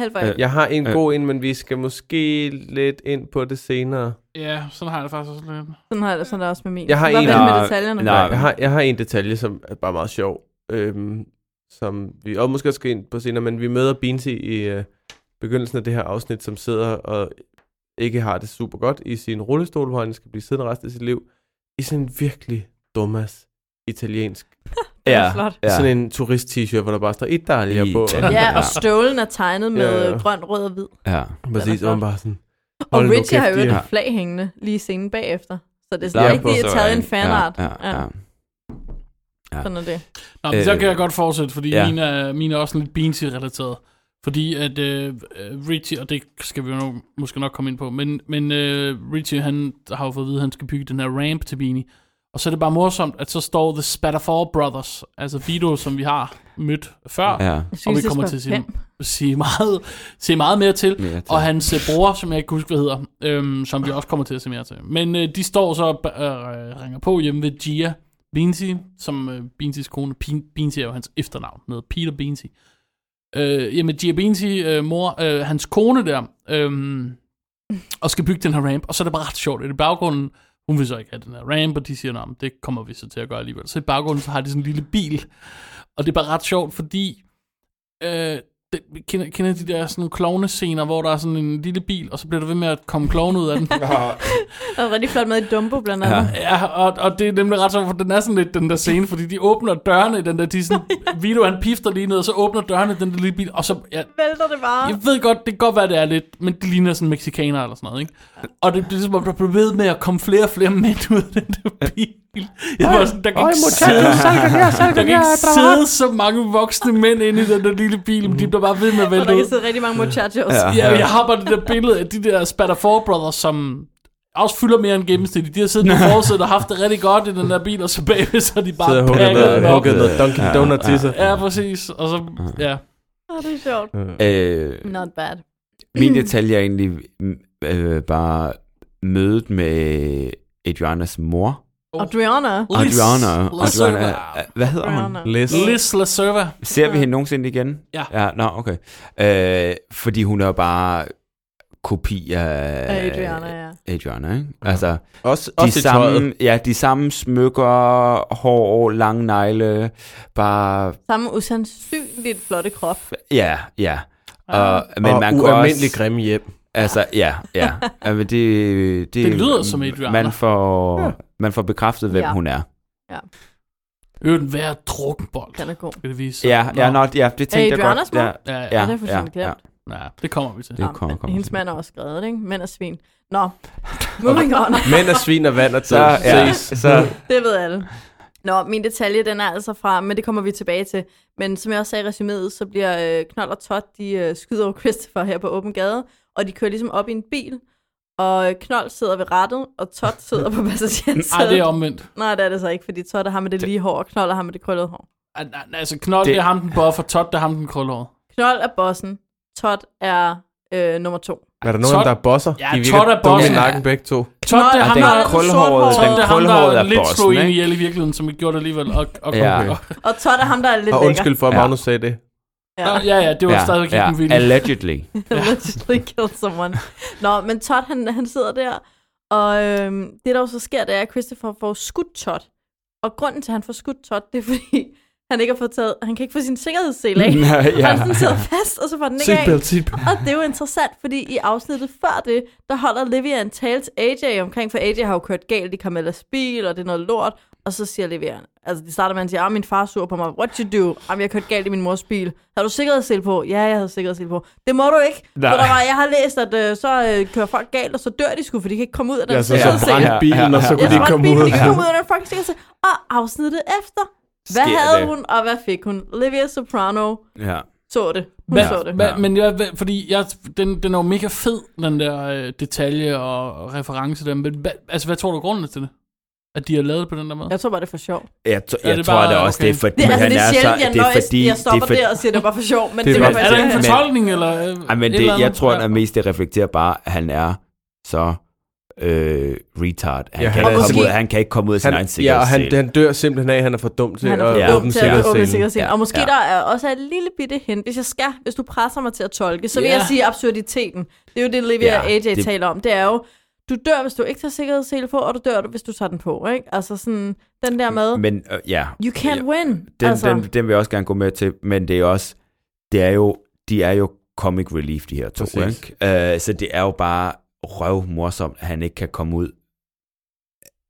Speaker 9: Halvvejs.
Speaker 1: Øh,
Speaker 10: Jeg har en
Speaker 1: Øh.
Speaker 10: god en, men vi skal måske lidt ind på det senere.
Speaker 2: Ja, sådan har jeg det faktisk også lidt.
Speaker 9: Sådan har jeg det sådan er det også med min.
Speaker 10: Jeg har
Speaker 9: Hvad
Speaker 10: en-
Speaker 9: vil med
Speaker 1: Nej,
Speaker 9: detaljerne?
Speaker 1: nej.
Speaker 10: Jeg har, jeg har en detalje, som er bare meget sjov, øhm, som vi og måske også skal ind på senere, men vi møder Beansy i øh, begyndelsen af det her afsnit, som sidder og ikke har det super godt i sin rullestol, hvor han skal blive siddende resten af sit liv, i sådan en virkelig dummas italiensk.
Speaker 9: Det er
Speaker 1: Ja.
Speaker 9: flot.
Speaker 10: Ja. Sådan en turist-t-shirt, hvor der bare står Italia på.
Speaker 1: Italia.
Speaker 9: Ja, og støvlen er tegnet med
Speaker 10: Ja, ja.
Speaker 9: øh, grøn, rød og hvid.
Speaker 1: Ja.
Speaker 10: Og, præcis, og
Speaker 9: flot.
Speaker 10: han bare sådan...
Speaker 9: Og
Speaker 10: hold nu
Speaker 9: Richie har jo
Speaker 10: kæft, de
Speaker 9: et
Speaker 10: er-
Speaker 9: flag hængende lige i scenen bagefter. Så det er
Speaker 10: Ja,
Speaker 9: sådan rigtig
Speaker 10: på-
Speaker 9: taget en fanart.
Speaker 1: Ja, ja, ja. ja.
Speaker 9: Sådan er det.
Speaker 2: Nå, men øh,
Speaker 1: Øh,
Speaker 2: så kan jeg godt fortsætte, fordi ja.
Speaker 1: ja.
Speaker 2: mine, er, mine er også lidt Beansy-relateret. Fordi at øh, øh, Richie, og det skal vi jo nok, måske nok komme ind på, men, men øh, Richie han har jo fået at vide, at han skal bygge den her ramp til Beanie. Og så er det bare morsomt, at så står The Spatterfall Brothers, altså Vito, som vi har mødt før, ja.
Speaker 1: ja.
Speaker 9: Jeg
Speaker 2: og
Speaker 9: synes,
Speaker 2: vi
Speaker 9: det
Speaker 2: kommer
Speaker 9: er
Speaker 2: til at
Speaker 9: spændende.
Speaker 2: sige, sige, meget, sige meget mere til.
Speaker 1: Mere til.
Speaker 2: Og hans øh, bror, som jeg ikke kan huske, hvad hedder, øhm, som vi også kommer til at se mere til. Men øh, de står så og ba- øh, ringer på hjemme ved Gia Beansy, som øh, Beansys kone. Pe- Beansy er jo hans efternavn, noget Peter Beansy. Øh, jamen, Gia Beansy, øh, mor, øh, hans kone der, øh, og skal bygge den her ramp, og så er det bare ret sjovt. at I baggrunden, hun vil så ikke have den her ramp, og de siger, at det kommer vi så til at gøre alligevel. Så i baggrunden, så har de sådan en lille bil, og det er bare ret sjovt, fordi øh, det, kender, kender de der sådan nogle klovnescener, hvor der er sådan en lille bil, og så bliver der ved med at komme klovne ud af den.
Speaker 9: Der er rigtig flot med i Dumbo blandt andet.
Speaker 1: Ja.
Speaker 2: ja, og, og det er nemlig ret sjovt, for den er sådan lidt den der scene, fordi de åbner dørene i den der, de er sådan, Vito han pifter lige ned, og så åbner dørene i den der lille bil, og så, ja,
Speaker 9: Vælter det bare.
Speaker 2: jeg ved godt, det kan godt være, det er lidt, men det ligner sådan mexikaner eller sådan noget, ikke? Og det bliver som om, der bliver ved med at komme flere og flere mænd ud af den der bil. Jeg var sådan, der kan ikke sidde, der kan ikke sidde så mange voksne mænd inde i den der lille bil, men de bliver bare ved med at
Speaker 9: Og der
Speaker 2: vælte
Speaker 9: kan
Speaker 2: ud.
Speaker 9: sidde rigtig mange muchachos.
Speaker 1: Ja.
Speaker 2: Ja, jeg har bare det der billede af de der Spatter 4 Brothers, som også fylder mere end gennemsnitligt. De har siddet på forsædet og haft det rigtig godt i den der bil, og så bagved så er de
Speaker 10: Sidder
Speaker 2: bare
Speaker 10: og hugger
Speaker 2: pakket
Speaker 10: noget,
Speaker 2: op.
Speaker 10: hugger noget Dunkin' Donuts i sig.
Speaker 2: Ja, præcis. Og så, ja.
Speaker 9: Åh, det er sjovt.
Speaker 1: Øh,
Speaker 9: Not bad.
Speaker 1: min detalje er egentlig m- øh, bare mødet med Adrianas mor.
Speaker 9: Adriana.
Speaker 2: Liz-
Speaker 1: Adriana.
Speaker 2: Liz-
Speaker 1: Adriana. øh, Hvad hedder hun?
Speaker 9: Adriana.
Speaker 10: Læs.
Speaker 1: Mm.
Speaker 2: Liz LaServa.
Speaker 1: Ser vi hende nogensinde igen?
Speaker 2: Ja.
Speaker 1: ja nå, okay. Øh, fordi hun er jo bare kopi af
Speaker 9: Af Adriana, ja.
Speaker 1: Adriana, ikke? Altså,
Speaker 10: Også,
Speaker 1: de
Speaker 10: også i tøjet.
Speaker 1: samme, ja, de samme smykker, hår, lange negle, bare,
Speaker 9: Samme usandsynligt flotte krop.
Speaker 1: ja, ja. Og, men
Speaker 10: og
Speaker 1: man kunne
Speaker 10: ualmindelig
Speaker 1: også,
Speaker 10: grimme hjem.
Speaker 1: altså, ja, ja. ja men det, det,
Speaker 2: Det lyder som Adriana.
Speaker 1: Man får, ja. man får bekræftet, hvem
Speaker 9: Ja.
Speaker 1: ja. hun er.
Speaker 2: Øvrigt en værd drukkenbold.
Speaker 9: Den er god.
Speaker 2: Skal det vise sig.
Speaker 1: Ja, ja,
Speaker 2: Nå.
Speaker 1: nå, ja, det tænkte jeg
Speaker 9: Adrianas
Speaker 1: godt.
Speaker 9: mor?
Speaker 1: Ja,
Speaker 2: Ja, ja.
Speaker 1: ja,
Speaker 9: det er fuldstændig
Speaker 1: ja, ja.
Speaker 9: glemt.
Speaker 2: ja, det kommer vi til.
Speaker 1: Det
Speaker 9: Nå,
Speaker 1: kommer,
Speaker 9: men
Speaker 1: kommer
Speaker 9: hendes
Speaker 1: til.
Speaker 9: mand er også skrevet, ikke? Mænd er svin. Nå, moving on.
Speaker 10: Mænd er svin og vand og
Speaker 1: Så,
Speaker 10: tid.
Speaker 1: ja,
Speaker 10: Ses.
Speaker 1: så,
Speaker 9: Det ved alle. Nå, min detalje, den er altså fra, men det kommer vi tilbage til. Men som jeg også sagde i resuméet, så bliver øh, Knold og Todd, de øh, skyder over Christopher her på åben gade, og de kører ligesom op i en bil, og øh, Knold sidder ved rattet, og Todd sidder på
Speaker 2: Ej,
Speaker 9: passagersædet.
Speaker 2: det er omvendt.
Speaker 9: Nej, det er det så ikke, fordi Todd er ham med det lige hår, og Knold er ham med det krøllede hår.
Speaker 2: Ej, nej, nej, Altså, Knold, det...
Speaker 1: Det-
Speaker 2: det er ham den buffer, Todd, det er ham den krøllhåret.
Speaker 9: Knold er bossen, Todd er øh, nummer to.
Speaker 10: Er der nogen,
Speaker 2: Todd-
Speaker 10: der er bosser?
Speaker 2: Ja,
Speaker 10: de
Speaker 2: Todd er
Speaker 10: virker dumme
Speaker 2: bossen.
Speaker 10: i nakken begge to.
Speaker 2: Todd, det er
Speaker 9: Nå,
Speaker 2: ham,
Speaker 1: den
Speaker 2: der
Speaker 9: Knold er
Speaker 1: krøllhårede,
Speaker 9: sorthåret.
Speaker 2: Todd, det
Speaker 1: den
Speaker 2: er ham, der
Speaker 1: krøllhårede
Speaker 2: er
Speaker 1: er
Speaker 2: lidt slog
Speaker 1: bossen,
Speaker 2: en
Speaker 1: ikke?
Speaker 2: ihjel i virkeligheden, som ikke gjorde det alligevel. Og, og,
Speaker 1: Ja.
Speaker 2: og, og,
Speaker 9: Og Todd er ham, der er lidt
Speaker 10: Og
Speaker 9: lækker.
Speaker 10: undskyld for, at
Speaker 1: Ja.
Speaker 10: Magnus sagde det.
Speaker 2: Nå, ja, ja, det var stadig ikke ja. en vilje.
Speaker 1: Allegedly.
Speaker 9: Allegedly killed someone. Nå, men Todd, han, han sidder der, og øhm, det, der jo så sker, det er, at Christopher får skudt Todd. Og grunden til, at han får skudt Todd, det er, fordi han ikke har fået taget, han kan ikke få sin sikkerhedssele af.
Speaker 1: Ja.
Speaker 9: Ja. Han sådan sidder fast, og så får den ikke af.
Speaker 10: seatbelt.
Speaker 9: Og det er jo interessant, fordi i afsnittet før det, der holder Livia en tale til AJ omkring, for AJ har jo kørt galt i Carmellas bil, og det er noget lort. Og så siger Livia, altså de starter med at sige, ah, min far er sur på mig, what you do? Jamen, jeg har kørt galt i min mors bil. Har du sikkerhedssel på? Ja, jeg havde sikkerhedssel på. Det må du ikke. Nej.
Speaker 1: Nej.
Speaker 9: For der var, jeg har læst, at øh, så øh, kører folk galt, og så dør de sgu, for de kan ikke komme ud af den
Speaker 10: Ja, så, så
Speaker 1: Ja.
Speaker 9: sikkerhedssel.
Speaker 10: brændte bilen, og så
Speaker 1: Ja.
Speaker 10: kunne de
Speaker 9: Jeg
Speaker 10: ikke
Speaker 9: tror, at
Speaker 10: komme
Speaker 9: bilen
Speaker 10: ud.
Speaker 9: de kan komme ud af den fucking sikkerhedssel. Og afsnittet efter, hvad
Speaker 1: Sker
Speaker 9: havde
Speaker 1: det.
Speaker 9: hun, og hvad fik hun? Livia Soprano
Speaker 1: Ja.
Speaker 9: så det. Hun
Speaker 2: Hvad,
Speaker 9: så det.
Speaker 2: hvad, men jeg, hvad, fordi jeg, den, den er jo mega fed, den der øh, detalje og reference der. Men hvad, altså, hvad tror du er grunden til det? At de har lavet det på den der måde?
Speaker 9: Jeg tror bare, det er for sjov.
Speaker 1: Jeg, t-
Speaker 2: Er
Speaker 1: jeg
Speaker 2: det
Speaker 1: tror
Speaker 2: bare-
Speaker 1: det også,
Speaker 2: okay.
Speaker 1: det er fordi,
Speaker 9: Det, altså,
Speaker 1: han
Speaker 9: det er
Speaker 1: er,
Speaker 9: sjældent,
Speaker 1: så...
Speaker 9: jeg,
Speaker 1: Det er
Speaker 9: nøjes,
Speaker 1: fordi,
Speaker 9: jeg stopper
Speaker 1: for-
Speaker 9: der og siger, det var for sjov, men
Speaker 10: Det
Speaker 9: det,
Speaker 10: er
Speaker 9: det
Speaker 10: bare-
Speaker 9: var
Speaker 2: er der en
Speaker 9: faktisk...
Speaker 2: fortolkning, eller øh,
Speaker 1: Ej, men
Speaker 2: et eller
Speaker 1: det,
Speaker 2: andet?
Speaker 1: jeg tror,
Speaker 2: Ja.
Speaker 1: at mest det reflekterer bare, at han er så øh, retard. Han,
Speaker 10: Ja,
Speaker 1: ja,
Speaker 10: han
Speaker 1: kan ikke
Speaker 10: er
Speaker 1: komme
Speaker 9: måske-
Speaker 1: ud, han kan ikke komme ud af sin han, egen
Speaker 10: han, ja, og
Speaker 1: sikkerhedssæl.
Speaker 10: han, han dør simpelthen af, at han er for dum til
Speaker 9: Han
Speaker 10: at
Speaker 9: er for dum til
Speaker 10: åbne
Speaker 9: at åbne
Speaker 10: sikkerhedsscenen.
Speaker 9: sikkerhedsscenen.
Speaker 1: Ja.
Speaker 9: Og måske
Speaker 1: Ja.
Speaker 9: der er også et lille bitte hint. Hvis jeg skal, hvis du presser mig til at tolke, så vil
Speaker 2: Ja.
Speaker 9: jeg sige absurditeten. Det er jo det, Olivia
Speaker 1: Ja,
Speaker 9: og AJ
Speaker 1: det-
Speaker 9: taler om. Det er jo, du dør, hvis du ikke tager sikkerhedssele på, og du dør, hvis du tager den på. Ikke? Altså sådan, den der med,
Speaker 1: Men øh, ja,
Speaker 9: you can't win.
Speaker 1: den,
Speaker 9: altså,
Speaker 1: altså. den, den vil jeg også gerne gå med til, men det er også, det er jo, de er jo comic relief, de her to,
Speaker 10: Præcis.
Speaker 1: ikke? Uh, så det er jo bare røv morsomt, at han ikke kan komme ud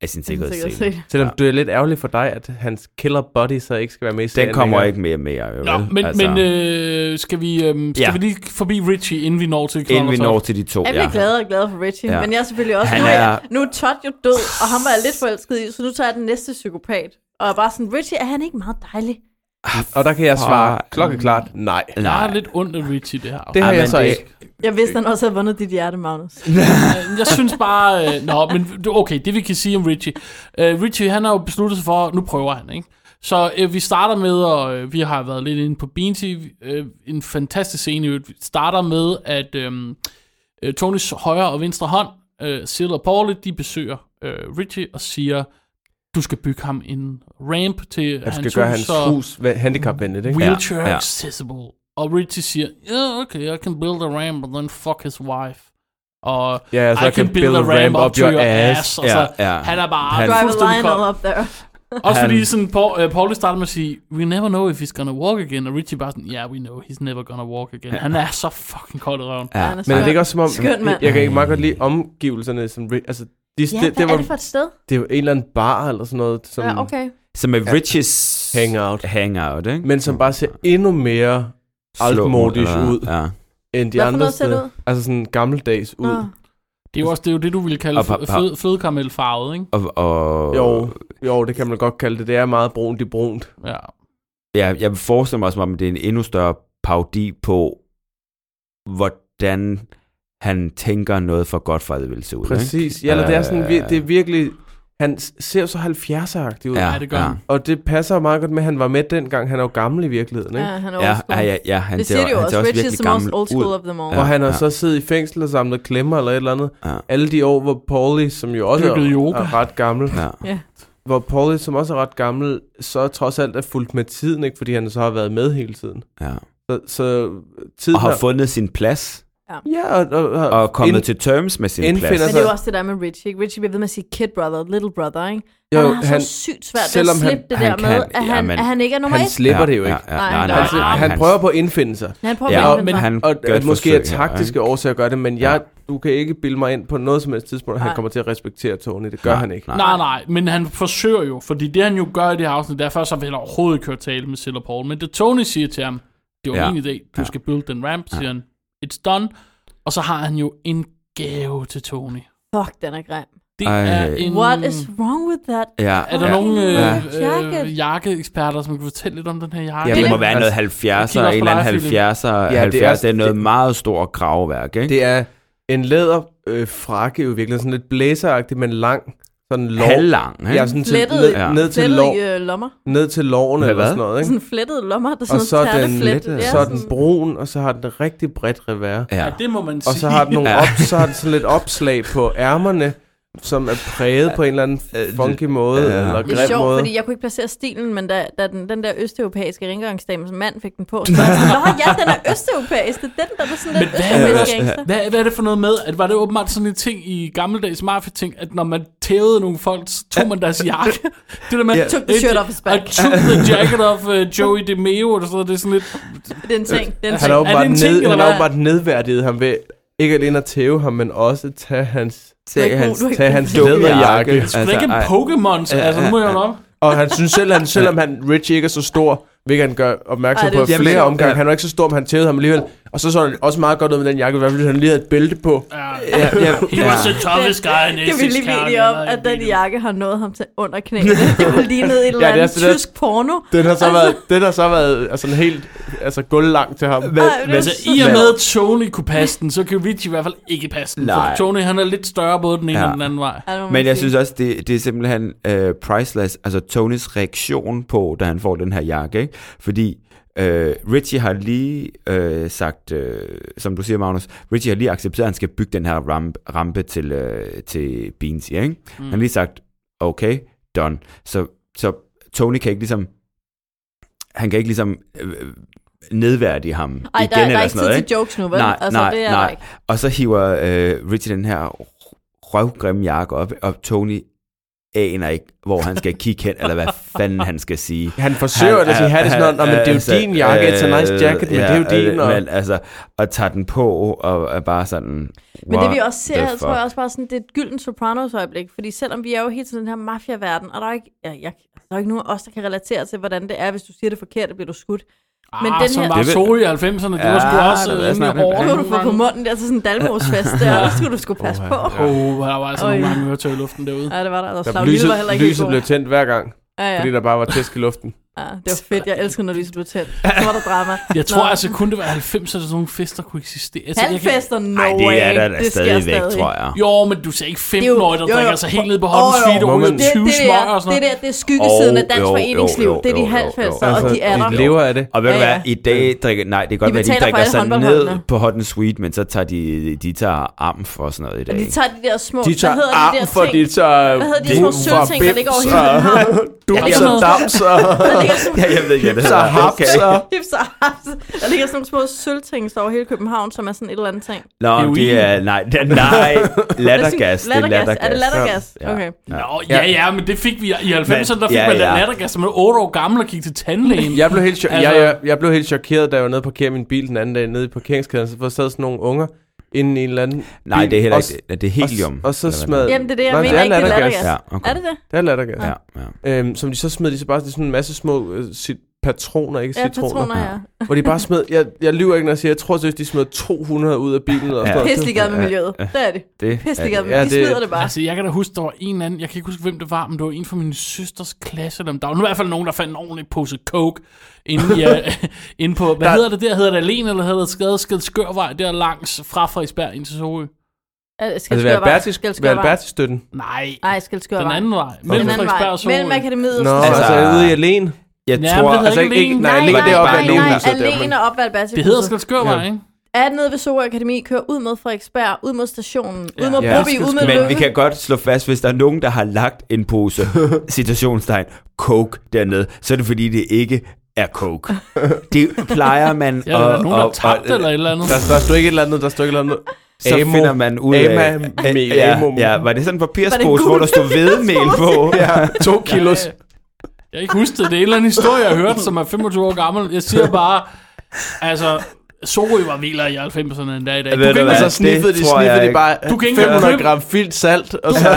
Speaker 1: af sin sikkerhedsscene.
Speaker 9: sikkerhedssele.
Speaker 10: Selvom det er lidt ærgerligt for dig, at hans killer buddy så ikke skal være med i serien
Speaker 1: Den kommer
Speaker 10: længere.
Speaker 1: ikke mere med, jo,
Speaker 2: Nå,
Speaker 1: vel?
Speaker 2: men, altså. men øh, skal, vi, øh, skal ja.
Speaker 1: Ja.
Speaker 2: vi lige forbi Richie, inden vi når til
Speaker 1: inden vi
Speaker 2: Knoller
Speaker 1: når
Speaker 2: Top?
Speaker 1: til de to,
Speaker 9: Jeg bliver glad og glad for Richie, ja.
Speaker 1: Ja.
Speaker 9: men jeg er selvfølgelig også...
Speaker 1: Han
Speaker 9: nu, er, jeg-
Speaker 1: er-
Speaker 9: nu er Todd jo død, og ham var jeg lidt forelsket i, så nu tager jeg den næste psykopat. Og er bare sådan, Richie, er han ikke meget dejlig?
Speaker 10: Og der kan jeg svare
Speaker 1: Fuck.
Speaker 10: klokkeklart nej.
Speaker 2: Jeg har
Speaker 1: Nej,
Speaker 2: lidt ondt af Richie, det her.
Speaker 10: Det har
Speaker 1: Ej,
Speaker 10: jeg
Speaker 1: men
Speaker 10: så
Speaker 1: det-
Speaker 10: ikke.
Speaker 9: Jeg vidste, han også havde vundet dit hjerte, Magnus.
Speaker 2: Øh, Jeg synes bare... Øh, nå, men du- okay, det vi kan sige om Richie. Øh, Richie, han har jo besluttet sig for, nu prøver han, ikke? Så øh, vi starter med, og øh, vi har været lidt inde på Beansy, øh, en fantastisk scene. i øvrigt. Vi starter med, at øh, øh, Tonys højre og venstre hånd, øh, Sil og Pauli, de besøger øh, Richie og siger, du skal bygge ham en ramp til
Speaker 10: Jeg skal gøre hans
Speaker 2: så-
Speaker 10: hus va- handicapvenligt, ikke?
Speaker 2: wheelchair
Speaker 1: Ja, ja.
Speaker 2: accessible. Og Richie siger, yeah, okay, I can build a ramp and then fuck his wife. Og
Speaker 10: Ja, så
Speaker 2: I can build a ramp up to your ass. ass. Og
Speaker 1: Ja,
Speaker 2: så,
Speaker 1: ja.
Speaker 2: Han er bare
Speaker 1: Ah, Han-
Speaker 2: han,
Speaker 1: Drive
Speaker 9: Drive a
Speaker 2: fuldstændig
Speaker 9: line all
Speaker 2: kold.
Speaker 9: up there.
Speaker 2: Også
Speaker 1: Han-
Speaker 2: fordi sådan, Paul, uh, Paul starter med at sige, we never know if he's gonna walk again. Og Richie bare sådan, yeah, we know, he's never gonna walk again. Han er så fucking kold i røven.
Speaker 1: Ja.
Speaker 9: han
Speaker 10: Men er det
Speaker 9: skør.
Speaker 10: ikke også som om,
Speaker 9: Skøn mand.
Speaker 10: jeg kan ikke meget godt lide omgivelserne, som, ri- altså,
Speaker 9: Ja,
Speaker 10: de, det,
Speaker 9: hvad
Speaker 10: det,
Speaker 9: er
Speaker 10: var,
Speaker 9: det for et sted?
Speaker 10: det var en eller anden bar eller sådan noget, som,
Speaker 9: Ja, okay.
Speaker 1: Som er Riches
Speaker 10: Hangout.
Speaker 1: hangout ikke?
Speaker 10: men som bare ser endnu mere altmodisk
Speaker 1: Slå-
Speaker 10: ud.
Speaker 1: Ja.
Speaker 10: end de
Speaker 9: Hvad for
Speaker 10: andre
Speaker 9: noget ser Ah. det
Speaker 10: steder. Altså sådan gammeldags ud.
Speaker 9: Nå.
Speaker 2: Det er jo også det, er jo det du ville kalde
Speaker 1: Og pa-
Speaker 2: fl-
Speaker 1: pa-
Speaker 2: flød, flødekaramelfarvet, ikke?
Speaker 1: Og, og,
Speaker 10: Jo, jo, det kan man godt kalde det. Det er meget brunt i brunt.
Speaker 2: Ja.
Speaker 1: Ja, jeg vil forestille mig, som om det er en endnu større parodi på, hvordan han tænker noget for Godfather vil se ud.
Speaker 10: Præcis.
Speaker 1: Ikke?
Speaker 10: Ja, eller det er sådan,
Speaker 1: Øh,
Speaker 10: vir- det er virkelig... Han s- ser så 70'er-agtig ud.
Speaker 1: Ja,
Speaker 2: Ja, det gør
Speaker 1: ja.
Speaker 2: han.
Speaker 10: Og det passer jo meget godt med, at han var med dengang. Han er jo gammel i virkeligheden, ikke?
Speaker 9: Ja, han er
Speaker 1: Ja,
Speaker 9: old school.
Speaker 1: ja, ja, ja, han
Speaker 9: det siger de jo
Speaker 1: han
Speaker 9: også.
Speaker 1: ser
Speaker 9: Rich is
Speaker 1: virkelig
Speaker 9: the most
Speaker 1: gammel
Speaker 9: old school
Speaker 1: ud.
Speaker 9: of them all.
Speaker 10: Ja, og han har
Speaker 1: ja.
Speaker 10: så siddet i fængsel og samlet klemmer eller et eller andet.
Speaker 1: Ja.
Speaker 10: Alle de år, hvor Pauli, som jo også er,
Speaker 2: Dyrkede yoga.
Speaker 10: er ret gammel,
Speaker 1: Ja.
Speaker 10: hvor Pauli, som også er ret gammel, så trods alt er fuldt med tiden, ikke? Fordi han så har været med hele tiden.
Speaker 1: Ja.
Speaker 10: Så, så tiden
Speaker 1: Og har fundet sin plads,
Speaker 10: Ja, og, og, og,
Speaker 1: og er kommet
Speaker 10: ind-
Speaker 1: til terms med sin
Speaker 10: indfinder
Speaker 9: Men
Speaker 1: plads.
Speaker 9: det er jo
Speaker 10: altså-
Speaker 9: også det der med Richie. ikke? Richie bliver ved med at sige kid brother, little brother, ikke?
Speaker 10: Jo,
Speaker 9: Jo, han har
Speaker 10: han-
Speaker 9: så sygt svært ved at
Speaker 10: selvom han-
Speaker 9: slippe det
Speaker 1: han
Speaker 9: der
Speaker 1: kan-
Speaker 9: med, at han,
Speaker 1: jamen,
Speaker 9: at han ikke er nummer
Speaker 10: Han
Speaker 9: et.
Speaker 10: slipper det jo ikke.
Speaker 1: Ja, ja, ja,
Speaker 9: Nej,
Speaker 1: nej, nej,
Speaker 10: Han,
Speaker 1: nej,
Speaker 10: han prøver på at indfinde sig.
Speaker 9: Han prøver
Speaker 1: ja, og,
Speaker 9: at vende
Speaker 1: men
Speaker 9: sig.
Speaker 1: han
Speaker 10: Og
Speaker 1: gør
Speaker 10: at
Speaker 1: et
Speaker 10: måske
Speaker 1: Ah, forsøg
Speaker 10: af taktiske
Speaker 1: her,
Speaker 10: årsager gør det, men
Speaker 1: Ja.
Speaker 10: jeg, du kan ikke bilde mig ind på noget som helst tidspunkt, at han
Speaker 9: Nej.
Speaker 10: kommer til at respektere Tony. Det gør
Speaker 1: Nej,
Speaker 10: han ikke.
Speaker 1: nej.
Speaker 2: Nej, nej, men han forsøger jo, fordi det han jo gør i det her afsnit, derfor så vil han overhovedet ikke høre tale med Silla Paul, men det Tony siger til ham, det var
Speaker 1: Ja.
Speaker 2: min idé, du
Speaker 1: Ja.
Speaker 2: skal build den ramp, siger han, it's done, og så har han jo en gave til Tony.
Speaker 9: Fuck, den er grim.
Speaker 2: Det
Speaker 1: Ej.
Speaker 2: er en...
Speaker 9: What is wrong with that?
Speaker 1: ikke? Ja,
Speaker 2: Er der
Speaker 1: ja.
Speaker 2: nogen
Speaker 9: Ja.
Speaker 2: øh,
Speaker 9: Jakke?
Speaker 2: øh, jakkeeksperter, som kan fortælle lidt om den her jakke?
Speaker 10: Ja,
Speaker 1: Det må
Speaker 10: Jamen,
Speaker 1: være
Speaker 10: altså,
Speaker 1: noget
Speaker 2: jeg
Speaker 1: 70'er,
Speaker 2: kigger
Speaker 1: en
Speaker 2: også på
Speaker 1: eller
Speaker 2: dig,
Speaker 1: anden
Speaker 2: Philip.
Speaker 1: 70'er, ja,
Speaker 10: er
Speaker 1: 70'er. Det er
Speaker 10: også-
Speaker 1: noget
Speaker 10: det-
Speaker 1: meget stort gravværk, ikke?
Speaker 10: Det er en læder øh, frakke jo virkelig, sådan lidt blæseragtig, men lang. Sådan lov.
Speaker 1: halvlang, ikke?
Speaker 10: Ja, sådan til,
Speaker 9: Flettet
Speaker 10: ned,
Speaker 9: i-
Speaker 10: ja. ned, til
Speaker 9: Flettet
Speaker 10: lov,
Speaker 9: i øh, lommer.
Speaker 10: ned til lårene
Speaker 1: Hvad,
Speaker 10: eller
Speaker 1: hvad?
Speaker 10: sådan noget, ikke?
Speaker 9: Sådan flettede lommer, der er
Speaker 10: Og
Speaker 9: sådan
Speaker 10: så er den,
Speaker 9: terneflettet.
Speaker 1: lidt,
Speaker 9: Ja,
Speaker 10: så er
Speaker 9: sådan-
Speaker 10: den brun, og så har den rigtig bredt revær.
Speaker 2: ja, det må man sige.
Speaker 10: Og så har den, nogle
Speaker 1: Ja.
Speaker 10: op, så har den sådan lidt opslag på ærmerne, som er præget på en eller anden funky måde,
Speaker 1: ja.
Speaker 10: eller
Speaker 9: Det er
Speaker 10: grim
Speaker 9: sjovt,
Speaker 10: måde.
Speaker 9: fordi jeg kunne ikke placere stilen, men da, da den, den der østeuropæiske rengøringsdame som mand fik den på, så var jeg sådan, "Nå ja, den er østeuropæisk, det er den, der er sådan lidt
Speaker 2: Men hvad er det
Speaker 9: østeuropæisk
Speaker 2: også-
Speaker 9: gangster.
Speaker 2: Hvad, hvad er det for noget med, at var det åbenbart sådan en ting i gammeldags mafia-ting, at når man tævede nogle folk, så tog man deres jakke? det der med,
Speaker 9: Took the shirt off his back.
Speaker 2: I took the jacket off uh, Joey DeMeo, eller sådan noget, det er sådan lidt...
Speaker 9: Det er en ting. Det er en ting.
Speaker 10: Øh, Han
Speaker 2: Er
Speaker 10: har
Speaker 2: det
Speaker 10: åbenbart,
Speaker 2: en ting,
Speaker 10: ned,
Speaker 2: eller
Speaker 10: han har
Speaker 2: hvad?
Speaker 10: åbenbart nedværdiget ham ved ikke alene at tæve ham, men også tage hans,
Speaker 9: ikke
Speaker 10: tage
Speaker 9: god,
Speaker 10: hans,
Speaker 9: du er ikke
Speaker 10: tage
Speaker 9: god.
Speaker 10: hans læderjakke.
Speaker 1: Altså,
Speaker 2: Altså, ikke en
Speaker 1: ej.
Speaker 2: Pokémon, så- altså nu må jeg jo nok.
Speaker 10: Og han synes selv, han, selvom han, Rich ikke er så stor, hvilket han gør opmærksom
Speaker 9: Ej, det
Speaker 10: på
Speaker 9: er
Speaker 10: flere
Speaker 9: sjovt.
Speaker 10: omgang. omgange.
Speaker 1: Ja.
Speaker 10: Han var ikke så stor, men han tævede ham alligevel. Og så så han også meget godt ud med den jakke, i hvert fald hvis han lige havde et bælte på.
Speaker 2: Ja,
Speaker 1: ja, ja,
Speaker 2: he was the toughest guy in
Speaker 9: Kan vi
Speaker 2: Essex
Speaker 9: lige blive
Speaker 2: County,
Speaker 9: enige om,
Speaker 2: eller
Speaker 9: at
Speaker 2: i
Speaker 9: den
Speaker 2: Beatles.
Speaker 9: jakke har nået ham til under knæene? Det var lige ned i et eller
Speaker 10: Ja, det er
Speaker 9: andet
Speaker 10: sådan der-
Speaker 9: tysk porno.
Speaker 10: Den har så været, den har så været altså, helt altså, guldlang til ham.
Speaker 9: Ej, det er
Speaker 2: Altså, i og med at Tony kunne passe den, så kan Richie i hvert fald ikke passe den.
Speaker 1: Nej.
Speaker 2: For Tony, han er lidt større både den ene
Speaker 1: Ja.
Speaker 2: og den anden vej.
Speaker 9: Ej, det må man
Speaker 1: Men jeg
Speaker 9: sige.
Speaker 1: synes også, det, det er simpelthen øh, priceless. Altså Tonys reaktion på, da han får den her jakke, ikke? Fordi øh, Richie har lige øh, sagt, øh, som du siger, Magnus, Richie har lige accepteret, at han skal bygge den her rampe, rampe til, øh, til Beans, ikke? Mm. Han har lige sagt, okay, done. Så, så Tony kan ikke ligesom, han kan ikke ligesom øh, nedværdige ham
Speaker 9: Ej,
Speaker 1: igen
Speaker 9: der, der
Speaker 1: eller
Speaker 9: er ikke
Speaker 1: sådan noget,
Speaker 9: tid
Speaker 1: ikke?
Speaker 9: til jokes nu, vel?
Speaker 1: Nej,
Speaker 9: altså,
Speaker 1: nej,
Speaker 9: det er der
Speaker 1: nej.
Speaker 9: ikke.
Speaker 1: Og så hiver øh, Richie den her røvgrimme jakke op, og Tony aner ikke, hvor han skal kigge hen, eller hvad fanden han skal sige. altså,
Speaker 10: Han forsøger at sige, "Ha' det altså, sådan, "Nå, men det er jo din jakke, it's a nice jacket, men det er jo din," og-
Speaker 1: øh, Og... Men, altså, og tager den på, og er bare sådan...
Speaker 9: Men det vi
Speaker 1: "What
Speaker 9: også ser
Speaker 1: the
Speaker 9: her, tror
Speaker 1: fuck?"
Speaker 9: jeg også bare sådan, det er et gylden Sopranos øjeblik, fordi selvom vi er jo helt til den her mafia-verden, og der er ikke, ja, jeg, der er ikke nogen af os, der kan relatere til, hvordan det er, hvis du siger det forkert, bliver du skudt. Men
Speaker 2: ah,
Speaker 9: den
Speaker 2: som
Speaker 9: her-
Speaker 2: var
Speaker 1: Det vil-
Speaker 2: Zoe i 90'erne, det var sgu
Speaker 1: Ja,
Speaker 2: også
Speaker 1: det ved jeg
Speaker 2: rimelig
Speaker 1: snart, hvem-
Speaker 2: hårdt.
Speaker 9: Så kunne du få på munden der til sådan en dalmorsfest der, og det skulle du sgu passe på.
Speaker 2: Åh, der var altså
Speaker 9: Øj.
Speaker 2: nogle mange øretøj i luften derude.
Speaker 9: Ja, det var der. Altså,
Speaker 10: Der
Speaker 9: Slag Lille
Speaker 10: lyset,
Speaker 9: var heller ikke
Speaker 10: lyset
Speaker 9: helt
Speaker 10: blev
Speaker 9: god.
Speaker 10: tændt hver gang,
Speaker 9: Ja, ja.
Speaker 10: fordi der bare var tæsk i luften.
Speaker 9: ja, det var fedt. Jeg elsker, når lyset blev tændt. Så var der drama.
Speaker 2: Jeg tror
Speaker 9: Nå.
Speaker 2: altså kun, det var 90'erne, sådan nogle fester kunne eksistere. Altså, jeg kan-
Speaker 9: Halvfester, no
Speaker 1: Ej, det er
Speaker 9: way.
Speaker 1: der da
Speaker 9: sker
Speaker 1: stadigvæk, tror jeg.
Speaker 2: Jo, men du sagde ikke
Speaker 9: Det er jo-
Speaker 2: 15-årige, der
Speaker 9: jo, jo.
Speaker 2: drikker sig helt ned på hånden,
Speaker 9: Åh, jo.
Speaker 2: fedt og
Speaker 10: Må
Speaker 2: ryger
Speaker 10: man-
Speaker 9: Det,
Speaker 2: 20
Speaker 9: det,
Speaker 2: smøger og
Speaker 9: er,
Speaker 2: sådan
Speaker 9: det,
Speaker 2: noget.
Speaker 9: der, det er skyggesiden
Speaker 1: Åh,
Speaker 9: af dansk
Speaker 1: jo, jo,
Speaker 9: foreningsliv.
Speaker 1: jo,
Speaker 9: Det er
Speaker 1: jo,
Speaker 9: de
Speaker 1: jo, Altså,
Speaker 9: halvfester,
Speaker 1: jo.
Speaker 9: og de er
Speaker 10: de
Speaker 9: der.
Speaker 10: lever af det.
Speaker 1: Og ved du
Speaker 9: Ja,
Speaker 1: hvad,
Speaker 9: ja.
Speaker 1: i dag drikker, nej, det kan
Speaker 9: De
Speaker 1: godt være, de
Speaker 9: betaler for
Speaker 1: drikker
Speaker 9: alle
Speaker 1: sig ned
Speaker 9: håndboldholdene.
Speaker 1: på hot and sweet, men så tager de, de tager arm for sådan noget i dag.
Speaker 9: Og de
Speaker 1: ikke?
Speaker 9: tager de der små,
Speaker 10: De tager
Speaker 9: hvad hedder
Speaker 10: arm
Speaker 9: de der
Speaker 10: for de
Speaker 9: ting?
Speaker 10: tager...
Speaker 9: Hvad hedder de små sølvting, der ligger over hele København?
Speaker 10: Du
Speaker 9: Ja,
Speaker 10: så
Speaker 9: sådan noget.
Speaker 10: dams og...
Speaker 9: Der ligger sådan
Speaker 1: ja, jeg ved ikke, hvad det
Speaker 10: Så
Speaker 1: hedder.
Speaker 10: haps og...
Speaker 9: Hips og haps. Der ligger sådan nogle små sølvting der over hele København, som er sådan et eller andet ting.
Speaker 1: Nå,
Speaker 2: Heroin.
Speaker 1: det er, nej, det er, nej, lattergas, det er lattergas.
Speaker 9: Er det lattergas?
Speaker 1: Ja.
Speaker 9: Okay.
Speaker 2: Nå, ja, ja, men det fik vi i 90'erne, der fik
Speaker 1: Ja,
Speaker 2: man
Speaker 1: ja.
Speaker 2: lattergas, som man 8 år gammel og gik til tandlægen.
Speaker 10: Jeg blev, helt cho-
Speaker 2: Altså-
Speaker 10: jeg, jeg, jeg blev helt chokeret, da jeg var nede og parkere min bil den anden dag nede i parkeringskæden, så sad sådan nogle unger inden i en eller anden
Speaker 1: Nej,
Speaker 10: bil,
Speaker 1: det er heller
Speaker 10: og
Speaker 1: ikke, det er helium.
Speaker 10: Og, og så
Speaker 1: eller hvad
Speaker 10: smed...
Speaker 9: Jamen, det er det, jeg
Speaker 10: Nej,
Speaker 9: mener ikke, det er lattergas.
Speaker 1: Ja, okay.
Speaker 9: Er det det?
Speaker 10: Det er lattergas.
Speaker 1: Ja, ja.
Speaker 10: Øhm, som de så smed de så bare det er sådan en masse små øh, sit, patroner, ikke
Speaker 9: Ja,
Speaker 10: citroner.
Speaker 9: patroner, ja.
Speaker 10: Hvor de bare smed... Jeg, jeg lyver ikke, når jeg siger, jeg tror seriøst, de smed 200 ud af bilen. Og
Speaker 1: Ja.
Speaker 10: sådan noget. Altså,
Speaker 9: Pisselig gad med miljøet. Det er det.
Speaker 1: Det
Speaker 9: Pisselig gad med
Speaker 10: Ja,
Speaker 9: De
Speaker 10: det-
Speaker 9: smider det bare.
Speaker 2: Altså, jeg kan da huske, der var en eller anden, jeg kan ikke huske, hvem det var, men det var en fra min søsters klasse, eller om der var nu i hvert fald nogen, der fandt en ordentlig pose coke inde, i, øh, inde på, hvad
Speaker 10: Der-
Speaker 2: hedder det der, hedder det Alene, eller hedder det Skade, Skade Skørvej, der langs fra Frederiksberg ind til Sorø?
Speaker 9: Altså, Skal
Speaker 10: Altså,
Speaker 9: skøre vej. Skal
Speaker 10: Valbertis-
Speaker 9: skøre vej.
Speaker 10: Valbertis-støtten.
Speaker 2: Nej,
Speaker 9: Nej, skal skøre
Speaker 2: den
Speaker 9: vej.
Speaker 2: anden vej, mellem
Speaker 9: Den anden
Speaker 2: Frederiksberg og
Speaker 9: vej.
Speaker 2: Sorø.
Speaker 9: Mellem akademiet og
Speaker 10: Nå,
Speaker 9: Skøre
Speaker 10: altså,
Speaker 9: Vej.
Speaker 1: altså,
Speaker 10: altså ude i alene.
Speaker 1: Jeg
Speaker 2: Ja,
Speaker 1: tror,
Speaker 2: men det hedder
Speaker 1: altså,
Speaker 2: ikke alene.
Speaker 10: nej,
Speaker 9: Nej,
Speaker 10: alene,
Speaker 9: nej,
Speaker 10: det er op
Speaker 9: nej,
Speaker 10: ad
Speaker 9: nej,
Speaker 10: nogen,
Speaker 9: nej,
Speaker 10: så derfor.
Speaker 9: alene op ad
Speaker 2: Det hedder Skade Skørvej, ikke?
Speaker 9: Er nede ved Sorø Akademi, kører ud mod Frederiksberg, ud mod stationen, ud mod
Speaker 10: Ja.
Speaker 9: Broby, ud mod
Speaker 1: Men vi
Speaker 9: Løkken.
Speaker 1: kan godt slå fast, hvis der er nogen, der har lagt en pose, citationstegn, coke dernede, så er det fordi, det ikke er coke. Det plejer man
Speaker 2: Ja, der er nogen, der tabte eller et eller andet.
Speaker 10: Der, der stod ikke et eller andet, der stod ikke et eller andet.
Speaker 1: så
Speaker 10: Amo.
Speaker 1: finder man ud af...
Speaker 10: Ama- me-
Speaker 1: ja,
Speaker 10: Amo-
Speaker 1: ja, var det sådan en
Speaker 9: Var
Speaker 1: papirspose,
Speaker 9: det
Speaker 1: hvor der stod vedmel på?
Speaker 10: Ja, to kilos.
Speaker 2: Jeg, jeg har ikke husket det. Det er en eller anden historie, jeg hørte, som er 25 år gammel. Jeg siger bare, altså, Sorø var vildere i 90'erne end der i dag.
Speaker 1: Ved
Speaker 2: Du kan
Speaker 1: du hvad?
Speaker 2: ikke
Speaker 10: Og
Speaker 2: engang
Speaker 10: så Altså, sniffede
Speaker 1: det
Speaker 10: de,
Speaker 1: tror jeg
Speaker 10: sniffede de
Speaker 1: ikke.
Speaker 10: bare
Speaker 2: Du kan ikke engang
Speaker 10: 500
Speaker 2: købe-
Speaker 10: gram filt salt. Og så,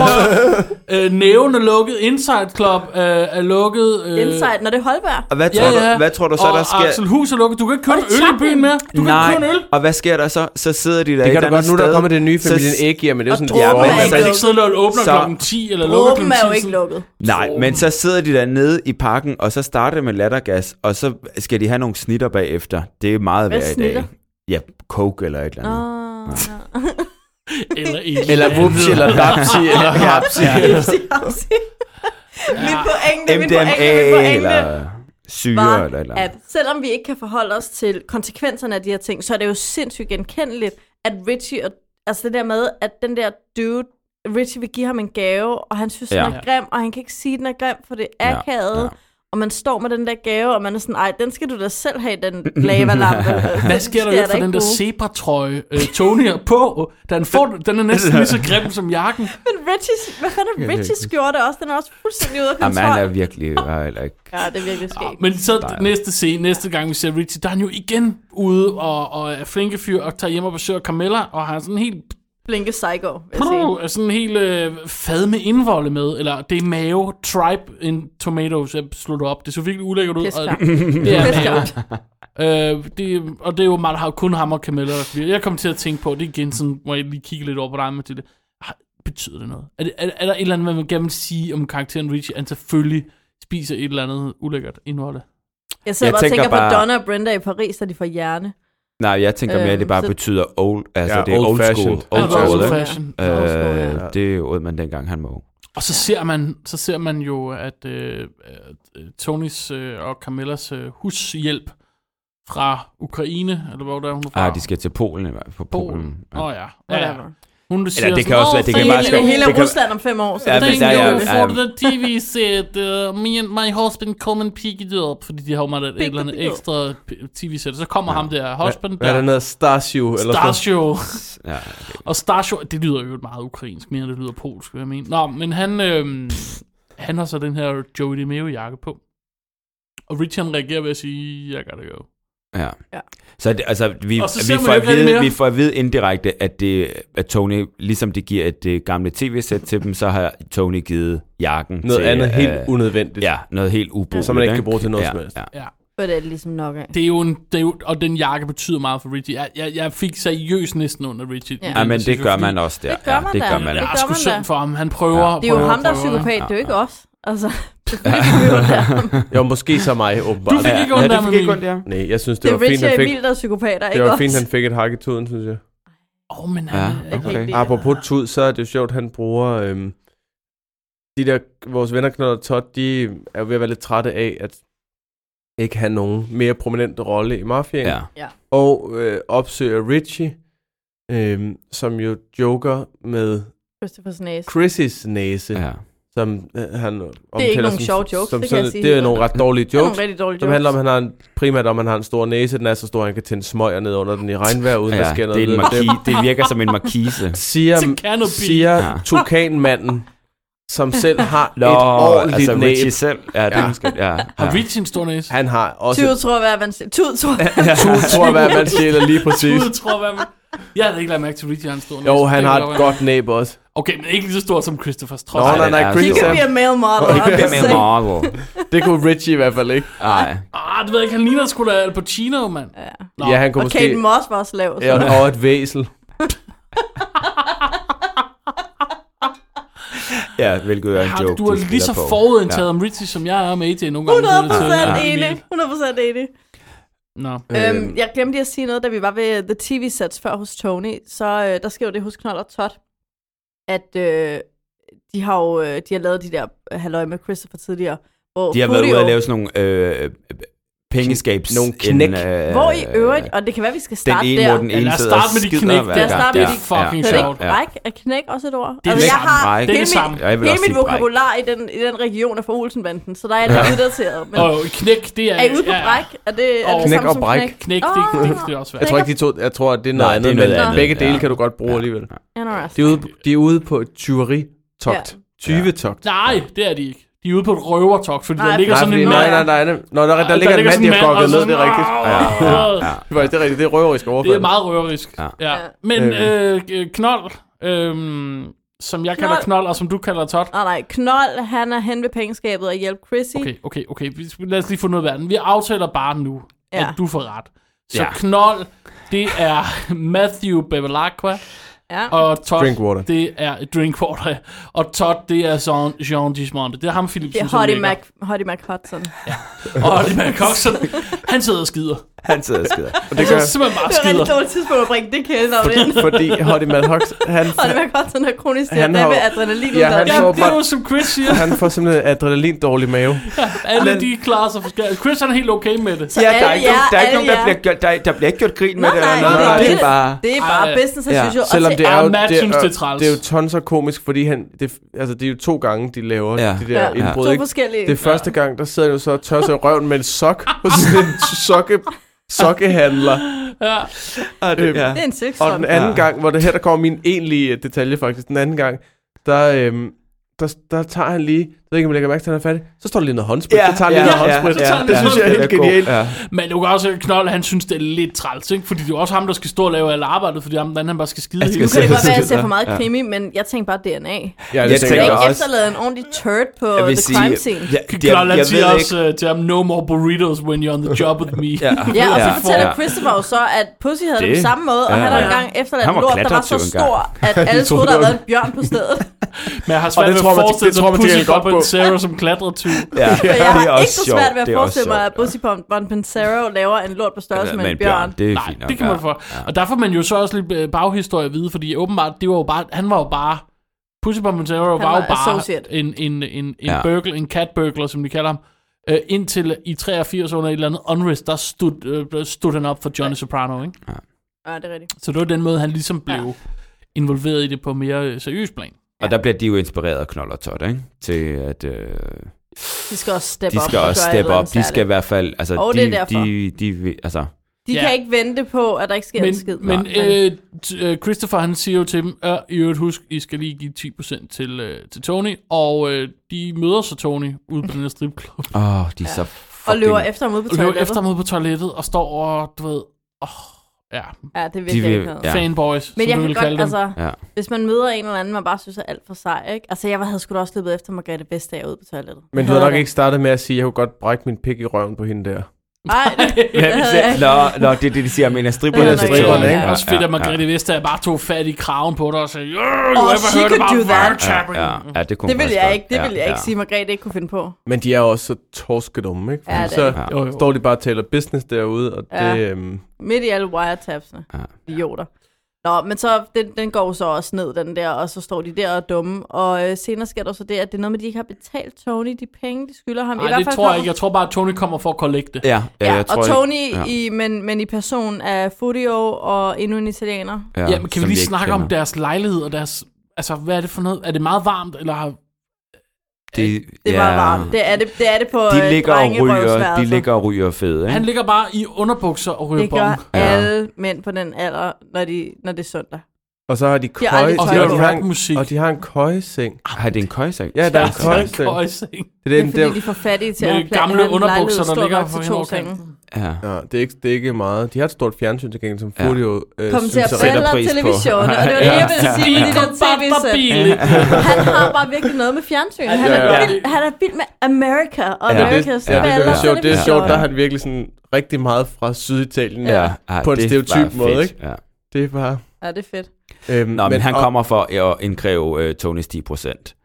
Speaker 2: øh, næven er lukket, Inside Club øh, er lukket. Øh,
Speaker 9: Insight, når det er Holberg.
Speaker 1: Og hvad tror, Du, hvad tror du så,
Speaker 2: og
Speaker 1: der sker?
Speaker 2: Axel Hus er lukket. Du kan ikke købe
Speaker 9: Og
Speaker 2: en øl i byen mere. Du kan ikke købe en øl.
Speaker 1: og hvad sker der så? Så sidder de der
Speaker 10: det
Speaker 1: et
Speaker 10: kan du
Speaker 1: eller
Speaker 10: godt, nu er
Speaker 1: andet
Speaker 10: der
Speaker 1: sted,
Speaker 10: kommer det nye
Speaker 1: så-
Speaker 10: familien æg, men det er jo sådan,
Speaker 9: Og
Speaker 10: ja,
Speaker 9: Drum er
Speaker 10: men
Speaker 1: ikke
Speaker 2: Så
Speaker 10: altså,
Speaker 2: ikke sidder og åbner
Speaker 1: Så-
Speaker 2: klokken 10 eller lukker
Speaker 9: Broben
Speaker 2: klokken 10.
Speaker 9: er jo ikke
Speaker 2: sådan-
Speaker 9: lukket.
Speaker 1: Nej, men så sidder de dernede i parken, og så starter det med lattergas, og så skal de have nogle snitter bagefter. Det er meget
Speaker 9: Hvad
Speaker 1: værd i
Speaker 9: snitter? Ah.
Speaker 1: dag. Ja, coke eller et eller andet.
Speaker 9: Åh, ja.
Speaker 2: Eller, et
Speaker 10: Eller
Speaker 2: andet.
Speaker 10: vupsi, eller dapsi, eller hapsi.
Speaker 9: Ipsi, hapsi. Min pointe, min pointe, min
Speaker 1: MDMA
Speaker 9: pointe
Speaker 1: eller syre eller et eller
Speaker 9: var, at
Speaker 1: andet.
Speaker 9: selvom vi ikke kan forholde os til konsekvenserne af de her ting, så er det jo sindssygt genkendeligt, at Richie, og, altså det der med, at den der dude, Richie vil give ham en gave, og han synes, ja. den
Speaker 1: Ja.
Speaker 9: er grim, og han kan ikke sige, den er grim, for det er
Speaker 1: Ja,
Speaker 9: akavet.
Speaker 1: ja.
Speaker 9: Ja. Og man står med den der gave, og man er sådan, ej, den skal du da selv have, den lavalampe.
Speaker 2: Hvad sker der for den der zebra-trøje, øh, Tony er på? Den, får, den er næsten lige så grim som jakken.
Speaker 9: Men Richies, hvad fanden er Richies skjorte også? Den er også fuldstændig ude af
Speaker 1: Jamen,
Speaker 9: kontrol.
Speaker 1: han er virkelig var heller ikke.
Speaker 9: Ja, det er virkelig skægt.
Speaker 2: Men så næste scene, næste gang vi ser Richie, der er han jo igen ude og, og er flinke fyr og tager hjem og besøger Carmella, og har sådan en helt
Speaker 9: Blinke Psycho, vil jeg sige.
Speaker 2: prøv, sådan en helt øh, fad med indvolde med, eller det er mave, tribe in tomatoes, jeg slutter op. Det så virkelig ulækkert ud. og-
Speaker 9: Pisklamt.
Speaker 2: Det er mave.
Speaker 9: Pisklamt.
Speaker 2: Øh, det, og det er jo meget, har kun ham og Camilla, der bliver. Jeg kom til at tænke på, det er igen sådan, hvor jeg lige kigger lidt over på dig, Mathilde. Har- Betyder det noget? Er, det, er, er der et eller andet, man vil gerne vil sige om karakteren Richie, at han selvfølgelig spiser et eller andet ulækkert indhold?
Speaker 9: Jeg
Speaker 1: Jeg
Speaker 9: sidder jeg bare og
Speaker 1: tænker
Speaker 9: tænker på
Speaker 1: bare-
Speaker 9: Donna og Brenda i Paris, da de får hjerne.
Speaker 1: Nej, jeg tænker mere, at det
Speaker 9: Øhm,
Speaker 1: bare
Speaker 9: så-
Speaker 1: betyder old, altså
Speaker 10: Ja,
Speaker 1: det er
Speaker 10: old
Speaker 1: old
Speaker 10: fashioned.
Speaker 1: school.
Speaker 10: Ja,
Speaker 1: Old
Speaker 10: det er old
Speaker 1: school,
Speaker 10: fashioned.
Speaker 1: ikke?
Speaker 2: fashion.
Speaker 9: Old school,
Speaker 1: Øh, Det åd man dengang, han var ung.
Speaker 2: Og så ser man, så ser man jo, at, øh, at øh, Tonys øh, og Camillas øh, hushjælp fra Ukraine, eller hvor der er hun er fra?
Speaker 1: Ah, de skal til Polen i hvert fald. På Polen.
Speaker 2: Polen.
Speaker 1: Ja.
Speaker 2: Åh oh, ja. ja.
Speaker 9: Whatever.
Speaker 2: Hun siger
Speaker 1: det
Speaker 2: sådan,
Speaker 1: kan også være, det kan
Speaker 9: hele,
Speaker 1: bare
Speaker 9: hele,
Speaker 1: skrive-
Speaker 9: hele
Speaker 1: det kan-
Speaker 9: Rusland om fem år. Så
Speaker 1: Ja,
Speaker 9: ja,
Speaker 1: men
Speaker 2: Thank
Speaker 1: der er
Speaker 2: you
Speaker 1: jo-
Speaker 2: for
Speaker 1: um,
Speaker 2: the TV set. Uh, me and my husband come and pick it up. Fordi de har jo meget et eller andet
Speaker 9: it up.
Speaker 2: ekstra tv-sæt. Så kommer ham der husband
Speaker 10: Hvad er
Speaker 2: der.
Speaker 10: der noget? Starshow? Eller sådan noget?
Speaker 2: Starshow.
Speaker 1: Ja, okay.
Speaker 2: Og Starshow, det lyder jo meget ukrainsk, mere end det lyder polsk, vil jeg mene. Nå, men han, øhm, han har så den her Joey DeMeo jakke på. Og Richard reagerer ved at sige, jeg gotta go.
Speaker 1: Ja.
Speaker 9: Ja.
Speaker 1: Så det, altså, vi,
Speaker 2: Og så ser
Speaker 1: vi,
Speaker 2: man
Speaker 1: får
Speaker 2: jo
Speaker 1: at
Speaker 2: ikke rigtig
Speaker 1: vide,
Speaker 2: mere.
Speaker 1: vi får at vide indirekte, at, det, at Tony, ligesom det giver et det gamle tv-sæt til dem, så har Tony givet jakken
Speaker 10: Noget
Speaker 1: til,
Speaker 10: andet
Speaker 1: øh,
Speaker 10: helt unødvendigt.
Speaker 1: Ja, noget helt ubrugeligt.
Speaker 10: Som man ikke kan bruge til noget som helst.
Speaker 1: Ja.
Speaker 2: Ja.
Speaker 9: For det er det ligesom nok af.
Speaker 2: Det er jo en, det er jo, og den jakke betyder meget for Richie. Jeg, jeg, jeg fik seriøst næsten under Richie.
Speaker 9: Ja.
Speaker 2: i den
Speaker 1: ja, men
Speaker 2: situation,
Speaker 1: det gør
Speaker 2: fordi
Speaker 1: man også der.
Speaker 9: Det gør
Speaker 1: ja,
Speaker 9: man
Speaker 1: det
Speaker 9: da.
Speaker 1: gør man
Speaker 2: Jeg
Speaker 9: Det
Speaker 1: da.
Speaker 2: er
Speaker 9: gør
Speaker 2: sgu
Speaker 9: man da.
Speaker 2: synd for ham. Han prøver.
Speaker 9: Det er jo
Speaker 2: prøver,
Speaker 9: ham, der er
Speaker 2: prøver.
Speaker 9: psykopat, det er jo ikke os. Altså, selvfølgelig kan vi undvære ham.
Speaker 10: Jo, måske så mig, åbenbart.
Speaker 2: Du fik ikke ondt
Speaker 1: ja,
Speaker 2: af
Speaker 1: det
Speaker 2: mig.
Speaker 1: fik ikke ondt,
Speaker 2: Emil.
Speaker 1: ja.
Speaker 10: Nej, jeg synes, det,
Speaker 9: Det er
Speaker 10: var fint,
Speaker 9: Richie og
Speaker 10: han fik,
Speaker 9: Emil, der er psykopater,
Speaker 10: det
Speaker 9: ikke
Speaker 10: var
Speaker 9: os.
Speaker 10: fint, han fik et hak i tuden, synes jeg.
Speaker 2: Åh, oh, men
Speaker 1: Ja,
Speaker 2: han,
Speaker 9: Jeg kan
Speaker 1: okay.
Speaker 9: ikke lide det.
Speaker 10: Apropos tud, så er det jo sjovt, han bruger... Øhm, de der, vores venner Knold og Todd, de er jo ved at være lidt trætte af, at ikke have nogen mere prominent rolle i mafiaen.
Speaker 1: Ja.
Speaker 10: Og øh, opsøger Richie, øhm, som jo joker med
Speaker 9: Christophers næse.
Speaker 10: Chris's næse, ja.
Speaker 1: ja.
Speaker 10: som øh, han omtaler
Speaker 9: nogen
Speaker 10: som,
Speaker 9: sjove jokes,
Speaker 10: som
Speaker 9: det kan
Speaker 10: sådan,
Speaker 9: jeg sige.
Speaker 10: Det er nogle ret dårlige
Speaker 9: Det er
Speaker 10: jokes.
Speaker 9: nogle rigtig dårlige
Speaker 10: Som
Speaker 9: jokes.
Speaker 10: handler om, at han har en, primært om, at han har en stor næse. Den er så stor, at han kan tænde smøger ned under den i regnvejr, uden ja,
Speaker 1: ja
Speaker 10: at sker
Speaker 1: det,
Speaker 10: noget
Speaker 1: er en
Speaker 10: ved det.
Speaker 1: marki- det virker som en markise.
Speaker 2: Til
Speaker 10: Siger,
Speaker 2: Canopy.
Speaker 10: siger
Speaker 1: Ja.
Speaker 10: ja. tukanmanden, som selv har
Speaker 1: Nå,
Speaker 10: et ordentligt
Speaker 1: altså
Speaker 10: altså,
Speaker 1: Richie
Speaker 10: næb.
Speaker 1: selv. Ja, det ja. Skal, ja,
Speaker 2: Har
Speaker 1: ja.
Speaker 2: Richie en stor næse?
Speaker 10: Han har også...
Speaker 9: Tud tror jeg, hvad man siger. Tud tror jeg.
Speaker 10: Tude tror jeg, hvad man sjæler lige præcis.
Speaker 2: Gud, tror jeg, man... Jeg havde ikke lagt mærke til Richie, han stod
Speaker 10: Jo, han har et godt næb også.
Speaker 2: Okay, men ikke lige så stort som Christophers
Speaker 10: Nå,
Speaker 2: trods. alt.
Speaker 10: nej, nej,
Speaker 1: ja,
Speaker 10: Chris
Speaker 9: He
Speaker 1: det
Speaker 9: can
Speaker 10: er-
Speaker 9: be a male model.
Speaker 10: He can
Speaker 9: I'm
Speaker 10: be a
Speaker 9: just
Speaker 1: Hvem er
Speaker 9: saying.
Speaker 1: Marvel?
Speaker 10: Det kunne Richie i hvert fald ikke.
Speaker 1: Nej.
Speaker 2: Ah, det ved jeg ikke. Han ligner sgu da Al Pacino, mand.
Speaker 9: Ja.
Speaker 2: Nå.
Speaker 10: Ja, han kunne
Speaker 9: Og Kate
Speaker 10: måske...
Speaker 9: Moss var også lav. så-
Speaker 10: Ja, og et væsel.
Speaker 1: Ja, hvilket er en
Speaker 2: Har,
Speaker 1: joke.
Speaker 2: du er lige
Speaker 1: spiller
Speaker 2: så
Speaker 1: på.
Speaker 2: forudindtaget om Richie, som jeg er med AJ nogle gange.
Speaker 9: 100%
Speaker 2: Ja.
Speaker 9: enig. 100% enig.
Speaker 2: Nå.
Speaker 10: Øh,
Speaker 9: Øhm, jeg glemte lige at sige noget, da vi var ved The TV-sets før hos Tony, så øh, der sker jo det hos Knold og Todd, at øh, de har jo øh, de har lavet de der øh, halløj med Christopher tidligere, hvor
Speaker 1: De har været
Speaker 9: Furio-
Speaker 1: ude og lave sådan nogle øh, pengeskabs...
Speaker 10: Nogle knæk.
Speaker 1: øh,
Speaker 9: Hvor i øvrigt, og det kan være, vi
Speaker 1: Den
Speaker 9: skal starte
Speaker 1: ene,
Speaker 9: der.
Speaker 1: hvor den
Speaker 2: Ja, lad
Speaker 1: ene
Speaker 2: os
Speaker 1: sidder og
Speaker 2: starte med de
Speaker 1: skider
Speaker 2: knæk
Speaker 1: hver
Speaker 9: der. Lad os
Speaker 1: gang.
Speaker 9: starte med
Speaker 1: Ja,
Speaker 9: de
Speaker 2: fucking
Speaker 1: ja,
Speaker 9: Kan det
Speaker 2: sjovt.
Speaker 9: ikke bræk? Er knæk også et ord? Altså,
Speaker 2: det
Speaker 9: jeg
Speaker 2: samme.
Speaker 9: har
Speaker 1: Bræk.
Speaker 2: Det er
Speaker 9: hele,
Speaker 2: det samme.
Speaker 9: min,
Speaker 1: Jeg vil
Speaker 9: hele
Speaker 1: også
Speaker 9: mit
Speaker 1: sige bræk.
Speaker 9: vokabular i den, i den region er fra Olsenbanden, så der er jeg lidt uddateret. Men
Speaker 2: Og knæk, det er...
Speaker 9: er I ude på
Speaker 2: ja,
Speaker 9: bræk? Er det, er
Speaker 2: Og
Speaker 9: det
Speaker 10: knæk
Speaker 9: samme
Speaker 10: og
Speaker 9: som
Speaker 10: bræk.
Speaker 9: knæk?
Speaker 2: Knæk, det,
Speaker 9: Åh.
Speaker 2: det, det, det er også
Speaker 10: Jeg
Speaker 2: svært.
Speaker 10: tror ikke, de to... Jeg tror, at det er
Speaker 1: Nej,
Speaker 10: noget
Speaker 1: det er
Speaker 10: andet,
Speaker 1: noget
Speaker 10: men
Speaker 1: andet,
Speaker 10: begge dele
Speaker 1: ja.
Speaker 10: kan du godt bruge alligevel. De
Speaker 9: Ah, Interesting.
Speaker 10: er ude, de er ude på et tyveritogt. Tyvetogt.
Speaker 2: Nej, det er de ikke. De er ude på et røvertok, fordi der
Speaker 9: Nej,
Speaker 2: ligger
Speaker 10: Nej,
Speaker 2: sådan
Speaker 10: fordi,
Speaker 2: en...
Speaker 10: nej, nej, nej, nej. Nå, der, der, der ligger en mand, der er gokket ned, det er rigtigt.
Speaker 2: Ja, ja, ja.
Speaker 10: Det er faktisk- det er rigtigt, det er røverisk overfald.
Speaker 2: Det er meget røverisk.
Speaker 1: Ja.
Speaker 2: Ja. ja. Men øh, øh, Knold, øh, som jeg kalder
Speaker 9: Knold.
Speaker 2: Knold, og som du kalder Todd.
Speaker 9: Nej, nej. Knold, han er hen ved pengeskabet og hjælper Chrissy.
Speaker 2: Okay, okay, okay. Vi skal- Lad os lige få noget af verden. Vi aftaler bare nu, ja.
Speaker 9: Ja.
Speaker 2: at du får ret. Så
Speaker 1: Ja.
Speaker 2: ja. Knold, det er Matthew Bevilacqua,
Speaker 9: Ja.
Speaker 2: og Todd,
Speaker 10: Drinkwater.
Speaker 2: det er Drinkwater. Og Todd, det er Jean, Jean Dismonte. Det er ham, Philip
Speaker 9: Det er Hottie Mac, Hottie Mac Hudson.
Speaker 2: Og Hottie Mac Coxon. Han sidder og skider.
Speaker 1: Han sidder og skider.
Speaker 2: Han
Speaker 10: gør
Speaker 2: sidder simpelthen bare og
Speaker 9: Det var et
Speaker 2: skider.
Speaker 9: rigtig dårligt tidspunkt at bringe det kælenavn ind.
Speaker 10: Fordi Hottie Mad Hox, han,
Speaker 9: Hottie Mac Hudson er kronisk
Speaker 10: Han
Speaker 9: diarré
Speaker 10: har-
Speaker 9: med adrenalin.
Speaker 10: Ja, han
Speaker 2: Ja,
Speaker 10: får
Speaker 2: det er
Speaker 10: bare-
Speaker 2: jo som Chris siger.
Speaker 10: han får simpelthen adrenalin dårlig mave.
Speaker 2: Alle de klarer sig forskelligt. Chris han er helt okay med det.
Speaker 9: Så
Speaker 1: Ja,
Speaker 9: alle
Speaker 1: der er ikke, nogen,
Speaker 9: jer,
Speaker 1: der, er ikke
Speaker 9: alle
Speaker 1: nogen, der,
Speaker 9: jer.
Speaker 1: bliver, gjort- der, der bliver ikke gjort grin med
Speaker 9: Nej,
Speaker 1: det. eller
Speaker 9: nej,
Speaker 1: noget.
Speaker 9: nej,
Speaker 1: det er
Speaker 9: det-
Speaker 1: bare...
Speaker 9: Det er bare
Speaker 2: Ej.
Speaker 9: business as
Speaker 1: Ja,
Speaker 9: usual. Og
Speaker 10: Selvom
Speaker 9: til-
Speaker 10: det er,
Speaker 2: Ah,
Speaker 10: jo,
Speaker 2: Matt
Speaker 10: det,
Speaker 2: synes,
Speaker 10: er,
Speaker 2: det er træls.
Speaker 10: det er jo tons og komisk, fordi han, det, altså, det er jo to gange, de laver
Speaker 1: Ja.
Speaker 10: ja. de der
Speaker 9: Ja.
Speaker 10: ja. indbrud.
Speaker 9: To
Speaker 10: ikke?
Speaker 9: forskellige.
Speaker 10: Det er første gang, der sidder han jo så og tør sig i røven med en sok hos sådan en sokke, sokkehandler.
Speaker 2: Ja.
Speaker 1: Ah, det- ja.
Speaker 9: Det er en
Speaker 10: Og den
Speaker 9: sexstrøm.
Speaker 10: anden
Speaker 1: Ja.
Speaker 10: gang, hvor det her, der kommer min egentlige øh, detalje faktisk, den anden gang, der, øhm, der, der tager han lige, jeg ved ikke, om jeg lægger mærke til, at han er fattig, så står der lige noget håndsprit,
Speaker 1: Ja,
Speaker 10: så tager han lige
Speaker 1: ja,
Speaker 10: noget
Speaker 1: ja,
Speaker 10: håndsprit.
Speaker 1: ja,
Speaker 10: Ja,
Speaker 1: ja,
Speaker 10: det synes jeg er
Speaker 1: ja,
Speaker 10: helt
Speaker 1: det er god,
Speaker 10: genialt.
Speaker 1: ja.
Speaker 2: Men du kan også knolde, han synes, det er lidt træls, ikke? Fordi det er jo også ham, der skal stå og lave alt arbejdet, fordi ham, den, han bare skal skide
Speaker 1: Jeg skal
Speaker 2: hele
Speaker 9: Nu kan det
Speaker 2: tiden.
Speaker 9: godt være, at jeg ser
Speaker 1: Ja.
Speaker 9: for meget
Speaker 1: Ja.
Speaker 9: krimi, men jeg tænker bare DNA.
Speaker 10: Ja, det
Speaker 1: Jeg
Speaker 9: Jeg
Speaker 10: tænker
Speaker 1: tænker
Speaker 10: jeg
Speaker 9: har
Speaker 10: også.
Speaker 1: også-
Speaker 9: ikke efterladet en ordentlig turd på
Speaker 1: Jeg vil
Speaker 9: the
Speaker 1: sige...
Speaker 9: crime scene.
Speaker 1: Ja, det, jeg,
Speaker 2: Knold, han
Speaker 1: jeg ved
Speaker 2: siger
Speaker 1: ikke...
Speaker 2: også øh, til ham, no more burritos when you're on the job with me.
Speaker 1: Ja.
Speaker 9: Ja, og så
Speaker 1: Ja.
Speaker 9: fortæller
Speaker 1: Ja.
Speaker 9: Christopher jo så, at Pussy havde det,
Speaker 1: Det-
Speaker 9: på samme måde, og
Speaker 1: Ja.
Speaker 9: han har
Speaker 1: Ja.
Speaker 9: engang efterladt
Speaker 1: Han
Speaker 9: en
Speaker 1: var
Speaker 9: lort, der var så
Speaker 1: klatretyv engang.
Speaker 9: stor, at alle troede, der havde været en bjørn på stedet.
Speaker 2: Men jeg har svært
Speaker 10: det
Speaker 2: ved at
Speaker 10: tror man-
Speaker 2: forestille
Speaker 10: det tror
Speaker 2: mig,
Speaker 10: man,
Speaker 2: Pussy
Speaker 10: det er godt
Speaker 2: Bob
Speaker 10: på.
Speaker 2: and Sarah som klatretyv.
Speaker 1: Ja,
Speaker 9: For jeg
Speaker 1: det er
Speaker 9: har
Speaker 1: også
Speaker 9: ikke så svært ved
Speaker 1: sjovt,
Speaker 9: at
Speaker 1: det er også
Speaker 9: forestille mig, at
Speaker 1: sjovt,
Speaker 9: Pussy Von Pensero laver en lort på
Speaker 1: ja.
Speaker 9: størrelse med
Speaker 1: Men
Speaker 9: en bjørn.
Speaker 1: det er
Speaker 2: Nej,
Speaker 1: fint nok.
Speaker 2: det kan man
Speaker 1: ja.
Speaker 2: få. Og der får man jo så også lidt øh, baghistorie at vide, fordi åbenbart, det var jo bare, han var jo bare Pussy Pompantero var,
Speaker 9: var
Speaker 2: jo bare
Speaker 9: associate.
Speaker 2: en, en, en, en, ja.
Speaker 1: Ja.
Speaker 2: burglar, en cat burglar, som de kalder ham. Øh, indtil i 83 under et eller andet unrest, der stod, øh, stod han op for Johnny Soprano. Ikke?
Speaker 9: Ja, det er rigtigt.
Speaker 2: Så det var den måde, han ligesom blev
Speaker 9: Ja.
Speaker 2: ja. involveret i det på mere øh, seriøs plan.
Speaker 1: Og der bliver de jo inspireret af Knold og Todd, ikke? Til at... Øh,
Speaker 9: De skal også steppe
Speaker 1: de
Speaker 9: op.
Speaker 1: skal også
Speaker 9: og gøre et
Speaker 1: steppe
Speaker 9: eller
Speaker 1: op.
Speaker 9: andet
Speaker 1: De skal i
Speaker 9: særligt.
Speaker 1: hvert fald... Altså,
Speaker 9: Og
Speaker 1: de,
Speaker 9: det er derfor.
Speaker 1: De, de, vil- altså,
Speaker 9: De
Speaker 2: Ja.
Speaker 9: kan ikke vente på, at der ikke sker en skid.
Speaker 2: Men,
Speaker 9: Nej.
Speaker 2: men øh, t- øh, Christopher, han siger jo til dem, at i øvrigt husk, I skal lige give 10% til, øh, til Tony, og øh, de møder så Tony ude på den her stripklub,
Speaker 1: åh, de er så
Speaker 9: og
Speaker 1: fucking...
Speaker 9: løber efter ham ud på
Speaker 2: og løber
Speaker 9: toilettet.
Speaker 2: efter ham ude på toilettet, og står og, du ved, åh, ja,
Speaker 9: Ja, det er
Speaker 1: De vil-
Speaker 9: virkelig ikke noget.
Speaker 2: ja.
Speaker 1: Ja.
Speaker 2: fanboys,
Speaker 9: Men
Speaker 2: som
Speaker 9: jeg
Speaker 2: du
Speaker 9: kan
Speaker 2: vil kalde
Speaker 9: godt,
Speaker 2: dem.
Speaker 9: altså,
Speaker 1: Ja.
Speaker 9: hvis man møder en eller anden, man bare synes er alt for sej, ikke? Altså, jeg var- havde sgu da også løbet efter Margrethe Vestager ude på toilettet.
Speaker 10: Men du har nok ikke startet med at sige, at jeg kunne godt brække min pik i røven på hende der.
Speaker 9: Nej, det, det havde jeg ikke.
Speaker 1: Nå, nå, det er det, de siger om en af
Speaker 9: Det
Speaker 1: stripperne.
Speaker 9: er stripperne, ikke?
Speaker 2: Også fedt, at Margrethe Vestager bare tog fat i kraven på dig og sagde, "Øh, yeah, you ever
Speaker 9: she
Speaker 2: heard
Speaker 9: could
Speaker 2: about
Speaker 9: do that."
Speaker 2: that?
Speaker 1: Ja, ja, ja, det, kunne
Speaker 9: Det
Speaker 1: hun
Speaker 9: ville
Speaker 1: faktisk
Speaker 9: jeg
Speaker 1: godt.
Speaker 9: ikke, det
Speaker 1: Ja,
Speaker 9: ville jeg ikke
Speaker 1: ja.
Speaker 9: sige, Margrethe ikke kunne finde på.
Speaker 10: Men de er jo også så torskedumme, ikke?
Speaker 9: Ja, det er
Speaker 10: så
Speaker 1: det.
Speaker 2: Jo, jo.
Speaker 10: står de bare og taler business derude, og
Speaker 9: Ja.
Speaker 10: det... Øhm,
Speaker 9: Midt i alle wiretapsene.
Speaker 1: Ja.
Speaker 9: Idioter. Nå, men så, den, den går jo så også ned, den der, og så står de der og er dumme. Og øh, senere sker der så det, at det er noget med, at de ikke har betalt Tony de penge, de skylder ham. I
Speaker 2: Nej,
Speaker 9: hvert
Speaker 2: det
Speaker 9: fald
Speaker 2: tror jeg
Speaker 9: kommer-
Speaker 2: ikke. Jeg tror bare, at Tony kommer for at kollekte.
Speaker 1: Ja, ja,
Speaker 9: Ja,
Speaker 1: jeg tror,
Speaker 9: og
Speaker 1: ikke-
Speaker 9: Tony,
Speaker 1: ja.
Speaker 9: i, men, men i person af Furio og endnu en italiener.
Speaker 1: Ja,
Speaker 2: Ja, men kan vi
Speaker 1: som
Speaker 2: lige
Speaker 1: ikke
Speaker 2: snakke om
Speaker 1: kender.
Speaker 2: deres lejlighed og deres... Altså, hvad er det for noget? Er det meget varmt, eller har...
Speaker 1: Det,
Speaker 9: Det var varmt. Det øh, er det, det, er det på
Speaker 1: De ligger og ryger, de
Speaker 9: drengerøvsværelser.
Speaker 1: ligger og ryger fede, ikke?
Speaker 2: Han ligger bare i underbukser og ryger
Speaker 9: Det
Speaker 2: bong.
Speaker 9: gør
Speaker 1: Ja.
Speaker 9: alle mænd på den alder, når, de, når det er søndag.
Speaker 10: og så har de køj...
Speaker 9: har aldrig
Speaker 10: og
Speaker 2: Og
Speaker 9: tøj
Speaker 10: de
Speaker 9: på.
Speaker 2: hører
Speaker 10: har en,
Speaker 2: rockmusik.
Speaker 10: og de har en køjeseng.
Speaker 1: Har det en køjsæk?
Speaker 10: Ja, der er en
Speaker 1: Altså,
Speaker 10: køj-
Speaker 2: har køjseng.
Speaker 10: Det er, den,
Speaker 9: Det er fordi, de
Speaker 10: der,
Speaker 9: får fattige til
Speaker 2: Med
Speaker 9: at plante
Speaker 2: gamle
Speaker 9: en
Speaker 2: underbukser,
Speaker 9: lejlighed
Speaker 2: der
Speaker 9: stor
Speaker 2: ligger
Speaker 9: nok
Speaker 2: for hende
Speaker 9: til to
Speaker 2: over
Speaker 9: senge.
Speaker 2: kanten.
Speaker 1: Ja.
Speaker 10: ja, det, er ikke, det er ikke meget. De har et stort fjernsyn til gengæld, som
Speaker 1: Ja.
Speaker 10: Folio øh,
Speaker 9: Kom til at
Speaker 10: synes er rigtig
Speaker 1: sætter
Speaker 9: brille
Speaker 1: pris på.
Speaker 9: televisionen, og det var det, jeg ville
Speaker 1: Ja.
Speaker 9: sige i
Speaker 2: Det
Speaker 9: den tv-sæt. Han har bare virkelig noget med fjernsyn. Han er,
Speaker 10: Ja, ja.
Speaker 9: vild, han er vild med America og
Speaker 1: Ja.
Speaker 10: det,
Speaker 9: Americas
Speaker 10: ja, det,
Speaker 9: baller
Speaker 10: er sjovt. Det er sjovt,
Speaker 9: televisioner.
Speaker 10: der er han virkelig sådan rigtig meget fra Syditalien.
Speaker 1: Ja, ja,
Speaker 10: På en
Speaker 1: det
Speaker 10: stereotyp
Speaker 1: var
Speaker 10: måde,
Speaker 1: fedt,
Speaker 10: ikke?
Speaker 1: Ja.
Speaker 10: Det er bare...
Speaker 9: Ja, det er fedt.
Speaker 10: Øhm,
Speaker 1: Nå, men, men han
Speaker 10: og-
Speaker 1: kommer for at indkræve øh, Tonys 10 procent.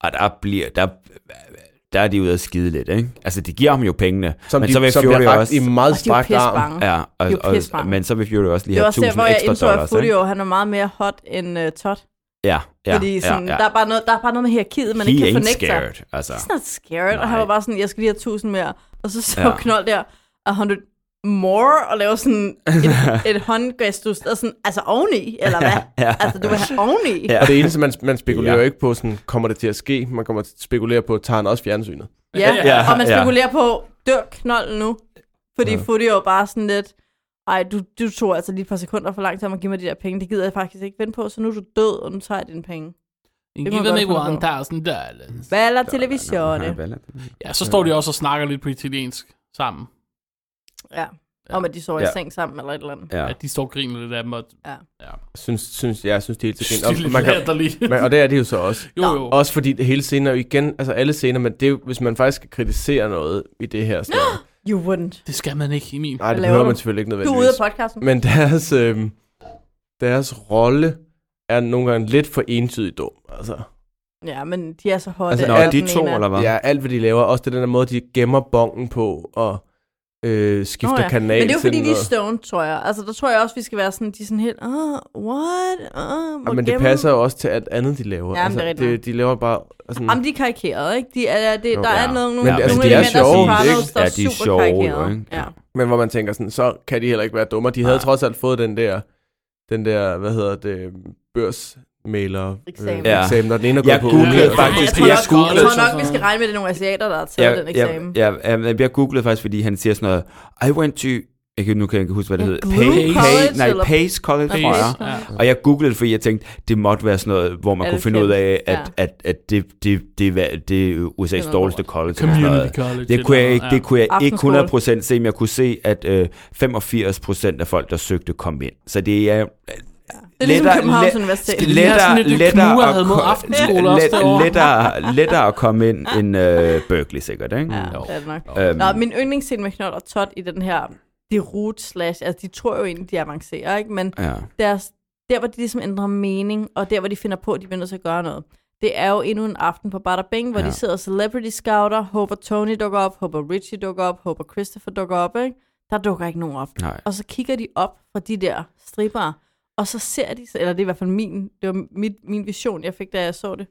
Speaker 1: Og der bliver, der, der er de ude at skide lidt, ikke? Altså, de giver ham jo pengene.
Speaker 10: Som,
Speaker 1: men
Speaker 10: de,
Speaker 1: så vil
Speaker 10: som
Speaker 1: Fury
Speaker 10: bliver rakt
Speaker 1: også...
Speaker 10: i meget
Speaker 9: Og de er jo
Speaker 10: strakt
Speaker 9: pisse
Speaker 10: arm.
Speaker 9: bange.
Speaker 1: Ja, og,
Speaker 9: De er jo
Speaker 1: og,
Speaker 9: pissebange.
Speaker 1: men så vil Fury også lige
Speaker 9: Det er
Speaker 1: have
Speaker 9: også der,
Speaker 1: 1000
Speaker 9: hvor jeg
Speaker 1: ekstra
Speaker 9: indså, at
Speaker 1: dollars, ikke?
Speaker 9: Furio, han er meget mere hot end uh, Todd.
Speaker 1: Ja, ja,
Speaker 9: Fordi sådan,
Speaker 1: ja, ja.
Speaker 9: Der, er bare noget, der er bare noget med hierarkiet, man
Speaker 1: He
Speaker 9: ikke kan
Speaker 1: ain't
Speaker 9: fornægte sig.
Speaker 1: scared, altså.
Speaker 9: He's not scared. Og
Speaker 1: Nej.
Speaker 9: han var bare sådan, jeg skal lige have 1000 mere. Og så så ja.
Speaker 1: Ja.
Speaker 9: Knold der, a hundred more, og laver sådan et, et håndgestus, der er sådan, altså oveni, eller hvad?
Speaker 1: Ja.
Speaker 9: Altså, du vil have oveni.
Speaker 1: Ja.
Speaker 10: Og det eneste, man, man spekulerer
Speaker 1: Ja.
Speaker 10: jo ikke på, sådan, kommer det til at ske? Man kommer til at spekulere på, tager han også fjernsynet?
Speaker 9: Ja, ja,
Speaker 1: Ja,
Speaker 9: og man
Speaker 1: ja.
Speaker 9: spekulerer på, dør knolden nu? Fordi ja. Futti er jo bare sådan lidt, ej, du, du tog altså lige et par sekunder for langt om at give mig de der penge. Det gider jeg faktisk ikke vente på, så nu er du død, og nu tager jeg dine penge. Det må
Speaker 2: Give
Speaker 9: man
Speaker 2: them
Speaker 9: godt
Speaker 2: a
Speaker 9: finde
Speaker 2: one
Speaker 9: på.
Speaker 2: thousand dollars.
Speaker 9: Hvad er der televisionen?
Speaker 1: Ja, vel.
Speaker 2: Ja, så står de også og snakker lidt på italiensk sammen.
Speaker 9: Ja, om at de sover i
Speaker 1: Ja.
Speaker 9: seng sammen eller et eller andet.
Speaker 1: Ja.
Speaker 2: At de står og griner lidt af dem, og
Speaker 9: Ja.
Speaker 10: Synes, synes, ja, jeg synes, det er helt til
Speaker 2: de
Speaker 10: grin. Og, man kan,
Speaker 2: kan... lige.
Speaker 10: man, og det er det jo så også.
Speaker 2: Jo, jo.
Speaker 10: Også fordi det hele scener, og igen, altså alle scener, men det er jo, hvis man faktisk skal kritisere noget i det her sted.
Speaker 9: You wouldn't.
Speaker 2: Det skal man ikke i min.
Speaker 10: Nej, det
Speaker 9: laver
Speaker 10: behøver
Speaker 9: du?
Speaker 10: man selvfølgelig ikke
Speaker 9: Du er ude
Speaker 10: nødvendigvis.
Speaker 9: af podcasten.
Speaker 10: Men deres, øh, deres rolle er nogle gange lidt for entydig dum. Altså.
Speaker 9: Ja, men de er så hotte.
Speaker 10: Altså,
Speaker 1: Nå,
Speaker 9: at
Speaker 10: alt-
Speaker 1: de
Speaker 9: den
Speaker 1: to,
Speaker 9: ene er-
Speaker 1: eller hvad?
Speaker 10: Ja, alt hvad de laver. Også det den der måde, de gemmer bongen på og øh, skifter
Speaker 9: Nå
Speaker 10: oh, ja. kanal
Speaker 9: Men det er jo
Speaker 10: til
Speaker 9: fordi, de er
Speaker 10: noget.
Speaker 9: stoned, tror jeg. Altså, der tror jeg også, vi skal være sådan, de er sådan helt, ah, what? Ah,
Speaker 10: Ja,
Speaker 9: hvor
Speaker 10: men det
Speaker 9: gennem-
Speaker 10: passer jo også til alt andet, de laver.
Speaker 9: Jamen, det er
Speaker 10: altså,
Speaker 9: rigtigt
Speaker 10: de, de laver bare... Altså,
Speaker 9: Jamen, de er karikerede, ikke? De er, det, der
Speaker 1: Ja.
Speaker 9: er nogle,
Speaker 10: Men
Speaker 9: nogle,
Speaker 10: altså,
Speaker 9: nogle
Speaker 10: de er
Speaker 9: elementer,
Speaker 10: sjove,
Speaker 9: som Sopranos,
Speaker 10: ikke?
Speaker 9: der
Speaker 1: Ja,
Speaker 9: er
Speaker 1: de er
Speaker 9: super
Speaker 1: sjove,
Speaker 9: karikerede.
Speaker 1: jo, ikke?
Speaker 9: Ja.
Speaker 1: Ja.
Speaker 10: Men hvor man tænker sådan, så kan de heller ikke være dumme. De havde
Speaker 1: Nej.
Speaker 10: trods alt fået den der, den der hvad hedder det, børsmaler øh,
Speaker 9: Eksamen.
Speaker 1: Ja.
Speaker 10: eksamen, og den ene er
Speaker 1: Jeg
Speaker 10: gået på
Speaker 1: googlede
Speaker 10: Ja.
Speaker 1: faktisk,
Speaker 9: jeg tror,
Speaker 1: jeg
Speaker 9: nok, jeg
Speaker 1: googlede
Speaker 9: tror nok, vi skal regne med, at det er nogle asiater, der har taget den eksamen.
Speaker 1: Ja, ja, ja, jeg googlede faktisk, fordi han siger sådan noget, I went to, jeg kan, nu kan jeg ikke huske, hvad det
Speaker 9: Ja,
Speaker 1: hedder.
Speaker 9: Gloom College,
Speaker 1: nej,
Speaker 9: eller-
Speaker 1: Pace College,
Speaker 2: Pace,
Speaker 1: tror jeg.
Speaker 2: ja.
Speaker 1: Og jeg googlede det, fordi jeg tænkte, det måtte være sådan noget, hvor man
Speaker 9: Alle
Speaker 1: kunne finde ud af, at,
Speaker 9: kendte,
Speaker 1: at, at, det, det, det, var- det er
Speaker 9: noget
Speaker 1: USA's dårligste college. eller sådan noget.
Speaker 2: Community college.
Speaker 1: Det kunne, jeg ikke, det kunne jeg ikke
Speaker 9: Aftenskole.
Speaker 1: 100% se, men jeg kunne se, at øh, 85% af folk, der søgte, kom ind. Så det er...
Speaker 9: Det er ligesom Københavns Universitet.
Speaker 2: Det ligner sådan lidt, det knuger havde mod
Speaker 1: ko-
Speaker 2: aftenskole også derovre.
Speaker 1: let, lettere, lettere at komme ind end øh, Berkeley sikkert, ikke?
Speaker 9: Ja,
Speaker 2: Jo.
Speaker 9: det er det nok.
Speaker 1: Øhm,
Speaker 9: Nå, min yndlingsscene med Knold og Todd i den her, det root slash, altså de tror jo egentlig, de avancerer, ikke? Men
Speaker 1: ja.
Speaker 9: deres, der, hvor de ligesom ændrer mening, og der, hvor de finder på, at de bliver nødt til at gøre noget, det er jo endnu en aften på Bada Bing, hvor ja.
Speaker 1: Ja.
Speaker 9: de sidder og celebrity scouter, håber Tony dukker op, håber Richie dukker op, håber Christopher dukker op, ikke? Der dukker ikke nogen op.
Speaker 1: Nej.
Speaker 9: Og så kigger de op fra de der stripper, Og så ser de, eller det er i hvert fald min, det var mit, min vision, jeg fik, da jeg så det.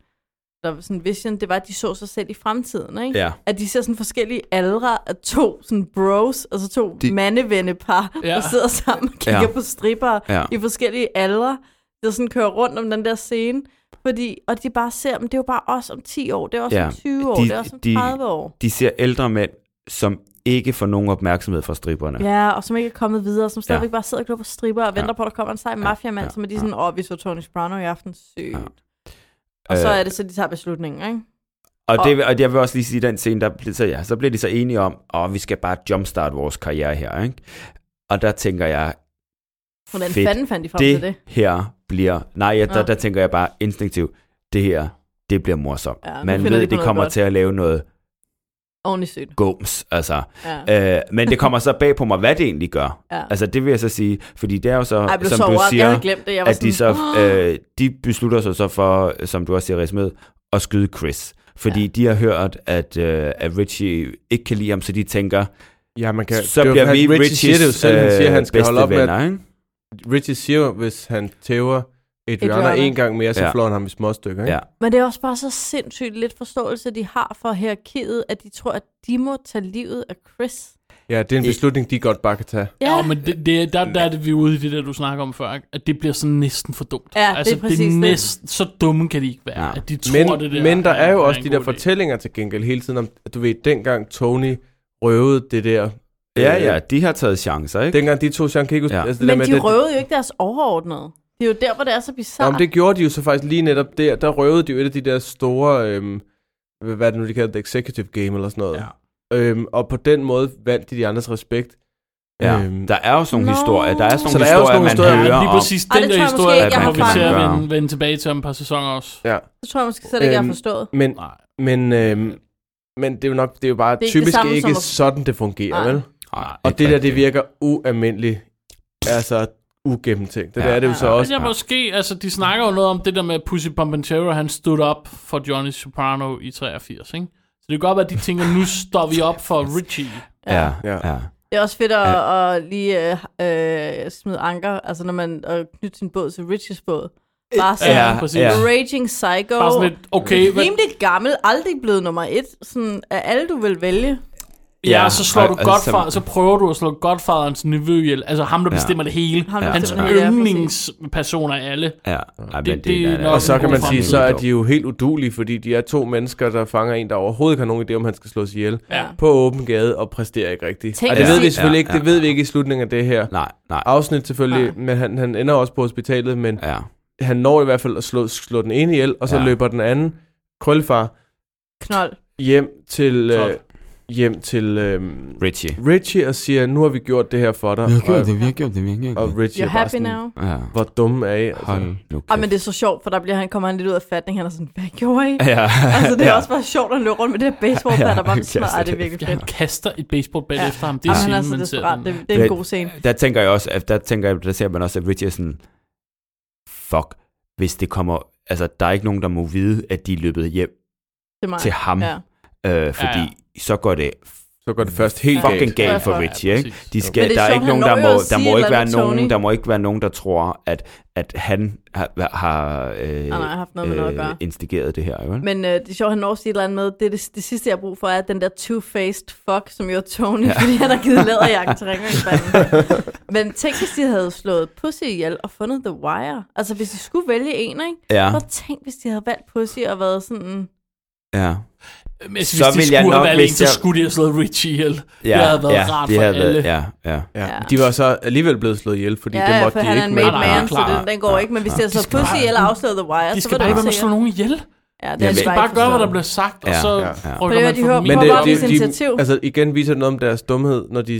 Speaker 9: Der var sådan vision, det var, at de så sig selv i fremtiden, ikke?
Speaker 1: Ja.
Speaker 9: At de ser sådan forskellige aldre af to sådan bros, altså to
Speaker 1: De-
Speaker 9: de... mandevennepar,
Speaker 2: Ja.
Speaker 9: ja. der sidder sammen og kigger
Speaker 1: Ja.
Speaker 9: ja. på stripper
Speaker 1: Ja.
Speaker 9: ja. i forskellige aldre, der sådan kører rundt om den der scene. Fordi, og de bare ser, men det er jo bare os om 10 år, det er også
Speaker 1: Ja.
Speaker 9: ja. om 20 år,
Speaker 1: De-
Speaker 9: de, det er også om
Speaker 1: de-
Speaker 9: 30 år.
Speaker 1: De ser ældre mænd, som ikke får nogen opmærksomhed fra stripperne.
Speaker 9: Ja, og som ikke er kommet videre, som stadigvæk
Speaker 1: Ja.
Speaker 9: ja. bare sidder og klubber stripper og venter
Speaker 1: Ja.
Speaker 9: ja. på, at der kommer en sej
Speaker 1: ja,
Speaker 9: mafiamand, ja. som er de
Speaker 1: ja.
Speaker 9: sådan, åh, vi så Tony Soprano i aften, sygt.
Speaker 1: Ja.
Speaker 9: Ja. Og så
Speaker 1: Øh,
Speaker 9: er det så, de tager beslutningen, ikke?
Speaker 1: Og, det, og jeg vil også lige sige, at den scene, der, blev- så, ja, så bliver de så enige om, at vi skal bare jumpstart vores karriere her. Ikke? Og der tænker jeg,
Speaker 9: Hvordan
Speaker 1: fedt.
Speaker 9: fanden fandt de frem til
Speaker 1: det
Speaker 9: det?
Speaker 1: her bliver... Nej, jeg, der,
Speaker 9: Nå.
Speaker 1: der tænker jeg bare instinktivt, det her, det bliver morsomt.
Speaker 9: Ja, nu
Speaker 1: Man ved,
Speaker 9: finder de
Speaker 1: at
Speaker 9: på
Speaker 1: de
Speaker 9: noget
Speaker 1: kommer
Speaker 9: godt.
Speaker 1: til at lave noget
Speaker 9: Ordentligt sygt.
Speaker 1: gums, altså.
Speaker 9: Ja.
Speaker 1: Øh, men det kommer så bag på mig, hvad det egentlig gør.
Speaker 9: Ja.
Speaker 1: Altså, det vil jeg så sige, fordi det er jo så,
Speaker 9: Ej, jeg blev så
Speaker 1: som du
Speaker 9: overrasket.
Speaker 1: siger,
Speaker 9: Jeg havde glemt det. Jeg var
Speaker 1: at de så,
Speaker 9: sådan,
Speaker 1: øh, de beslutter sig så for, som du også siger, Ries med, at skyde Chris. Fordi ja. de har hørt, at, øh, at Richie ikke kan lide ham, så de tænker,
Speaker 10: Ja, man kan,
Speaker 1: så bliver vi
Speaker 10: Richie siger det jo
Speaker 1: Richies øh,
Speaker 10: selv, han siger, han skal
Speaker 1: bedste
Speaker 10: holde op med, at
Speaker 1: venner, ikke?
Speaker 10: Richie siger, jo, hvis han tæver Adriana
Speaker 9: Adriana.
Speaker 10: en gang mere, så
Speaker 1: Ja.
Speaker 10: flår han ham i små stykker. Ikke?
Speaker 1: Ja.
Speaker 9: Men det er også bare så sindssygt lidt forståelse, de har for hierarkiet, at de tror, at de må tage livet af Chris.
Speaker 10: ja, det er en beslutning, de godt bare kan tage.
Speaker 2: Ja, ja men det, det, der, der er det, vi er ude i det der, du snakker om før, ikke? at det bliver sådan næsten for dumt.
Speaker 9: Ja, det er
Speaker 2: altså,
Speaker 9: præcis
Speaker 2: det.
Speaker 9: det.
Speaker 2: Er næsten, så dumme kan de ikke være,
Speaker 1: Ja.
Speaker 2: ja. at de tror,
Speaker 10: Men,
Speaker 2: det der
Speaker 10: men der er jo også
Speaker 2: en
Speaker 10: de der
Speaker 2: god idé.
Speaker 10: fortællinger til gengæld hele tiden om, at du ved, dengang Tony røvede det der. øh,
Speaker 1: ja, ja, de har taget chancer, ikke?
Speaker 10: Dengang de to Sean Kikos,
Speaker 1: Ja.
Speaker 10: ja. altså det
Speaker 9: Men
Speaker 10: der med,
Speaker 9: de
Speaker 10: det,
Speaker 9: røvede jo ikke deres overordnede. Det er jo der, hvor det er så bizarrt.
Speaker 10: Jamen, det gjorde de jo så faktisk lige netop der. Der røvede de jo et af de der store, øhm, hvad hvad er det nu, de kalder det, executive game eller sådan noget.
Speaker 2: Ja.
Speaker 10: Øhm, og på den måde vandt de de andres respekt.
Speaker 1: Ja.
Speaker 10: Øhm,
Speaker 1: Der er jo sådan nogle
Speaker 9: Nå.
Speaker 1: historier, der er sådan
Speaker 10: Så
Speaker 1: nogle
Speaker 10: der er jo
Speaker 1: historier,
Speaker 10: sådan
Speaker 1: man
Speaker 10: nogle historier,
Speaker 1: hører
Speaker 2: Ja, lige
Speaker 1: om.
Speaker 2: præcis
Speaker 9: Ej,
Speaker 2: den der
Speaker 9: det tror jeg måske
Speaker 2: historie,
Speaker 9: ikke,
Speaker 1: jeg
Speaker 2: kommer
Speaker 1: har
Speaker 2: vi til at
Speaker 1: fanget.
Speaker 2: vende, vende tilbage til om et par sæsoner også.
Speaker 10: ja.
Speaker 9: Det tror jeg måske slet ikke, jeg
Speaker 10: Øhm,
Speaker 9: har forstået.
Speaker 10: Men,
Speaker 2: Nej.
Speaker 10: men, øhm, men det er jo nok det er jo bare
Speaker 9: Det er ikke det
Speaker 10: typisk
Speaker 9: samme som
Speaker 10: ikke
Speaker 9: at-
Speaker 10: sådan, det fungerer,
Speaker 9: Nej.
Speaker 10: vel?
Speaker 1: Nej,
Speaker 10: Og
Speaker 1: ikke
Speaker 10: det der, det
Speaker 1: rigtigt.
Speaker 10: virker ualmindeligt, altså ugennemtænkt. Det
Speaker 1: Ja.
Speaker 10: der er det jo så
Speaker 9: Ja.
Speaker 2: Men
Speaker 10: også.
Speaker 2: jeg måske, altså de snakker jo noget om det der med at Pussy Pompantero, han stod op for Johnny Soprano i 83, ikke? Så det kan godt være, at de tænker, nu står vi op for Richie.
Speaker 1: Ja,
Speaker 10: Ja.
Speaker 1: ja.
Speaker 9: Det er også fedt at, at lige øh, øh, smide anker, altså når man øh, knytter sin båd til Riches båd. Bare sådan,
Speaker 1: Ja,
Speaker 9: ja,
Speaker 2: præcis.
Speaker 1: ja.
Speaker 9: Raging Psycho.
Speaker 2: Bare sådan lidt, okay, hvad,
Speaker 9: Rimelig gammel, aldrig blevet nummer et. Sådan, af alle, du vil vælge.
Speaker 2: ja,
Speaker 1: Ja,
Speaker 2: så slår
Speaker 1: og-
Speaker 2: du
Speaker 1: og
Speaker 2: Godfather,
Speaker 1: så-
Speaker 2: så prøver du at slå Godfatherens niveau ihjel. Altså ham, der bestemmer det hele.
Speaker 9: Ham, der
Speaker 2: Hans
Speaker 9: bestemmer det hele, ja,
Speaker 2: yndlingspersoner er alle.
Speaker 1: ja. Ej, men
Speaker 2: Det- det er
Speaker 1: da-
Speaker 2: nok
Speaker 10: Og så kan man
Speaker 2: Hvorfor?
Speaker 10: sige, så er
Speaker 1: Dog.
Speaker 10: de jo helt udulige, fordi de er to mennesker, der fanger en, der overhovedet ikke har nogen idé, om han skal slås ihjel
Speaker 2: Ja.
Speaker 10: på åben gade og præsterer ikke rigtigt.
Speaker 9: Tænk
Speaker 10: og det
Speaker 9: at
Speaker 10: ved vi
Speaker 9: sige-
Speaker 10: selvfølgelig
Speaker 1: Ja,
Speaker 10: ikke, det
Speaker 1: ja,
Speaker 10: ved vi ikke i slutningen af det her
Speaker 1: Nej, nej.
Speaker 10: afsnit selvfølgelig, men han, han ender også på hospitalet, men
Speaker 1: Ja.
Speaker 10: han når i hvert fald at slå, slå den ene ihjel, og så
Speaker 1: Ja.
Speaker 10: løber den anden krøllefar
Speaker 9: Knold.
Speaker 10: hjem til, øh,
Speaker 2: Told.
Speaker 10: hjem til øh,
Speaker 1: Richie.
Speaker 10: Richie og siger, nu har vi gjort det her for dig. og,
Speaker 1: vi har gjort det, vi har gjort
Speaker 10: og Richie
Speaker 9: You're
Speaker 10: er bare
Speaker 9: happy
Speaker 10: sådan,
Speaker 9: now.
Speaker 1: Ja.
Speaker 10: hvor dum er I?
Speaker 1: Hold
Speaker 10: Altså,
Speaker 1: nu
Speaker 9: Ej, men det er så sjovt, for der bliver han, kommer han lidt ud af fatning. Han er sådan, hvad gjorde I?
Speaker 1: kæft. Ja.
Speaker 9: Altså, det er
Speaker 1: ja.
Speaker 9: også bare sjovt at løbe rundt med det her baseballbat,
Speaker 1: Ja,
Speaker 9: der bare
Speaker 1: ja,
Speaker 9: smadrer. Ej, det er
Speaker 1: det-
Speaker 9: virkelig
Speaker 2: Han
Speaker 9: fedt.
Speaker 2: kaster et baseballbat
Speaker 9: Ja.
Speaker 2: efter ham. Det er
Speaker 9: Jamen, han er
Speaker 2: scenen,
Speaker 9: så
Speaker 2: man
Speaker 9: desperat.
Speaker 2: ser.
Speaker 9: Det, det er en
Speaker 1: Ja.
Speaker 9: god scene.
Speaker 1: Der tænker jeg også, at der tænker jeg, der ser man også, at Richie er sådan, fuck, hvis det kommer, altså der er ikke nogen, der må vide, at de er løbet hjem
Speaker 9: Det er mig.
Speaker 1: til ham,
Speaker 9: Ja.
Speaker 1: øh, fordi
Speaker 2: Ja,
Speaker 1: så går det
Speaker 10: så går det først helt
Speaker 9: Ja.
Speaker 10: galt.
Speaker 1: fucking galt for
Speaker 9: Ja,
Speaker 1: Richie, ikke?
Speaker 2: præcis.
Speaker 1: De
Speaker 9: Men
Speaker 1: skal,
Speaker 9: det
Speaker 1: der
Speaker 9: er
Speaker 1: er
Speaker 9: sjovt,
Speaker 1: ikke
Speaker 9: han
Speaker 1: nogen,
Speaker 9: når
Speaker 1: der
Speaker 9: jo
Speaker 1: må,
Speaker 9: at
Speaker 1: der
Speaker 9: sige
Speaker 1: må
Speaker 9: et
Speaker 1: ikke
Speaker 9: eller
Speaker 1: være
Speaker 9: andet til
Speaker 1: nogen,
Speaker 9: Tony.
Speaker 1: der må ikke være nogen, der tror, at, at han har, har, øh,
Speaker 9: Han har haft noget med noget at gøre.
Speaker 1: instigeret det her, jo?
Speaker 10: Mm.
Speaker 1: ikke?
Speaker 9: Men øh, det er sjovt, han når at sige et eller andet med, det, er det, det sidste, jeg har brug for, er den der two-faced fuck, som jo er Tony, ja. fordi han har givet læderjakken til ringeringsbanden. Men tænk, hvis de havde slået Pussy ihjel og fundet The Wire. Altså, hvis de skulle vælge en, ikke?
Speaker 1: Ja,
Speaker 9: Og tænk, hvis de havde valgt Pussy og været sådan...
Speaker 1: ja.
Speaker 2: Men altså, hvis
Speaker 1: Så
Speaker 2: så de
Speaker 1: vil jeg
Speaker 2: skulle have
Speaker 1: nok,
Speaker 2: valgt en,
Speaker 1: hvis
Speaker 2: så
Speaker 1: jeg-
Speaker 2: skulle de have slået Richie ihjel.
Speaker 1: Ja,
Speaker 2: det havde været
Speaker 1: ja,
Speaker 2: rart
Speaker 1: det
Speaker 2: for
Speaker 1: havde
Speaker 2: alle.
Speaker 1: Været, ja, ja.
Speaker 10: Ja.
Speaker 9: Ja.
Speaker 10: De var så alligevel blevet slået ihjel, fordi
Speaker 9: Ja,
Speaker 10: det
Speaker 9: ja,
Speaker 10: måtte
Speaker 9: for
Speaker 10: de
Speaker 9: han er
Speaker 10: ikke.
Speaker 9: en
Speaker 10: men-
Speaker 9: made
Speaker 2: Nej, nej,
Speaker 9: man, så
Speaker 2: klar.
Speaker 9: den, den går ikke. Men hvis de havde slået
Speaker 2: skal
Speaker 9: Pussy
Speaker 2: bare-
Speaker 9: ihjel og afslået The Wire,
Speaker 2: De
Speaker 9: så
Speaker 2: skal
Speaker 9: var
Speaker 2: bare
Speaker 9: det
Speaker 2: ikke være
Speaker 9: jo
Speaker 2: med at slå
Speaker 9: sikkert.
Speaker 2: nogen ihjel. Altså,
Speaker 9: Ja, det
Speaker 1: Ja,
Speaker 9: er
Speaker 1: men-
Speaker 9: svært.
Speaker 2: Bare gør, hvad der bliver sagt, og
Speaker 1: Ja,
Speaker 2: så
Speaker 10: ja.
Speaker 2: rykker
Speaker 9: Prøv
Speaker 2: man
Speaker 9: at de hører
Speaker 2: forbi.
Speaker 9: på
Speaker 10: Men
Speaker 9: Hvor
Speaker 10: det,
Speaker 9: var
Speaker 10: det,
Speaker 9: hans initiativ?
Speaker 10: de, altså igen viser det noget om deres dumhed, når de,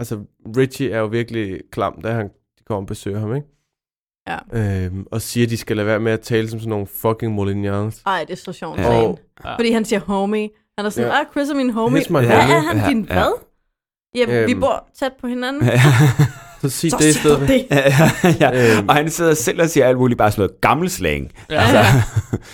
Speaker 10: altså Richie er jo virkelig klam, da han de kommer og besøger ham, ikke?
Speaker 9: Ja.
Speaker 10: Øhm, og siger, at de skal lade være med at tale som sådan nogle fucking Molignans.
Speaker 9: Ej, det er så sjovt.
Speaker 1: Ja.
Speaker 9: Ja.
Speaker 10: Og-
Speaker 9: Fordi han siger homie. Han er sådan,
Speaker 10: Ja.
Speaker 9: ah, Chris er min homie.
Speaker 10: He's my
Speaker 9: Hvad
Speaker 10: homie.
Speaker 9: er han, din
Speaker 1: Ja, ja.
Speaker 9: hvad? Ja, vi
Speaker 10: Øhm.
Speaker 9: bor tæt på hinanden.
Speaker 10: Så sig
Speaker 9: Så
Speaker 10: det i
Speaker 9: sætter
Speaker 10: stedet.
Speaker 9: det.
Speaker 1: ja.
Speaker 10: Øhm.
Speaker 1: Og han sidder selv og siger alt muligt, bare sådan noget gammel slang.
Speaker 2: Ja. Altså.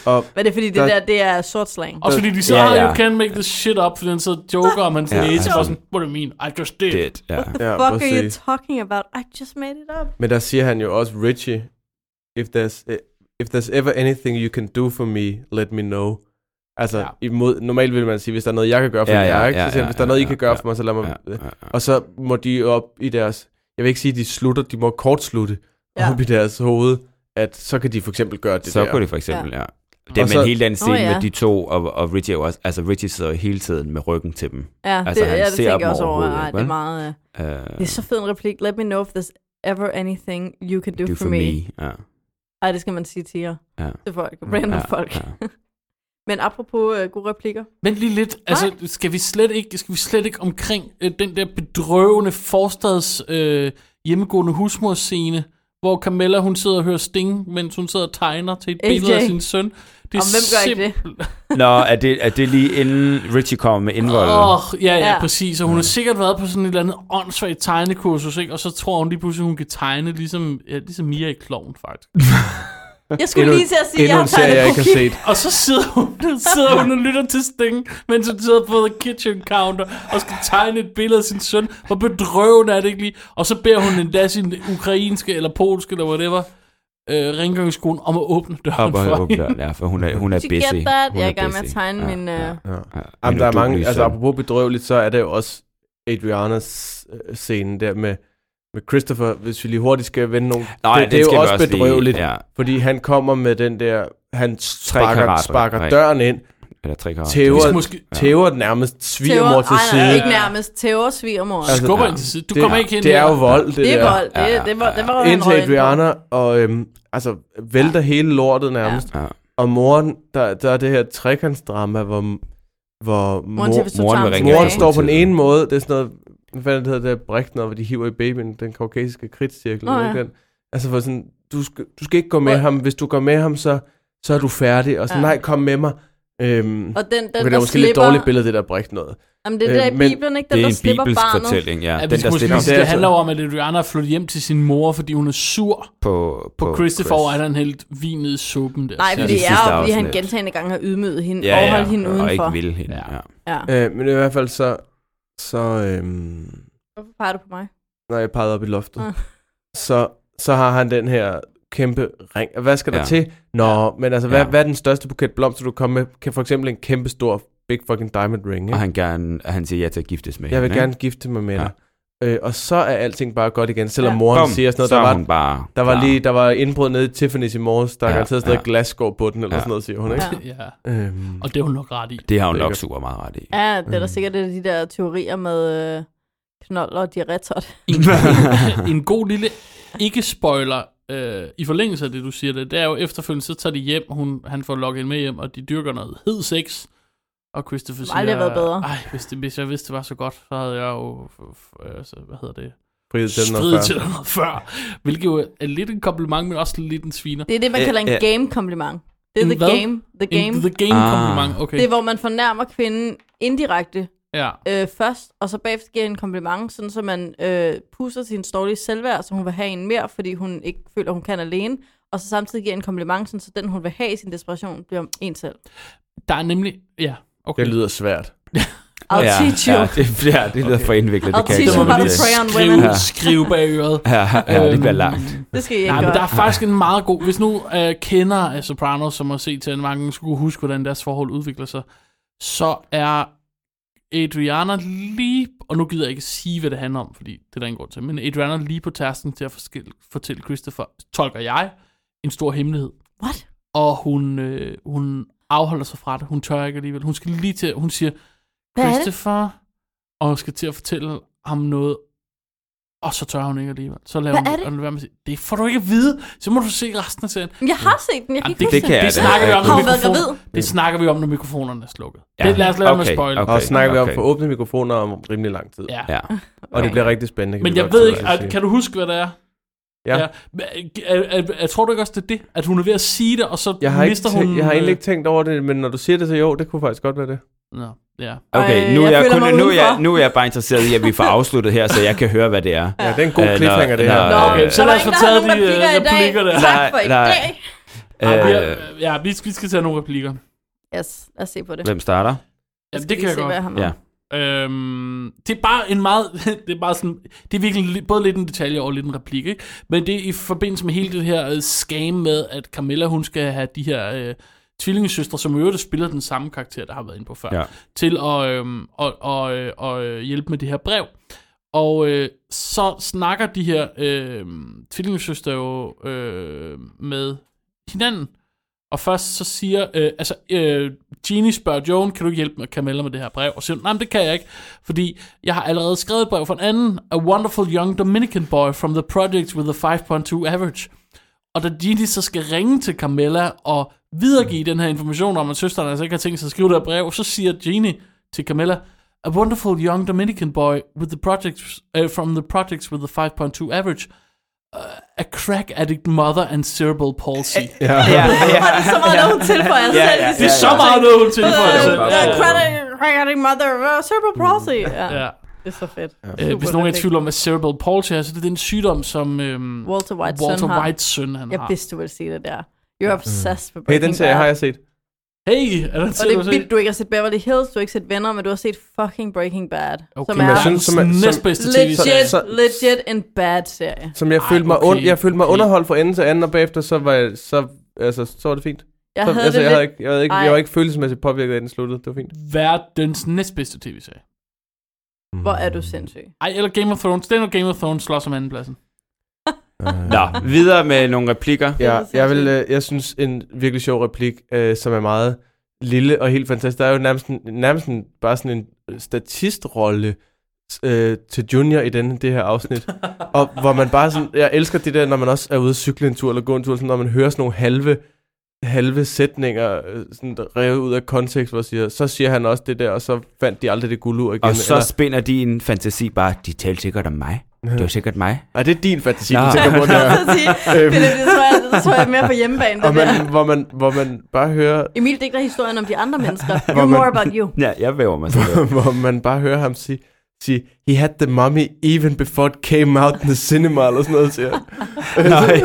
Speaker 10: Og
Speaker 9: Men det er fordi, det
Speaker 10: Der-
Speaker 9: der, det er sort slang.
Speaker 2: Også fordi de siger,
Speaker 1: Ja,
Speaker 2: yeah,
Speaker 1: ja.
Speaker 2: you can't make this shit up, fordi han sidder og joker om hans
Speaker 1: Ja,
Speaker 2: næse,
Speaker 1: altså.
Speaker 2: og sådan, what do you mean, I just did.
Speaker 1: Det, ja.
Speaker 10: ja,
Speaker 9: Fuck are you
Speaker 10: præcis.
Speaker 9: talking about? I just made it up.
Speaker 10: Men der siger han jo også, Richie, if there's, eh, if there's ever anything you can do for me, let me know. Altså,
Speaker 2: Ja.
Speaker 10: ja. imod, normalt vil man sige, hvis der er noget, jeg kan gøre for
Speaker 1: Ja,
Speaker 10: jer,
Speaker 1: ja,
Speaker 10: ikke?
Speaker 1: ja,
Speaker 10: Så siger han,
Speaker 1: ja,
Speaker 10: hvis der er noget, I
Speaker 1: ja,
Speaker 10: kan gøre
Speaker 1: ja,
Speaker 10: for mig, så lad mig...
Speaker 1: Ja, ja, ja.
Speaker 10: Og så må de op i deres... Jeg vil ikke sige, at de slutter, de må kortslutte
Speaker 9: Ja.
Speaker 10: ja. op i deres hoved, at så kan de for eksempel gøre det
Speaker 1: så
Speaker 10: der.
Speaker 1: kunne det for eksempel, ja. Det
Speaker 10: Og
Speaker 1: er
Speaker 10: så-
Speaker 1: med hele den scene
Speaker 9: Nå, ja.
Speaker 1: med de to, og, og Richie er jo også, altså Richie sidder jo hele tiden med ryggen til dem.
Speaker 9: Ja,
Speaker 1: Altså,
Speaker 9: det,
Speaker 1: han
Speaker 9: ja, det
Speaker 1: ser
Speaker 9: tænker
Speaker 1: dem
Speaker 9: jeg også over.
Speaker 1: overhovedet,
Speaker 9: Ej,
Speaker 1: ikke,
Speaker 9: det er
Speaker 1: vel?
Speaker 9: meget... øh,
Speaker 1: Uh,
Speaker 9: Det er så fed en replik. Let me know if there's ever anything you can do,
Speaker 1: do
Speaker 9: for, me.
Speaker 1: Ja.
Speaker 9: Ej, det skal man sige til jer.
Speaker 1: Ja.
Speaker 9: Til folk. Random
Speaker 1: Ja,
Speaker 9: folk.
Speaker 1: ja.
Speaker 9: Men apropos øh, gode replikker.
Speaker 2: Men lige lidt, altså, skal vi slet ikke, skal vi slet ikke omkring øh, den der bedrøvende forstads øh, hjemmegående husmorscene, hvor Camilla, hun sidder og hører Sting, mens hun sidder og tegner til et
Speaker 9: AJ.
Speaker 2: billede af sin søn. Det
Speaker 9: Og hvem gør ikke det?
Speaker 1: Nå, er det, er det lige inden Richie kommer med indvoldet? Oh.
Speaker 2: Åh, oh, ja, ja,
Speaker 9: Ja.
Speaker 2: præcis. Og hun har sikkert været på sådan et eller andet åndssvagt tegnekursus, ikke? Og så tror hun lige pludselig, hun kan tegne ligesom, ja, ligesom Mia i Kloven, faktisk.
Speaker 9: Jeg skulle lige til at sige, at jeg
Speaker 10: Endnu
Speaker 9: har
Speaker 10: en serie, jeg
Speaker 9: tegnet
Speaker 10: ikke har
Speaker 9: kroki.
Speaker 10: set.
Speaker 2: Og så sidder hun, sidder hun og lytter til Sting, mens hun sidder på the kitchen counter og skal tegne et billede af sin søn. Hvor bedrøvende er det ikke lige? Og så beder hun endda sin ukrainske eller polske eller whatever øh, rengøringskone om at åbne døren
Speaker 1: Op og
Speaker 2: for
Speaker 1: åbne
Speaker 2: hende.
Speaker 1: døren, ja, for hun er, hun er
Speaker 9: Did you
Speaker 1: busy.
Speaker 9: get that?
Speaker 1: Hun
Speaker 9: Jeg er
Speaker 1: er
Speaker 9: i gang med at
Speaker 1: busy.
Speaker 9: tegne min, øh,
Speaker 1: ja. ja.
Speaker 10: Jamen,
Speaker 1: Min
Speaker 10: der er
Speaker 1: uduelige
Speaker 10: mange, altså
Speaker 1: søn.
Speaker 10: apropos bedrøveligt, så er det jo også Adrianas øh, scene der med, med Christopher, hvis vi lige hurtigt skal vende nogle.
Speaker 1: Nå, ja,
Speaker 10: det, det er
Speaker 1: skal
Speaker 10: jo
Speaker 1: vi
Speaker 10: også
Speaker 1: lige-
Speaker 10: bedrøveligt,
Speaker 1: Ja,
Speaker 10: fordi han kommer med den der, han sparker,
Speaker 1: karat,
Speaker 10: sparker
Speaker 1: rigtig.
Speaker 10: døren ind,
Speaker 1: eller tre karat.
Speaker 10: tæver,
Speaker 2: skal måske-
Speaker 10: tæver nærmest svigermor til
Speaker 9: ej, nej,
Speaker 10: side.
Speaker 9: ikke nærmest. Tæver svigermor.
Speaker 10: Altså,
Speaker 2: Skubber
Speaker 1: ja.
Speaker 2: hende til side. Du
Speaker 10: Det-
Speaker 2: kommer ikke ind
Speaker 10: Det
Speaker 2: her.
Speaker 10: er jo vold, det,
Speaker 9: Det er
Speaker 10: der.
Speaker 9: vold. Det, det, var, det var, han
Speaker 10: Indtil
Speaker 9: røg ind på.
Speaker 10: Adriana, og øhm, altså, vælter hele lortet nærmest.
Speaker 1: Ja.
Speaker 10: Og moren, der, der er det her trekantsdrama, hvor, hvor
Speaker 9: Moren til,
Speaker 10: mor,
Speaker 9: hvis du
Speaker 1: moren
Speaker 9: tager
Speaker 1: vil
Speaker 9: ham
Speaker 1: ringe
Speaker 10: Moren
Speaker 1: Ja.
Speaker 9: tilbage.
Speaker 10: står på den ene måde, det er sådan noget, hvad fanden hedder det, bræk, når de hiver i babyen, den kaukasiske kridtcirkel,
Speaker 9: Nå,
Speaker 10: oh,
Speaker 9: ja.
Speaker 10: ja. den. Altså for sådan, du skal, du skal ikke gå med ham, hvis du går med ham, så, så er du færdig, og sådan,
Speaker 9: Ja.
Speaker 10: ja. nej, kom med mig. Øhm,
Speaker 9: Og den, den
Speaker 10: okay, det
Speaker 9: der
Speaker 10: er måske lidt
Speaker 9: slipper...
Speaker 10: dårligt billede, det der bræk noget.
Speaker 9: Jamen, det er
Speaker 10: Øh,
Speaker 9: der i
Speaker 10: men
Speaker 9: Bibelen, ikke? Den,
Speaker 1: Det er
Speaker 9: der
Speaker 1: en
Speaker 9: slipper
Speaker 1: bibelsk
Speaker 9: barnet.
Speaker 1: fortælling, ja.
Speaker 2: Ja,
Speaker 1: den, der stiller
Speaker 10: sige,
Speaker 2: det
Speaker 10: altså-
Speaker 2: handler jo om, at Adriana er flyttet hjem til sin mor, fordi hun er sur
Speaker 1: på,
Speaker 2: på, på Christopher,
Speaker 1: Chris.
Speaker 2: og at han hældt vin ned i suppen der.
Speaker 9: Nej,
Speaker 1: Ja,
Speaker 9: fordi
Speaker 1: det
Speaker 9: det er
Speaker 1: sidste
Speaker 9: jo, fordi han
Speaker 1: afsnit.
Speaker 9: gentagende gange har ydmyget hende
Speaker 1: ja,
Speaker 9: og
Speaker 1: ja,
Speaker 9: holdt hende
Speaker 1: og
Speaker 9: udenfor.
Speaker 1: ikke vil hende.
Speaker 2: Ja.
Speaker 1: Ja.
Speaker 9: Ja.
Speaker 10: Øh, men i hvert fald så, så øhm,
Speaker 9: Hvorfor peger du på mig?
Speaker 10: når jeg pegede op i loftet,
Speaker 9: Ah.
Speaker 10: så, så har han den her kæmpe ring. Hvad skal der
Speaker 1: Ja.
Speaker 10: til? Nå,
Speaker 2: Ja.
Speaker 10: men altså, hvad,
Speaker 1: Ja.
Speaker 10: hvad er den største buket blomster, du kan komme med? Kan for eksempel en kæmpe stor big fucking diamond ring, ikke?
Speaker 1: Og han, gerne, og han siger ja til at giftes med
Speaker 10: Jeg vil
Speaker 1: hende,
Speaker 10: gerne gifte mig med dig. Øh, og så er alting bare godt igen, selvom
Speaker 9: Ja.
Speaker 10: ja. moren
Speaker 1: Bum,
Speaker 10: siger sådan noget.
Speaker 1: så
Speaker 10: Der
Speaker 1: er
Speaker 10: var,
Speaker 1: hun bare
Speaker 10: der var
Speaker 1: klar.
Speaker 10: lige der var indbrud nede i Tiffany's i morges, der er
Speaker 1: Ja,
Speaker 10: garanteret stadig
Speaker 1: ja.
Speaker 10: glasskår på den, eller
Speaker 1: Ja.
Speaker 10: sådan noget, siger hun, ikke?
Speaker 2: ja.
Speaker 10: Øhm,
Speaker 2: Og det er hun nok ret i.
Speaker 1: Det har hun nok
Speaker 10: Sikkert.
Speaker 1: super meget ret i.
Speaker 9: Ja, det er der sikkert det er de der teorier med øh, knolder og diarretot.
Speaker 2: en, en god lille ikke-spoiler øh, i forlængelse af det, du siger det, det er jo efterfølgende, så tager de hjem, hun, han får logget med hjem, og de dyrker noget hed sex, og Christopher
Speaker 9: Det
Speaker 2: siger...
Speaker 9: har aldrig været bedre.
Speaker 2: Ej, hvis, det, hvis jeg vidste, det var så godt, så havde jeg jo... f- f- altså, hvad hedder det?
Speaker 10: frihed til den og
Speaker 2: Strid
Speaker 10: før.
Speaker 2: til noget før. Hvilket jo er lidt en kompliment, men også lidt en sviner.
Speaker 9: Det er det, man
Speaker 1: Øh,
Speaker 9: kalder en
Speaker 1: ja.
Speaker 9: game-kompliment. Det er
Speaker 2: En
Speaker 9: the
Speaker 2: hvad?
Speaker 9: game. The game.
Speaker 2: En, the game
Speaker 1: Ah.
Speaker 2: kompliment, okay.
Speaker 9: Det er, hvor man fornærmer kvinden indirekte
Speaker 2: ja.
Speaker 9: øh, først, og så bagefter giver en kompliment, sådan så man øh, puster sin dårlige selvværd, så hun vil have en mere, fordi hun ikke føler, hun kan alene, og så samtidig giver en kompliment, sådan så den, hun vil have i sin desperation, bliver en selv.
Speaker 2: Der er nemlig... Ja, okay.
Speaker 10: Det lyder svært.
Speaker 9: I'll
Speaker 1: ja,
Speaker 9: teach you.
Speaker 1: Ja, det, ja, det lyder for indviklet. Det
Speaker 9: I'll
Speaker 1: kan jeg ikke
Speaker 9: teach you how
Speaker 1: holde til.
Speaker 9: to pray Øhm, on women.
Speaker 2: skrive, skrive bag øret. Øhm,
Speaker 1: Ja, ja, det bliver langt.
Speaker 9: Det skal I ikke
Speaker 2: Nej, men der
Speaker 9: gøre.
Speaker 2: er faktisk en meget god... Hvis nu øh, kender af Sopranos, som har set til en mange, skulle kunne huske, hvordan deres forhold udvikler sig, så er Adriana lige... Og nu gider jeg ikke sige, hvad det handler om, fordi det er der ingen grund til. Men Adriana er lige på tasken til at forskille, fortælle Christopher, tolker jeg, en stor hemmelighed.
Speaker 9: What?
Speaker 2: Og hun, øh, hun afholder sig fra det. Hun tør ikke alligevel. Hun skal lige til... Hun siger,
Speaker 9: Hvad er det?
Speaker 2: Christopher, og skal til at fortælle ham noget, og så tør hun ikke alligevel. Så laver
Speaker 9: Hvad
Speaker 2: hun
Speaker 9: er
Speaker 2: det?
Speaker 9: det?
Speaker 2: Og lader være med at sige, det får du ikke at vide, så må du se resten af serien.
Speaker 9: Men Jeg har set den, jeg
Speaker 2: Jamen,
Speaker 9: kan ikke
Speaker 1: det
Speaker 9: huske
Speaker 1: kan jeg
Speaker 2: det
Speaker 1: da.
Speaker 2: snakker vi om,
Speaker 1: Har
Speaker 2: når
Speaker 9: hun været
Speaker 2: mikrofon-
Speaker 9: gravid?
Speaker 10: Mm.
Speaker 2: Det snakker vi om, når mikrofonerne er slukket. Ja. Det, lad os lade okay, med at spoil. Okay.
Speaker 10: Og så snakker vi om
Speaker 1: okay.
Speaker 10: for åbne mikrofoner om rimelig lang tid.
Speaker 2: Ja.
Speaker 1: Ja.
Speaker 10: Og det bliver rigtig spændende. kan
Speaker 2: Men
Speaker 10: vi
Speaker 2: jeg
Speaker 10: godt
Speaker 2: ved
Speaker 10: sidde
Speaker 2: ikke,
Speaker 10: og
Speaker 2: at,
Speaker 10: sige.
Speaker 2: kan du huske, hvad det er?
Speaker 10: Ja.
Speaker 2: Men, Er, er, er, tror du ikke også, det er det? At hun er ved at sige det, og så
Speaker 10: Jeg har, ikke
Speaker 2: mister
Speaker 10: tæ-
Speaker 2: hun...
Speaker 10: jeg har egentlig
Speaker 2: øh,
Speaker 10: ikke tænkt over det, men når du siger det, så jo, det kunne faktisk godt være det.
Speaker 2: Nå, ja.
Speaker 1: Okay,
Speaker 9: Ej,
Speaker 1: nu er
Speaker 9: jeg
Speaker 1: jeg,
Speaker 9: føler
Speaker 1: kun,
Speaker 9: mig
Speaker 1: nu, er jeg,
Speaker 9: udenfor.
Speaker 1: nu er jeg bare interesseret i, at vi får afsluttet her, så jeg kan høre, hvad det er.
Speaker 10: Ja, det er en god
Speaker 1: Øh,
Speaker 10: cliffhanger, det
Speaker 1: når-
Speaker 10: her.
Speaker 1: når-
Speaker 2: Nå, okay, så
Speaker 9: Der
Speaker 2: lad
Speaker 9: var
Speaker 2: os
Speaker 9: ikke-
Speaker 2: få
Speaker 9: der
Speaker 2: taget
Speaker 9: var
Speaker 2: de
Speaker 9: nogen
Speaker 2: øh,
Speaker 9: replikker i dag.
Speaker 2: replikker der.
Speaker 9: Tak for i
Speaker 1: Nej, nej.
Speaker 9: dag.
Speaker 2: Ej,
Speaker 1: Øh,
Speaker 2: ja, ja, vi, vi skal tage nogle replikker.
Speaker 9: Yes, lad os se på det.
Speaker 1: hvem starter?
Speaker 9: Jeg Altså,
Speaker 2: Jamen,
Speaker 9: skal
Speaker 2: det kan
Speaker 9: lige
Speaker 2: jeg
Speaker 9: se,
Speaker 2: godt.
Speaker 9: hvad har med.
Speaker 1: Ja.
Speaker 2: Øhm, det er bare en meget, det er bare sådan, det er virkelig li- både lidt en detalje og lidt en replik, ikke? Men det er i forbindelse med hele det her øh, scam med, at Camilla, hun skal have de her øh, tvillingesøstre, som i øvrigt spiller den samme karakter, der har været inde på før,
Speaker 1: Ja.
Speaker 2: til at, øhm, og, og, øh, og, øh, hjælpe med det her brev. Og øh, så snakker de her øh, tvillingesøstre jo øh, med hinanden, og først så siger, øh, altså, øh, Jeannie spørger Joan, kan du ikke hjælpe med Camilla med det her brev? Og siger, hun, nej, men det kan jeg ikke, fordi jeg har allerede skrevet et brev for en anden, A Wonderful Young Dominican Boy from the Project with a 5.2 Average. Og da Jeannie så skal ringe til Camilla og videregive den her information om, at søsteren altså ikke har tænkt sig at skrive det her brev, så siger Jeannie til Camilla, A Wonderful Young Dominican Boy with the project, uh, from the Projects with a 5.2 Average, uh, a crack addict mother and cerebral palsy.
Speaker 1: Ja, ja.
Speaker 9: Så meget noget, hun tilføjer
Speaker 1: Ja,
Speaker 9: selv.
Speaker 1: ja,
Speaker 2: Det
Speaker 1: ja,
Speaker 2: er
Speaker 1: ja.
Speaker 2: så meget noget, hun tilføjer altså. selv.
Speaker 1: Ja, ja.
Speaker 9: Credit mother, uh, cerebral palsy. Ja,
Speaker 2: Ja.
Speaker 9: det er så fedt.
Speaker 2: Øh, hvis nogen er i tvivl om, hvad cerebral palsy er, så det er den sygdom, som øhm,
Speaker 9: Walter White's
Speaker 2: Walter
Speaker 9: søn har.
Speaker 2: Whites søn han
Speaker 9: Jeg
Speaker 2: har.
Speaker 9: vidste, du ville sige det der. You're obsessed med
Speaker 10: Hey,
Speaker 9: Breaking
Speaker 10: den serie har
Speaker 9: Bad.
Speaker 10: jeg set.
Speaker 2: Hey, er der
Speaker 9: Og
Speaker 2: til
Speaker 9: det
Speaker 2: at
Speaker 9: er
Speaker 2: se?
Speaker 9: vildt, du ikke har set Beverly Hills, du har ikke set Venner, men du har set fucking Breaking Bad.
Speaker 2: Okay.
Speaker 9: Som
Speaker 2: Men
Speaker 9: er
Speaker 10: jeg synes, som er-
Speaker 2: den
Speaker 10: som-
Speaker 2: næstbedste tv-serie.
Speaker 9: legit,
Speaker 10: så-
Speaker 9: legit en bad serie.
Speaker 10: Som jeg
Speaker 2: Ej,
Speaker 10: følte mig,
Speaker 2: okay,
Speaker 10: und, jeg følte mig
Speaker 2: okay.
Speaker 10: underholdt fra ende til anden, og bagefter så var jeg, så, altså, så var det fint.
Speaker 9: Jeg
Speaker 10: Så,
Speaker 9: havde
Speaker 10: altså,
Speaker 9: det
Speaker 10: jeg,
Speaker 9: lidt...
Speaker 10: havde ikke, jeg, havde ikke,
Speaker 9: Ej.
Speaker 10: jeg var ikke følelsesmæssigt påvirket af den sluttede. Det var fint.
Speaker 2: Verdens næstbedste tv-serie.
Speaker 9: Hvor er du sindssyg?
Speaker 2: Ej, eller Game of Thrones. Den og Game of Thrones slås om andenpladsen.
Speaker 1: Nå, videre med nogle replikker.
Speaker 10: Ja,
Speaker 9: sindssygt.
Speaker 10: jeg, vil, øh, jeg synes en virkelig sjov replik, øh, som er meget lille og helt fantastisk. Der er jo nærmest, en- nærmest en, bare sådan en øh, statistrolle øh, til Junior i den, det her afsnit. og hvor man bare sådan, jeg elsker det der, når man også er ude at cykle en tur eller gå en tur, sådan, når man hører sådan nogle halve, halve sætninger øh, sådan revet ud af kontekst, hvor siger, så siger han også det der, og så fandt de aldrig det guld ud igen.
Speaker 1: Og så spinder de en fantasi bare, de talte sikkert om mig. Det var sikkert mig.
Speaker 10: nej, det er din fantasi,
Speaker 1: Nå.
Speaker 10: du tænker på Ah, det
Speaker 9: Jeg vil
Speaker 10: her.
Speaker 9: så sige, Philip, det tror jeg, det tror jeg er mere på hjemmebane.
Speaker 10: Og
Speaker 9: Det der.
Speaker 10: man, hvor, man, hvor man bare hører
Speaker 9: Emil digter historien om de andre mennesker.
Speaker 10: Hvor
Speaker 9: You
Speaker 10: man-
Speaker 9: more about you.
Speaker 1: Ja, jeg væver mig selv.
Speaker 10: hvor man bare hører ham sige, sige, he had the mummy even before it came out in the cinema, eller sådan noget, siger han.
Speaker 2: Jeg kan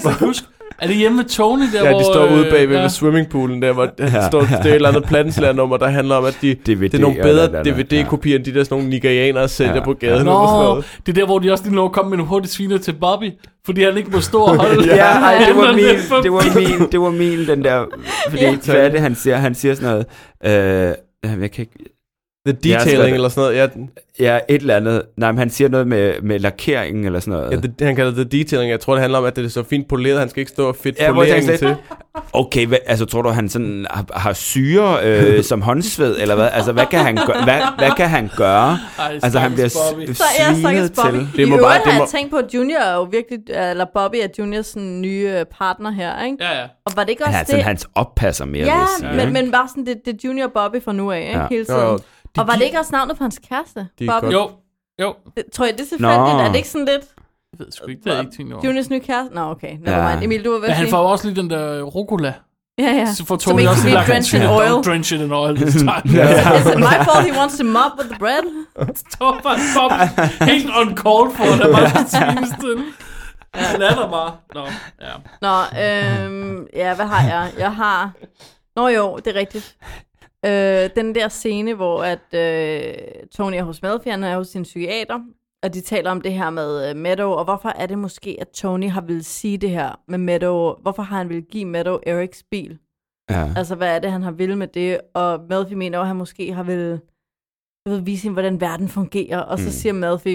Speaker 2: slet ikke huske. Er det hjemme med Tony, der
Speaker 10: Ja,
Speaker 2: hvor...
Speaker 10: de står ude
Speaker 2: øh,
Speaker 10: bag ved
Speaker 2: ja.
Speaker 10: ja. swimmingpoolen der, hvor
Speaker 1: Ja.
Speaker 10: ja. står, det er et eller andet plattenslærer-nummer, der handler om, at de, DVD, det er nogle
Speaker 1: eller-
Speaker 10: bedre
Speaker 1: eller- eller-
Speaker 10: DVD-kopier, end de der sådan nogle nigerianere sælger
Speaker 1: Ja.
Speaker 10: ja. på gaden.
Speaker 2: Nå,
Speaker 10: eller sådan noget.
Speaker 2: det er der, hvor de også lige når at komme med nogle hurtige sviner til Bobby, fordi han ikke må stå og holde.
Speaker 1: Ja, ej, det var
Speaker 2: Emnerne
Speaker 1: min,
Speaker 2: for-
Speaker 1: det var min, det var min, den der, fordi
Speaker 9: Ja.
Speaker 1: hvad er det, han siger? Han siger sådan noget, øh, jeg kan ikke,
Speaker 10: The
Speaker 1: Ja, så er det-
Speaker 10: detailing, eller sådan noget. Ja, den-
Speaker 1: ja, et eller andet, nej, men han siger noget med, med lakeringen eller sådan noget.
Speaker 10: ja, the, han kalder det the detailing. Jeg tror, det handler om, at det er så fint poleret, han skal ikke stå og fedt
Speaker 1: Ja,
Speaker 10: ja,
Speaker 1: hvor jeg tænker
Speaker 10: poleringen til.
Speaker 1: Okay, hvad, altså tror du, han sådan har, har syre øh, som håndsved, eller hvad? Altså, hvad kan han, gøre, hvad, hvad kan han gøre?
Speaker 2: Ej,
Speaker 1: Altså, han bliver
Speaker 2: stakkels Bobby.
Speaker 1: s-
Speaker 9: Så er jeg
Speaker 1: svinet
Speaker 9: stakkels Bobby.
Speaker 1: til.
Speaker 9: Det
Speaker 10: Det
Speaker 9: må I
Speaker 10: må
Speaker 9: øvrigt
Speaker 10: bare-
Speaker 9: har
Speaker 10: det
Speaker 9: jeg
Speaker 10: må-
Speaker 9: tænkt på, at Junior er jo virkelig, eller Bobby er Juniors sådan nye øh, partner her, ikke?
Speaker 2: Ja, ja. altså,
Speaker 9: Og var det ikke
Speaker 1: Han
Speaker 9: også
Speaker 1: er sådan
Speaker 9: det?
Speaker 1: hans oppasser mere, vil
Speaker 9: ja,
Speaker 1: jeg sige.
Speaker 9: men,
Speaker 1: ikke?
Speaker 9: men bare sådan, det, det er Junior Bobby fra nu af, ikke?
Speaker 1: Ja.
Speaker 9: Hele
Speaker 10: Jo,
Speaker 9: tiden.
Speaker 10: jo.
Speaker 9: Og var
Speaker 2: gi-
Speaker 9: det ikke også navnet på hans kæreste?
Speaker 10: er
Speaker 9: Bobby?
Speaker 10: godt.
Speaker 2: Jo, jo.
Speaker 9: Det, tror jeg, det er tilfældigt.
Speaker 1: Nå.
Speaker 9: Er det ikke sådan lidt
Speaker 2: Jeg ved sgu ikke, det er ikke tænkt over.
Speaker 9: Juniors nye kæreste? Nå, okay. Nå,
Speaker 1: Ja.
Speaker 9: ja. Emil, du var ved
Speaker 2: Men
Speaker 9: at
Speaker 2: han
Speaker 9: sige-
Speaker 2: får jo også lige den der rucola.
Speaker 9: Ja, ja.
Speaker 2: Så får
Speaker 9: Som
Speaker 2: Tony
Speaker 9: ikke
Speaker 2: også
Speaker 9: kan
Speaker 2: lige
Speaker 9: blive
Speaker 2: lagt en
Speaker 9: drenched
Speaker 2: tvivl.
Speaker 9: in oil.
Speaker 2: Don't drench it in oil this time.
Speaker 9: Is it my fault he wants to mop with the bread?
Speaker 2: Thomas Bob, helt on call for, der bare skal tvinges til. Han er der bare. Nå, ja.
Speaker 9: Nå, øhm, ja, hvad har jeg? Jeg har... Nå jo, det er rigtigt. Øh, den der scene, hvor at, øh, Tony er hos Melfi, han er hos sin psykiater, og de taler om det her med øh, Meadow, og hvorfor er det måske, at Tony har ville sige det her med Meadow? Hvorfor har han ville give Meadow Erics bil?
Speaker 1: Ja.
Speaker 9: Altså, hvad er det, han har ville med det? Og Melfi mener jo, at han måske har ville jeg ved, vise hende, hvordan verden fungerer. Og så
Speaker 1: Mm.
Speaker 9: mm. siger Melfi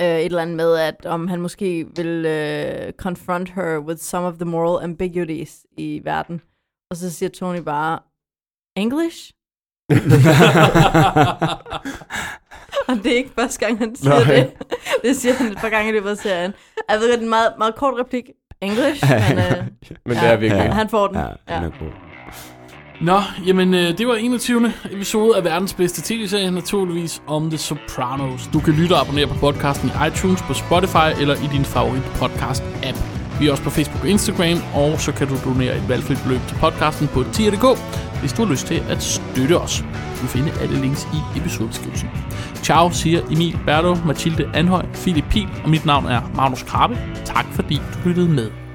Speaker 9: øh, et eller andet med, at om han måske vil øh, confront her with some of the moral ambiguities i verden. Og så siger Tony bare, English? Og det er ikke første gang, han siger
Speaker 10: Nej.
Speaker 9: det. Det siger han et par gange i løbet af serien. Jeg ved godt, det er en meget, meget kort replik. English? Men, øh,
Speaker 10: Men det er virkelig.
Speaker 9: han, han får den.
Speaker 1: Ja,
Speaker 9: Ja.
Speaker 1: den er god.
Speaker 2: Nå, jamen øh, det var 21. episode af verdens bedste tv-serie, naturligvis om The Sopranos. Du kan lytte og abonnere på podcasten i iTunes, på Spotify eller i din favorit podcast-app. Vi er også på Facebook og Instagram, og så kan du donere et valgfrit beløb til podcasten på tier.dk, hvis du har lyst til at støtte os. Du kan finde alle links i episodebeskrivelsen. Ciao, siger Emil Berlo, Mathilde Anhøj, Philip Pil, og mit navn er Magnus Krabbe. Tak fordi du lyttede med.